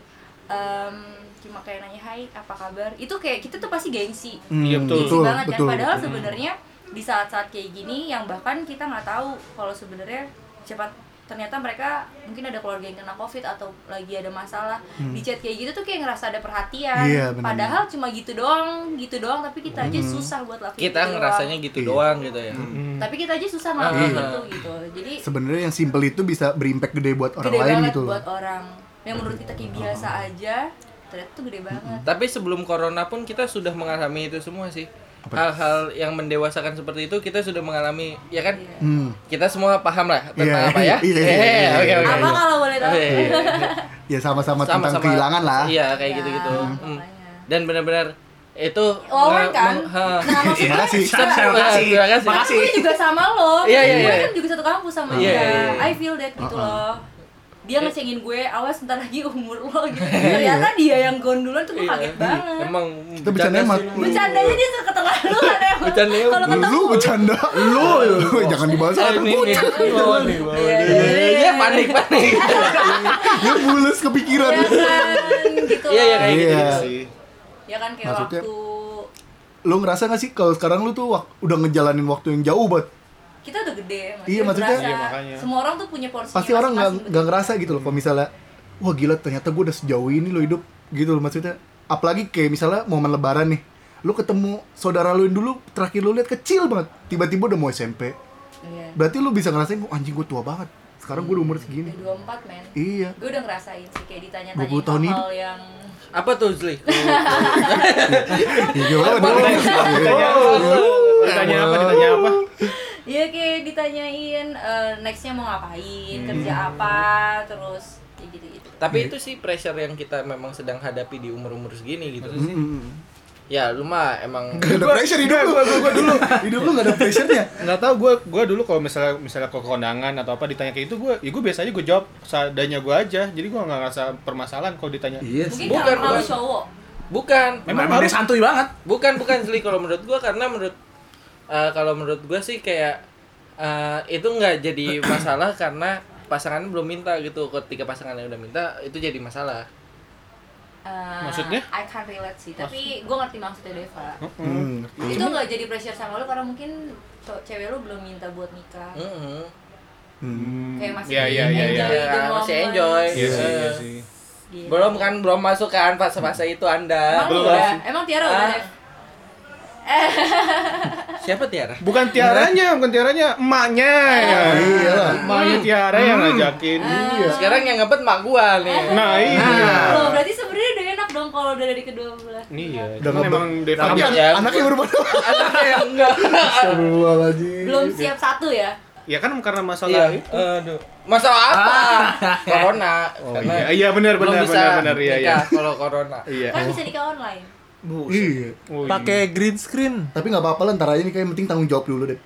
[SPEAKER 5] Em, cuma kayak nanya hai apa kabar itu kayak kita tuh pasti gengsi
[SPEAKER 3] Hmm,
[SPEAKER 2] Iya, betul.
[SPEAKER 5] Gengsi
[SPEAKER 3] betul,
[SPEAKER 5] banget
[SPEAKER 3] betul,
[SPEAKER 5] kan padahal
[SPEAKER 3] betul.
[SPEAKER 5] sebenarnya di saat-saat kayak gini yang bahkan kita nggak tahu kalau sebenarnya cepat ternyata mereka mungkin ada keluarga yang kena covid atau lagi ada masalah di chat kayak gitu tuh kayak ngerasa ada perhatian
[SPEAKER 3] Hmm. Iya, Hmm. benar.
[SPEAKER 5] padahal cuma gitu doang gitu doang tapi kita aja susah buat lakuin
[SPEAKER 1] Kita
[SPEAKER 5] gitu doang.
[SPEAKER 1] ngerasanya gitu
[SPEAKER 3] Iya.
[SPEAKER 1] doang gitu ya.
[SPEAKER 5] tapi kita aja susah
[SPEAKER 3] Ah,
[SPEAKER 5] ngelakuin
[SPEAKER 1] Iya.
[SPEAKER 5] itu gitu jadi
[SPEAKER 3] Sebenarnya yang simple itu bisa berimpact gede buat orang
[SPEAKER 5] gede
[SPEAKER 3] lain
[SPEAKER 5] banget
[SPEAKER 3] gitu loh.
[SPEAKER 5] buat orang yang menurut kita kayak biasa aja ternyata tuh gede banget
[SPEAKER 1] Tapi sebelum corona pun kita sudah mengalami itu semua sih. Hal-hal yang mendewasakan seperti itu kita sudah mengalami, ya kan?
[SPEAKER 3] Hmm.
[SPEAKER 1] Kita semua paham lah tentang
[SPEAKER 3] [laughs] Iya,
[SPEAKER 1] apa ya?
[SPEAKER 3] iya, iya,
[SPEAKER 1] Eh,
[SPEAKER 3] iya,
[SPEAKER 1] oke,
[SPEAKER 3] iya,
[SPEAKER 1] oke.
[SPEAKER 5] apa kalau boleh tahu
[SPEAKER 1] Oke.
[SPEAKER 3] Ya sama-sama tentang kehilangan lah.
[SPEAKER 1] Iya, kayak gitu-gitu.
[SPEAKER 5] Ya,
[SPEAKER 1] Hmm.
[SPEAKER 5] makanya.
[SPEAKER 1] Dan benar-benar itu
[SPEAKER 5] Wawan
[SPEAKER 1] nge-
[SPEAKER 5] kan?
[SPEAKER 1] meng- ha.
[SPEAKER 5] Nah, maksudnya
[SPEAKER 3] Iya, Terima kasih.
[SPEAKER 6] Terima kasih.
[SPEAKER 1] Wah, terima kasih.
[SPEAKER 5] aku juga sama lo.
[SPEAKER 1] Iya, iya,
[SPEAKER 5] Gue
[SPEAKER 1] iya.
[SPEAKER 5] kan juga satu kampus sama
[SPEAKER 1] Iya,
[SPEAKER 5] dia.
[SPEAKER 1] iya, iya.
[SPEAKER 5] I feel that gitu loh. Dia ngecengin gue, awas ntar lagi umur lo
[SPEAKER 1] [laughs]
[SPEAKER 5] gitu.
[SPEAKER 9] Iya.
[SPEAKER 5] Ternyata dia yang gondolan tuh gue
[SPEAKER 1] Iya.
[SPEAKER 5] kaget banget.
[SPEAKER 1] Emang Iya,
[SPEAKER 9] Kita bercanda
[SPEAKER 1] sih ya.
[SPEAKER 9] emang.
[SPEAKER 1] lu.
[SPEAKER 5] Bercandanya dia suka
[SPEAKER 1] [laughs]
[SPEAKER 5] keterlaluan ya kan? emang.
[SPEAKER 1] Bercandanya
[SPEAKER 5] Kalau ketemu
[SPEAKER 3] Lu bercanda. Lu jangan dibahas
[SPEAKER 1] Eh,
[SPEAKER 3] anak
[SPEAKER 1] ini- ini-
[SPEAKER 3] bocah.
[SPEAKER 1] ini Wawan nih, Wawan.
[SPEAKER 5] Iya,
[SPEAKER 1] Iya,
[SPEAKER 5] iya,
[SPEAKER 1] iya, iya, panik, panik.
[SPEAKER 3] Dia mulus kepikiran.
[SPEAKER 5] ya kan gitu.
[SPEAKER 1] Iya, iya,
[SPEAKER 5] loh.
[SPEAKER 1] kayak gitu.
[SPEAKER 3] Iya.
[SPEAKER 5] Ya kan kayak
[SPEAKER 3] Maksudnya-
[SPEAKER 5] waktu
[SPEAKER 3] Lu ngerasa gak sih kalau sekarang lu tuh wak- udah ngejalanin waktu yang jauh banget?
[SPEAKER 5] kita udah gede maksudnya
[SPEAKER 3] Iya, maksudnya-
[SPEAKER 5] berasa.
[SPEAKER 2] Iya, makanya.
[SPEAKER 5] semua orang tuh punya porsi
[SPEAKER 3] Iya, Pasti orang nggak nggak ngerasa gitu loh. Kalau misalnya, wah gila ternyata gue udah sejauh ini lo hidup gitu loh maksudnya. Apalagi kayak misalnya momen lebaran nih, lu ketemu saudara lu yang dulu terakhir lu lihat kecil banget, tiba-tiba udah mau SMP.
[SPEAKER 5] iya
[SPEAKER 3] Berarti lu bisa ngerasain, "Wah, anjing gue tua banget. Sekarang gue udah umur segini.
[SPEAKER 5] udah dua empat men
[SPEAKER 3] Iya.
[SPEAKER 5] gue udah ngerasain sih kayak ditanya-tanya
[SPEAKER 3] 20 tahun
[SPEAKER 5] hal yang
[SPEAKER 1] Apa tuh, Zli?
[SPEAKER 3] Iya banget.
[SPEAKER 2] Ditanya apa? Ditanya apa? Ditanya apa?
[SPEAKER 5] Iya kayak ditanyain eh, nextnya mau ngapain kerja apa terus kayak gitu-gitu
[SPEAKER 1] Tapi itu sih pressure yang kita memang sedang hadapi di umur-umur segini gitu. Ya, lu mah emang
[SPEAKER 3] Gak ada pressure hidup lu. Gue dulu. Hidup lu gak ada pressure-nya.
[SPEAKER 2] nggak tahu gue gue dulu kalau misalnya misalnya ke kondangan atau apa ditanya kayak itu gue ya gue biasanya gue jawab seadanya gue aja jadi gue nggak ngerasa permasalahan kalau ditanya
[SPEAKER 9] Iya
[SPEAKER 5] mungkin
[SPEAKER 9] sih.
[SPEAKER 1] Bukan,
[SPEAKER 5] bukan, kalau
[SPEAKER 1] bukan.
[SPEAKER 5] cowok
[SPEAKER 1] bukan.
[SPEAKER 6] Memang, memang dia santuy banget.
[SPEAKER 1] Bukan bukan Zli kalau menurut gua karena menurut eh, kalau menurut gua sih kayak eh, itu nggak jadi masalah karena pasangannya belum minta gitu. Ketika pasangannya udah minta itu jadi masalah.
[SPEAKER 5] eh,
[SPEAKER 2] Maksudnya?
[SPEAKER 5] I can't relate sih tapi gue ngerti maksudnya Deva
[SPEAKER 3] [laughs] Hmm.
[SPEAKER 5] itu nggak jadi pressure sama lu karena mungkin to- cewek lu belum minta buat nikah
[SPEAKER 1] Heeh.
[SPEAKER 5] kayak masih
[SPEAKER 2] Iya, iya, iya, iya.
[SPEAKER 5] enjoy the
[SPEAKER 1] Ah, masih
[SPEAKER 5] moment.
[SPEAKER 1] enjoy.
[SPEAKER 2] Iya sih, iya
[SPEAKER 1] Eh,
[SPEAKER 2] sih.
[SPEAKER 5] Gitu.
[SPEAKER 1] Belum kan belum masuk kan fase-fase itu Anda.
[SPEAKER 5] Emang udah? Emang Tiara udah?
[SPEAKER 1] Ah.
[SPEAKER 5] Dev?
[SPEAKER 1] Siapa Tiara?
[SPEAKER 2] bukan tiaranya bukan tiaranya emaknya ya
[SPEAKER 3] Iya lah.
[SPEAKER 2] emaknya tiara yang ngajakin
[SPEAKER 1] Sekarang yang ngebet mak gua nih.
[SPEAKER 2] nah iya
[SPEAKER 5] Loh, berarti sebenarnya udah enak dong kalau udah dari kedua belah.
[SPEAKER 2] Ini iya
[SPEAKER 3] Udah
[SPEAKER 2] cuman
[SPEAKER 3] ngebet.
[SPEAKER 2] emang Deva
[SPEAKER 3] Tapi
[SPEAKER 1] Iya.
[SPEAKER 2] dia-
[SPEAKER 1] Ya.
[SPEAKER 3] an- anaknya baru baru.
[SPEAKER 1] Anaknya yang enggak.
[SPEAKER 3] Astagfirullahaladzim.
[SPEAKER 5] Belum siap satu ya?
[SPEAKER 2] ya kan karena
[SPEAKER 1] Iya.
[SPEAKER 2] masalah itu Ah.
[SPEAKER 1] Aduh. Masalah apa? [laughs] Corona. Karena
[SPEAKER 2] iya iya benar
[SPEAKER 1] belum
[SPEAKER 2] benar
[SPEAKER 1] bisa
[SPEAKER 2] benar benar iya iya
[SPEAKER 1] nikah kalau corona.
[SPEAKER 2] iya
[SPEAKER 5] Kan bisa nikah online.
[SPEAKER 3] Iya.
[SPEAKER 2] Oh, iya.
[SPEAKER 4] Pakai green screen.
[SPEAKER 3] Tapi nggak apa-apa lah ntar aja nih kayak yang penting tanggung jawab dulu deh.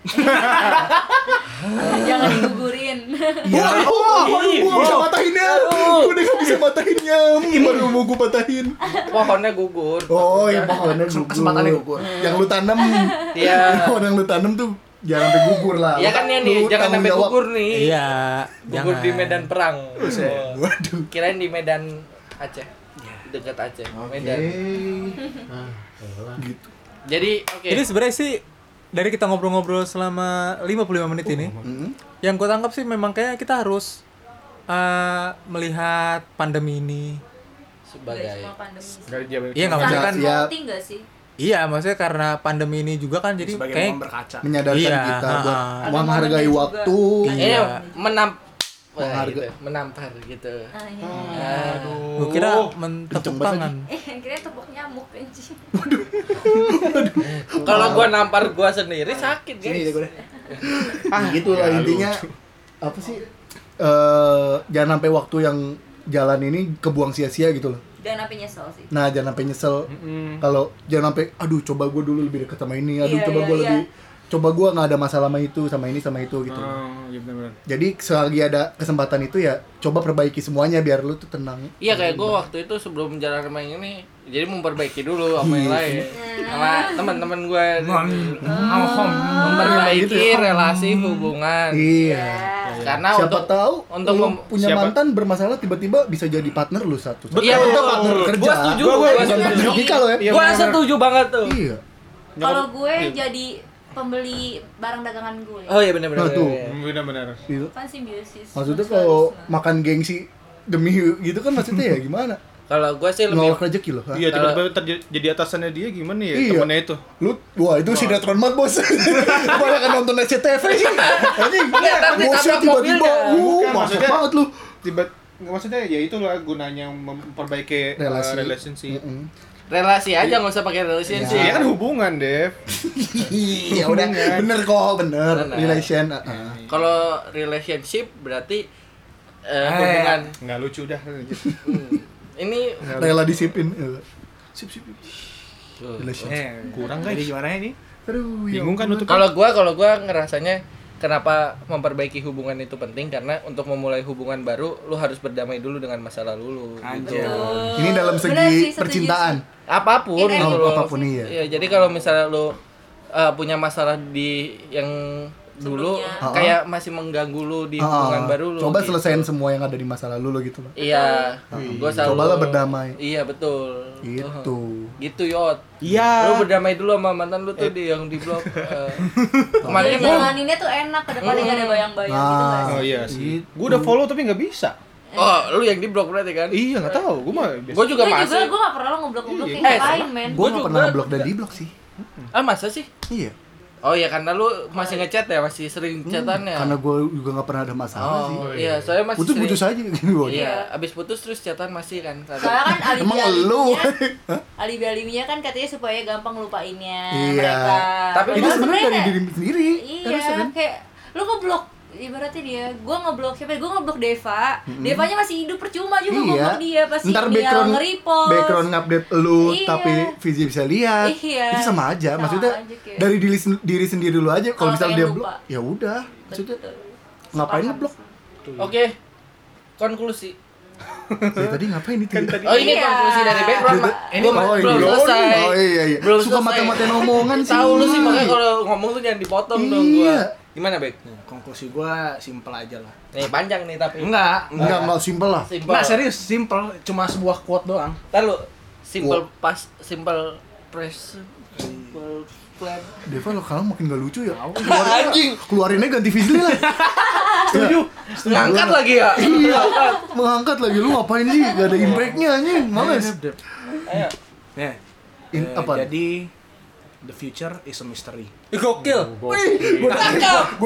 [SPEAKER 5] Jangan digugurin.
[SPEAKER 3] Iya. Oh, aduh, gua bisa patahinnya. Gue udah nggak bisa patahinnya. Baru mau gue patahin.
[SPEAKER 1] Pohonnya gugur.
[SPEAKER 3] Oh, iya pohonnya gugur.
[SPEAKER 6] kesempatannya gugur.
[SPEAKER 3] Yang lu tanam. [laughs]
[SPEAKER 1] Iya.
[SPEAKER 3] Pohon yang lu tanam tuh jangan sampai gugur lah.
[SPEAKER 1] Iya kan ya nih,
[SPEAKER 3] Lu
[SPEAKER 1] jangan
[SPEAKER 3] tanggung
[SPEAKER 1] sampai
[SPEAKER 3] jawab.
[SPEAKER 1] gugur nih.
[SPEAKER 4] Iya.
[SPEAKER 1] Gugur di medan perang. Oh.
[SPEAKER 3] Waduh.
[SPEAKER 1] Kirain di medan Aceh.
[SPEAKER 2] Iya.
[SPEAKER 1] Dekat Aceh, Medan.
[SPEAKER 3] Gitu.
[SPEAKER 1] Jadi, oke.
[SPEAKER 4] Jadi sebenarnya sih dari kita ngobrol-ngobrol selama 55 menit ini,
[SPEAKER 3] Oh, Hmm.
[SPEAKER 4] yang gue tangkap sih memang kayak kita harus eh, melihat pandemi ini.
[SPEAKER 5] Dari
[SPEAKER 1] Sebagai
[SPEAKER 2] iya.
[SPEAKER 5] semua pandemi.
[SPEAKER 2] Dari dia-
[SPEAKER 4] Iya nggak maksudnya kan?
[SPEAKER 5] Saling
[SPEAKER 3] Iya.
[SPEAKER 5] voting nggak sih?
[SPEAKER 4] Iya maksudnya karena pandemi ini juga kan jadi
[SPEAKER 6] Sebagai
[SPEAKER 4] kayak
[SPEAKER 6] momen berkaca.
[SPEAKER 3] Menyadarkan
[SPEAKER 4] Iya,
[SPEAKER 3] kita
[SPEAKER 4] ha-ha.
[SPEAKER 3] buat
[SPEAKER 4] Ada
[SPEAKER 3] menghargai
[SPEAKER 5] momennya juga.
[SPEAKER 3] waktu.
[SPEAKER 1] ini menam Wah,
[SPEAKER 3] Menghargai.
[SPEAKER 1] gitu, menampar gitu.
[SPEAKER 5] Ah, iya.
[SPEAKER 3] Hmm.
[SPEAKER 1] Ah.
[SPEAKER 4] gue
[SPEAKER 2] Oh,
[SPEAKER 4] kira kan. mentepuk
[SPEAKER 3] kenceng banget
[SPEAKER 4] tangan.
[SPEAKER 5] Eh, kira tepuk nyamuk anjing.
[SPEAKER 1] Kalau gua nampar gua sendiri sakit, guys.
[SPEAKER 3] ah, gitu lah
[SPEAKER 2] ya lu.
[SPEAKER 3] intinya apa sih eh jangan sampai waktu yang jalan ini kebuang sia-sia gitu loh
[SPEAKER 5] Dan apa nyesel sih?
[SPEAKER 3] nah jangan sampai nyesel kalau jangan sampai aduh coba gue dulu lebih dekat sama ini aduh
[SPEAKER 5] Iya,
[SPEAKER 3] coba
[SPEAKER 5] iya,
[SPEAKER 3] gue
[SPEAKER 5] iya.
[SPEAKER 3] lebih coba gue nggak ada masalah sama itu sama ini sama itu gitu
[SPEAKER 2] Oh, iya benar-benar.
[SPEAKER 3] jadi selagi ada kesempatan itu ya coba perbaiki semuanya biar lu tuh tenang
[SPEAKER 1] Iya kayak
[SPEAKER 3] Hmm.
[SPEAKER 1] gue waktu itu sebelum jalan sama yang ini, jadi memperbaiki dulu sama
[SPEAKER 3] Hmm.
[SPEAKER 1] yang lain, sama teman-teman gue, memperbaiki relasi hubungan.
[SPEAKER 3] Gitu ya. Hmm. iya
[SPEAKER 1] Karena
[SPEAKER 3] siapa
[SPEAKER 1] Nah, untuk
[SPEAKER 3] tahu
[SPEAKER 1] untuk
[SPEAKER 3] lu
[SPEAKER 1] mem-
[SPEAKER 3] punya
[SPEAKER 2] siapa-
[SPEAKER 3] mantan bermasalah tiba-tiba bisa jadi partner lu satu
[SPEAKER 1] Iya
[SPEAKER 3] Atau
[SPEAKER 1] betul.
[SPEAKER 3] partner kerja
[SPEAKER 1] Gua setuju.
[SPEAKER 2] Gua-
[SPEAKER 1] Gua,
[SPEAKER 2] gua-
[SPEAKER 3] bukan partner
[SPEAKER 1] setuju.
[SPEAKER 3] nikah lo ya
[SPEAKER 2] Iya,
[SPEAKER 1] Gua
[SPEAKER 2] benar-benar.
[SPEAKER 1] setuju banget tuh.
[SPEAKER 3] iya
[SPEAKER 5] Kalau gue jadi pembeli barang dagangan gue.
[SPEAKER 1] Iya. Oh iya benar-benar.
[SPEAKER 3] Nah, tuh.
[SPEAKER 1] benar-benar.
[SPEAKER 2] Mm, Benar-benar.
[SPEAKER 3] Gitu.
[SPEAKER 5] Kan simbiosis.
[SPEAKER 3] Maksudnya kalau
[SPEAKER 5] Mutualisme.
[SPEAKER 3] makan gengsi demi gitu kan maksudnya ya gimana?
[SPEAKER 1] Kalau gue sih lebih
[SPEAKER 3] Nolak rezeki loh. ha?
[SPEAKER 2] Iya, tiba-tiba terj- jadi atasannya dia gimana ya
[SPEAKER 3] Iya.
[SPEAKER 2] temennya itu?
[SPEAKER 3] Lu wah itu sinetron banget bos. Kebanyakan nonton SCTV sih. Anjing.
[SPEAKER 1] Iya, tapi
[SPEAKER 3] Bosnya
[SPEAKER 1] tabrak mobilnya.
[SPEAKER 3] tiba-tiba uh
[SPEAKER 2] Bukan,
[SPEAKER 3] masuk
[SPEAKER 2] maksudnya- eh,
[SPEAKER 3] banget lu.
[SPEAKER 2] Tiba maksudnya ya itulah gunanya memperbaiki eh,
[SPEAKER 3] Relasi.
[SPEAKER 2] relasi. relationship.
[SPEAKER 3] Mm-mm. [laughs]
[SPEAKER 1] relasi aja nggak usah pakai relationship.
[SPEAKER 2] Iya kan hubungan, Dev.
[SPEAKER 3] Iya udah bener kok bener
[SPEAKER 1] Bener.
[SPEAKER 3] relation. uh-uh. ah-ah.
[SPEAKER 1] Kalau relationship berarti eh,
[SPEAKER 3] [laughs]
[SPEAKER 1] hubungan. Hmm.
[SPEAKER 2] Nggak [laughs] lucu dah.
[SPEAKER 1] Ini
[SPEAKER 3] uh, Rela disipin. eh. Sip sip. sip. relationship.
[SPEAKER 6] Eh,
[SPEAKER 2] Kurang,
[SPEAKER 6] Jadi
[SPEAKER 2] guys.
[SPEAKER 6] gimana ini?
[SPEAKER 3] Aduh, ya
[SPEAKER 2] Bingung kan
[SPEAKER 3] ampun.
[SPEAKER 2] untuk
[SPEAKER 1] Kalau gua kalau gua ngerasanya kenapa memperbaiki hubungan itu penting karena untuk memulai hubungan baru lu harus berdamai dulu dengan masa lalu lu. gitu.
[SPEAKER 6] Anjir.
[SPEAKER 3] Ini dalam
[SPEAKER 5] Bener sih,
[SPEAKER 3] segi
[SPEAKER 5] setuju
[SPEAKER 3] percintaan.
[SPEAKER 1] Apapun
[SPEAKER 5] Ini
[SPEAKER 1] gitu
[SPEAKER 3] Oh,
[SPEAKER 1] loh.
[SPEAKER 3] apapun iya.
[SPEAKER 1] Iya, jadi kalau misalnya lu eh, punya masalah di yang dulu
[SPEAKER 5] Sebelumnya.
[SPEAKER 1] kayak masih mengganggu lu di hubungan
[SPEAKER 3] Ah,
[SPEAKER 1] Iya, baru lu.
[SPEAKER 3] Coba
[SPEAKER 1] gitu.
[SPEAKER 3] selesain semua yang ada di masa lalu lo gitu, Bang.
[SPEAKER 1] Iya, gua selalu
[SPEAKER 3] Cobalah berdamai.
[SPEAKER 1] Iya, betul.
[SPEAKER 3] Gitu.
[SPEAKER 1] Gitu, Yot.
[SPEAKER 6] Iya.
[SPEAKER 1] Lu berdamai dulu sama mantan lu tuh di yang di blog.
[SPEAKER 3] [laughs]
[SPEAKER 1] eh,
[SPEAKER 5] Jadi Iya.
[SPEAKER 1] kemarin kan
[SPEAKER 5] jalaninnya tuh enak, kedepannya gak ada
[SPEAKER 3] Hmm.
[SPEAKER 5] bayang-bayang
[SPEAKER 3] Nah.
[SPEAKER 5] gitu gak
[SPEAKER 2] Oh
[SPEAKER 5] sih?
[SPEAKER 2] iya sih. Gue udah follow tapi nggak bisa.
[SPEAKER 1] Oh, lu yang di blog berarti kan?
[SPEAKER 2] Iya nggak tahu. Gue mah biasa.
[SPEAKER 1] Gue juga
[SPEAKER 5] Gue juga,
[SPEAKER 1] masih.
[SPEAKER 5] gue gak pernah lo ngeblok-ngeblokin
[SPEAKER 1] Iya. Eh,
[SPEAKER 5] ngapain men
[SPEAKER 3] Gue
[SPEAKER 1] Gua
[SPEAKER 3] nggak
[SPEAKER 1] juga-
[SPEAKER 3] pernah ngeblok dan diblok sih.
[SPEAKER 1] Ah, masa sih?
[SPEAKER 3] Iya.
[SPEAKER 1] Oh iya, karena lu masih ngechat ya, masih sering chatannya.
[SPEAKER 3] Hmm, Karena gue juga nggak pernah ada masalah sih.
[SPEAKER 1] Iya. Oh, iya, soalnya masih
[SPEAKER 3] Putus putus
[SPEAKER 1] sering.
[SPEAKER 3] aja gitu, gini Bang.
[SPEAKER 1] Iya, abis putus terus chatan masih kan.
[SPEAKER 5] Soalnya kan alibi
[SPEAKER 3] Emang lu.
[SPEAKER 5] alibi alibinya kan katanya supaya gampang lupainnya
[SPEAKER 3] Iya.
[SPEAKER 5] mereka
[SPEAKER 1] Tapi
[SPEAKER 5] Padahal
[SPEAKER 3] Itu sebenarnya dari
[SPEAKER 5] kayak-
[SPEAKER 3] diri sendiri. kan,
[SPEAKER 5] Iya, kayak lu ngeblok ibaratnya dia, gua ngeblok siapa? ya? Gua ngeblok Deva. Devanya masih hidup percuma juga gua ngeblok dia pasti
[SPEAKER 3] Iya. Ntar
[SPEAKER 5] dia
[SPEAKER 3] background
[SPEAKER 5] nge-repost.
[SPEAKER 3] background update lu
[SPEAKER 5] Iya.
[SPEAKER 3] tapi Vizi bisa lihat.
[SPEAKER 5] Iya.
[SPEAKER 3] Itu sama aja.
[SPEAKER 5] Sama
[SPEAKER 3] Maksudnya
[SPEAKER 5] aja, kayak.
[SPEAKER 3] dari diri, sen- diri sendiri lu aja
[SPEAKER 5] Kalau
[SPEAKER 3] kalau misalnya
[SPEAKER 5] pengen
[SPEAKER 3] dia
[SPEAKER 5] lupa.
[SPEAKER 3] blok, ya udah. Maksudnya
[SPEAKER 5] Betul.
[SPEAKER 3] ngapain
[SPEAKER 5] Sepakat.
[SPEAKER 3] ngeblok?
[SPEAKER 1] Oke. Konklusi.
[SPEAKER 3] Ya tadi ngapain itu?
[SPEAKER 2] kan
[SPEAKER 3] ya?
[SPEAKER 1] Oh, ini
[SPEAKER 5] Iya.
[SPEAKER 1] konklusi dari background, Mak. Ini
[SPEAKER 3] Oh, iya.
[SPEAKER 1] belum selesai.
[SPEAKER 3] Oh iya iya.
[SPEAKER 1] Belum
[SPEAKER 3] Suka
[SPEAKER 1] selesai.
[SPEAKER 3] mata-matain omongan sih.
[SPEAKER 1] Tahu lu sih makanya kalau ngomong tuh jangan dipotong dong
[SPEAKER 3] Iya.
[SPEAKER 1] gua. Gimana, Bek?
[SPEAKER 6] Konklusi gua simpel aja lah.
[SPEAKER 1] Nih, panjang nih tapi.
[SPEAKER 6] Enggak,
[SPEAKER 3] Enggak,
[SPEAKER 6] enggak.
[SPEAKER 3] enggak simpel lah.
[SPEAKER 1] Simpel.
[SPEAKER 6] Nah, serius, simpel, cuma sebuah quote doang.
[SPEAKER 1] Ntar lu simple pas simple press simple plan.
[SPEAKER 3] Deva lo kalau makin gak lucu ya.
[SPEAKER 1] Anjing.
[SPEAKER 3] Keluarinnya ganti Fizli lah. Setuju.
[SPEAKER 1] Ngangkat lagi ya.
[SPEAKER 3] Iya. Mengangkat lagi lu ngapain sih? Gak ada impactnya anjing. Males.
[SPEAKER 1] Ayo.
[SPEAKER 6] Ya.
[SPEAKER 3] In-
[SPEAKER 6] iya. Eh,
[SPEAKER 3] apaan?
[SPEAKER 6] Jadi the future is a mystery.
[SPEAKER 4] Ih, Gokil.
[SPEAKER 3] Gue gue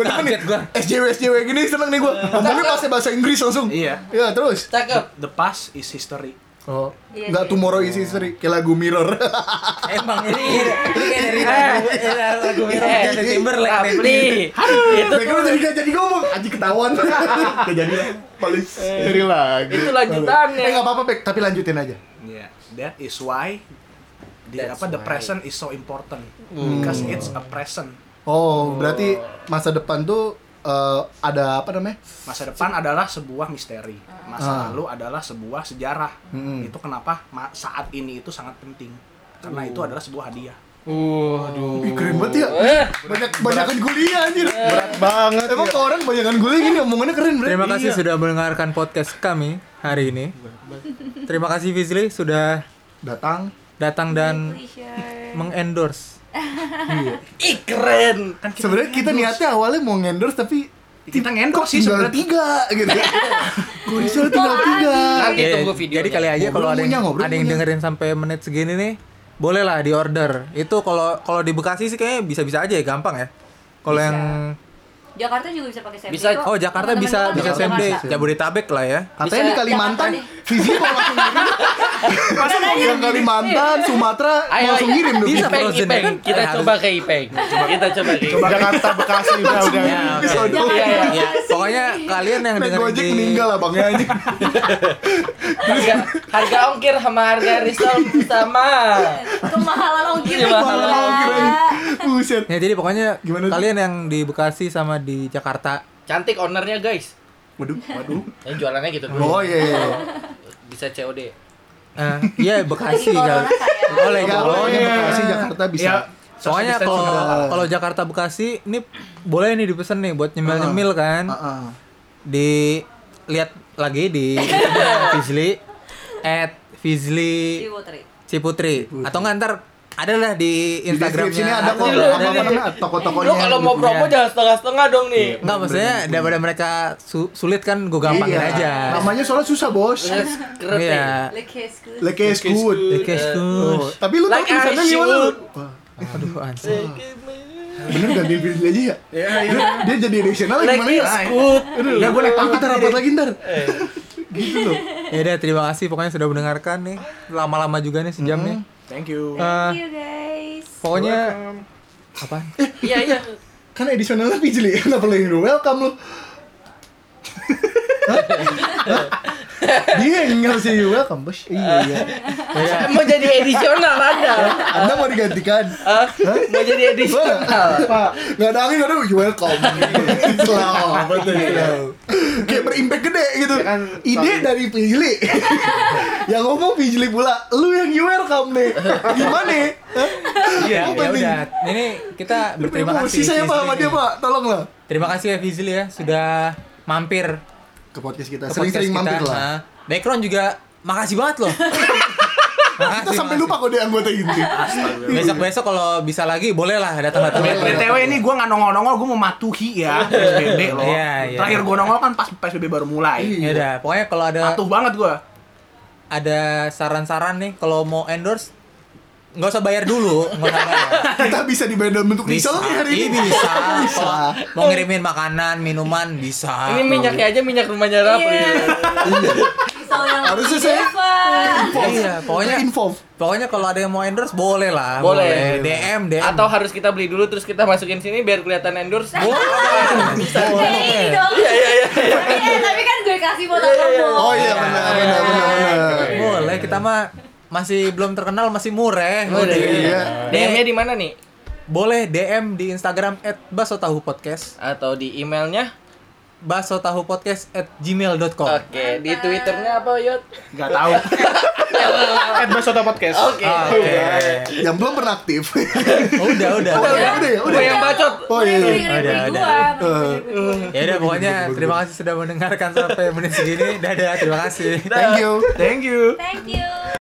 [SPEAKER 4] Kaget gua.
[SPEAKER 3] SJW SJW gini seneng nih gue. Ngomongnya pasti bahasa Inggris langsung.
[SPEAKER 6] Iya.
[SPEAKER 3] Iya terus.
[SPEAKER 1] Cakep.
[SPEAKER 6] The past is history.
[SPEAKER 3] Oh.
[SPEAKER 5] Iya,
[SPEAKER 3] Enggak
[SPEAKER 5] iya.
[SPEAKER 3] tomorrow is history. Kayak lagu Mirror. [laughs]
[SPEAKER 4] Emang ini ini kayak dari lagu eh, lagu
[SPEAKER 1] Eh,
[SPEAKER 4] dari Timberlake nih.
[SPEAKER 1] Tapi itu
[SPEAKER 3] Mereka jadi gak jadi ngomong. Aji ketahuan. Gak jadi. Paling
[SPEAKER 2] Eh,
[SPEAKER 3] seri lagi.
[SPEAKER 1] itu lanjutannya.
[SPEAKER 3] Eh nggak apa-apa Pek, tapi lanjutin aja.
[SPEAKER 6] Yeah. Ya. That is why the
[SPEAKER 1] That's
[SPEAKER 6] apa the
[SPEAKER 1] why.
[SPEAKER 6] present is so important
[SPEAKER 3] Hmm.
[SPEAKER 6] because it's a present.
[SPEAKER 3] Oh, berarti masa depan tuh eh, ada apa namanya?
[SPEAKER 6] Masa depan adalah sebuah misteri.
[SPEAKER 3] Ah. Hmm.
[SPEAKER 6] Masa lalu adalah sebuah sejarah. Itu kenapa ma- saat ini itu sangat penting. Karena itu
[SPEAKER 3] Oh.
[SPEAKER 6] adalah sebuah hadiah.
[SPEAKER 3] Ih, keren banget ya.
[SPEAKER 1] Eh,
[SPEAKER 3] Banyak banyakan guliah anjir. iya.
[SPEAKER 2] Berat banget.
[SPEAKER 3] Emang kalau orang banyakan guliah gini omongannya keren, Bre.
[SPEAKER 4] Terima kasih sudah mendengarkan podcast kami hari ini. Terima kasih Fizli sudah
[SPEAKER 3] Datang.
[SPEAKER 4] datang dan
[SPEAKER 5] Pleasure.
[SPEAKER 4] mengendorse.
[SPEAKER 1] ih keren.
[SPEAKER 6] Kan kita,
[SPEAKER 3] Sebenarnya kita niatnya awalnya mau ngendorse tapi
[SPEAKER 6] kita ngendorse sih
[SPEAKER 3] tinggal
[SPEAKER 6] sebenarnya.
[SPEAKER 3] tiga gitu. Kurisol tinggal tiga.
[SPEAKER 1] Nanti
[SPEAKER 4] Ya,
[SPEAKER 1] tunggu video.
[SPEAKER 4] Jadi kali aja
[SPEAKER 3] Ngobrol
[SPEAKER 4] kalau ada yang,
[SPEAKER 3] punya, ngobrol
[SPEAKER 4] ada yang
[SPEAKER 3] punya.
[SPEAKER 4] dengerin sampai menit segini nih, bolehlah di order. Itu kalau kalau di Bekasi sih kayaknya bisa-bisa aja ya, gampang ya. Kalau yang
[SPEAKER 5] Jakarta juga bisa pakai safety
[SPEAKER 1] Bisa.
[SPEAKER 5] kok.
[SPEAKER 4] oh Jakarta
[SPEAKER 5] Teman-teman
[SPEAKER 4] bisa
[SPEAKER 5] kan
[SPEAKER 4] bisa
[SPEAKER 5] dari
[SPEAKER 4] SMD
[SPEAKER 5] Jakarta.
[SPEAKER 4] Jabodetabek lah ya.
[SPEAKER 3] Katanya
[SPEAKER 1] Bisa-
[SPEAKER 3] di Kalimantan,
[SPEAKER 5] Jakarta
[SPEAKER 3] Fizi mau langsung ngirim. Masa mau bilang Kalimantan, Sumatera,
[SPEAKER 1] Ayo
[SPEAKER 3] langsung ngirim
[SPEAKER 1] [laughs]
[SPEAKER 3] dong.
[SPEAKER 4] Bisa,
[SPEAKER 1] Ipeng,
[SPEAKER 4] frozen,
[SPEAKER 1] Ipeng.
[SPEAKER 4] kan?
[SPEAKER 1] Kita
[SPEAKER 4] Harus.
[SPEAKER 1] coba ke Ipeng. Kita coba ke Ipeng.
[SPEAKER 2] Jakarta Bekasi udah udah.
[SPEAKER 4] oke.
[SPEAKER 5] Jakarta
[SPEAKER 1] Iya, iya,
[SPEAKER 4] Ya,
[SPEAKER 3] [laughs]
[SPEAKER 4] pokoknya kalian yang
[SPEAKER 3] Naik
[SPEAKER 4] dengerin
[SPEAKER 3] gojek
[SPEAKER 4] di
[SPEAKER 3] meninggal abangnya anjing.
[SPEAKER 1] harga, harga ongkir sama harga risol sama
[SPEAKER 5] Kemahalan ongkir.
[SPEAKER 1] Iya, mahalan
[SPEAKER 5] gila.
[SPEAKER 3] ongkir, anjing. Buset.
[SPEAKER 4] Ya jadi pokoknya
[SPEAKER 3] Gimana tuh?
[SPEAKER 4] kalian yang di Bekasi sama di Jakarta
[SPEAKER 1] cantik ownernya guys
[SPEAKER 3] Waduh, waduh.
[SPEAKER 1] yang jualannya gitu dulu
[SPEAKER 3] Oh iya. iya, iya.
[SPEAKER 1] bisa COD
[SPEAKER 3] [laughs]
[SPEAKER 4] eh, iya Bekasi
[SPEAKER 5] Corona
[SPEAKER 4] kali.
[SPEAKER 5] kayak-
[SPEAKER 4] Boleh
[SPEAKER 3] Enggak,
[SPEAKER 4] boleh.
[SPEAKER 3] pokoknya Bekasi, Jakarta bisa.
[SPEAKER 6] Iya.
[SPEAKER 4] Soalnya
[SPEAKER 6] Social
[SPEAKER 4] kalau
[SPEAKER 6] distancing nggak apa-apa.
[SPEAKER 4] kalau Jakarta Bekasi ini boleh nih dipesen nih buat nyemil-nyemil
[SPEAKER 3] Uh-huh.
[SPEAKER 4] kan.
[SPEAKER 3] Heeh.
[SPEAKER 4] Di lihat lagi
[SPEAKER 3] [laughs]
[SPEAKER 4] di Instagram Fizli at Fizli
[SPEAKER 5] Si Iya, Putri.
[SPEAKER 4] Ciputri atau nggak ntar ada lah di
[SPEAKER 3] Di deskripsi
[SPEAKER 4] Instagramnya
[SPEAKER 3] ini ada kok
[SPEAKER 1] Nanti lu-
[SPEAKER 3] apa apa namanya toko-tokonya.
[SPEAKER 1] lu kalau
[SPEAKER 3] ya.
[SPEAKER 1] mau promo jangan setengah-setengah dong nih
[SPEAKER 3] Iya.
[SPEAKER 4] Enggak maksudnya daripada mereka su- sulit kan gue gampangin
[SPEAKER 3] Iya.
[SPEAKER 4] aja.
[SPEAKER 3] Namanya eh. soalnya susah, Bos.
[SPEAKER 1] Terus keren nih.
[SPEAKER 4] Iya.
[SPEAKER 5] Lick his good.
[SPEAKER 3] Like a scoot.
[SPEAKER 4] Oke, good.
[SPEAKER 3] Oh, Tapi lu
[SPEAKER 1] Like
[SPEAKER 3] tahu tulisannya
[SPEAKER 1] I
[SPEAKER 3] gimana lu?
[SPEAKER 1] should.
[SPEAKER 3] Wah,
[SPEAKER 4] Aduh, anjir.
[SPEAKER 3] Bener gak dia pilih aja ya? Dia, dia jadi additional
[SPEAKER 1] Like
[SPEAKER 3] gimana ya?
[SPEAKER 1] is good.
[SPEAKER 3] Aduh, gak boleh pangkat rapat lagi ntar Gitu loh
[SPEAKER 4] Ya udah terima kasih pokoknya sudah mendengarkan nih. Lama-lama juga nih sejam nih.
[SPEAKER 6] Thank you.
[SPEAKER 4] Eh,
[SPEAKER 5] Thank you guys.
[SPEAKER 4] pokoknya apa?
[SPEAKER 3] [laughs]
[SPEAKER 1] iya iya
[SPEAKER 3] Kan additionalnya Pijli, [laughs] kenapa lo yang welcome lo? Dia yang ngasih welcome bos Iya iya
[SPEAKER 1] mau jadi edisional ada
[SPEAKER 9] Anda mau digantikan?
[SPEAKER 1] Eh, mau jadi edisional
[SPEAKER 9] Pak,
[SPEAKER 3] nggak ada angin aduh you welcome Selamat betul kayak berimpact gede gitu
[SPEAKER 2] Ya kan,
[SPEAKER 3] ide
[SPEAKER 2] sorry.
[SPEAKER 3] dari
[SPEAKER 2] [laughs]
[SPEAKER 3] Pijli yang ngomong Pijli pula lu yang you welcome deh gimana Hah?
[SPEAKER 4] Iya,
[SPEAKER 3] Apa
[SPEAKER 4] ya
[SPEAKER 3] nih?
[SPEAKER 4] udah. Ini kita berterima
[SPEAKER 3] Emosi
[SPEAKER 4] kasih.
[SPEAKER 3] saya
[SPEAKER 4] Fizli
[SPEAKER 3] pak sama dia
[SPEAKER 4] nih.
[SPEAKER 3] pak tolonglah
[SPEAKER 4] Terima kasih ya Fizli ya sudah mampir
[SPEAKER 3] ke podcast kita
[SPEAKER 4] ke
[SPEAKER 3] sering-sering
[SPEAKER 4] podcast
[SPEAKER 3] mampir
[SPEAKER 4] kita.
[SPEAKER 3] lah
[SPEAKER 4] Nah, background juga makasih banget loh.
[SPEAKER 3] [laughs]
[SPEAKER 4] Makasih,
[SPEAKER 3] kita sampai
[SPEAKER 4] makasih.
[SPEAKER 3] lupa kok dia anggota inti Iya.
[SPEAKER 4] Besok-besok kalau bisa lagi boleh lah datang-datang.
[SPEAKER 6] BTW ini gue nggak nongol-nongol, gue mematuhi ya PSBB loh.
[SPEAKER 4] Iya, iya.
[SPEAKER 6] Terakhir gue nongol kan pas PSBB baru mulai.
[SPEAKER 3] Iya
[SPEAKER 4] Ya udah, pokoknya kalau ada
[SPEAKER 6] Patuh banget gue.
[SPEAKER 4] ada saran-saran nih kalau mau endorse nggak usah bayar dulu, nggak usah bayar.
[SPEAKER 3] kita [laughs] bisa dibayar dalam bentuk
[SPEAKER 4] Bisa,
[SPEAKER 3] risol nih hari
[SPEAKER 4] iya,
[SPEAKER 3] ini [laughs]
[SPEAKER 4] bisa. Kalau mau ngirimin makanan, minuman bisa.
[SPEAKER 1] ini minyaknya aja minyak ya? rumahnya Rafli
[SPEAKER 5] Iya. Soalnya
[SPEAKER 3] Harusnya saya-
[SPEAKER 4] Iya, pokoknya
[SPEAKER 3] involve
[SPEAKER 4] pokoknya kalau ada yang mau endorse boleh lah,
[SPEAKER 1] Boleh.
[SPEAKER 4] DM, DM.
[SPEAKER 1] atau harus kita beli dulu terus kita masukin sini biar kelihatan endorse
[SPEAKER 4] Nah.
[SPEAKER 5] Kayak ini dong.
[SPEAKER 4] Iya,
[SPEAKER 5] Eh, tapi kan gue kasih foto
[SPEAKER 3] oh
[SPEAKER 5] promo.
[SPEAKER 3] iya benar benar benar benar
[SPEAKER 4] boleh, kita mah masih belum terkenal, masih mureh.
[SPEAKER 3] iya.
[SPEAKER 1] DM-nya di mana nih
[SPEAKER 4] Boleh DM di Instagram @basotahupodcast,
[SPEAKER 1] atau di emailnya
[SPEAKER 4] basotahupodcast@gmail.com.
[SPEAKER 1] oke di twitternya apa yot Ya,
[SPEAKER 6] Gak
[SPEAKER 1] [laughs]
[SPEAKER 6] tau.
[SPEAKER 2] At Basoto Podcast.
[SPEAKER 1] oke
[SPEAKER 4] Ah, Oke.
[SPEAKER 3] yang belum pernah aktif [laughs]
[SPEAKER 4] Udah, udah.
[SPEAKER 3] Oh, ya udah ya
[SPEAKER 1] gue
[SPEAKER 3] udah
[SPEAKER 1] yang bacot
[SPEAKER 3] oh iya iya.
[SPEAKER 5] Udah,
[SPEAKER 4] Udah,
[SPEAKER 5] udah.
[SPEAKER 4] Ya udah pokoknya terima kasih sudah mendengarkan sampai menit segini. Dadah, terima kasih.
[SPEAKER 3] thank you
[SPEAKER 6] Thank you.
[SPEAKER 5] Thank you.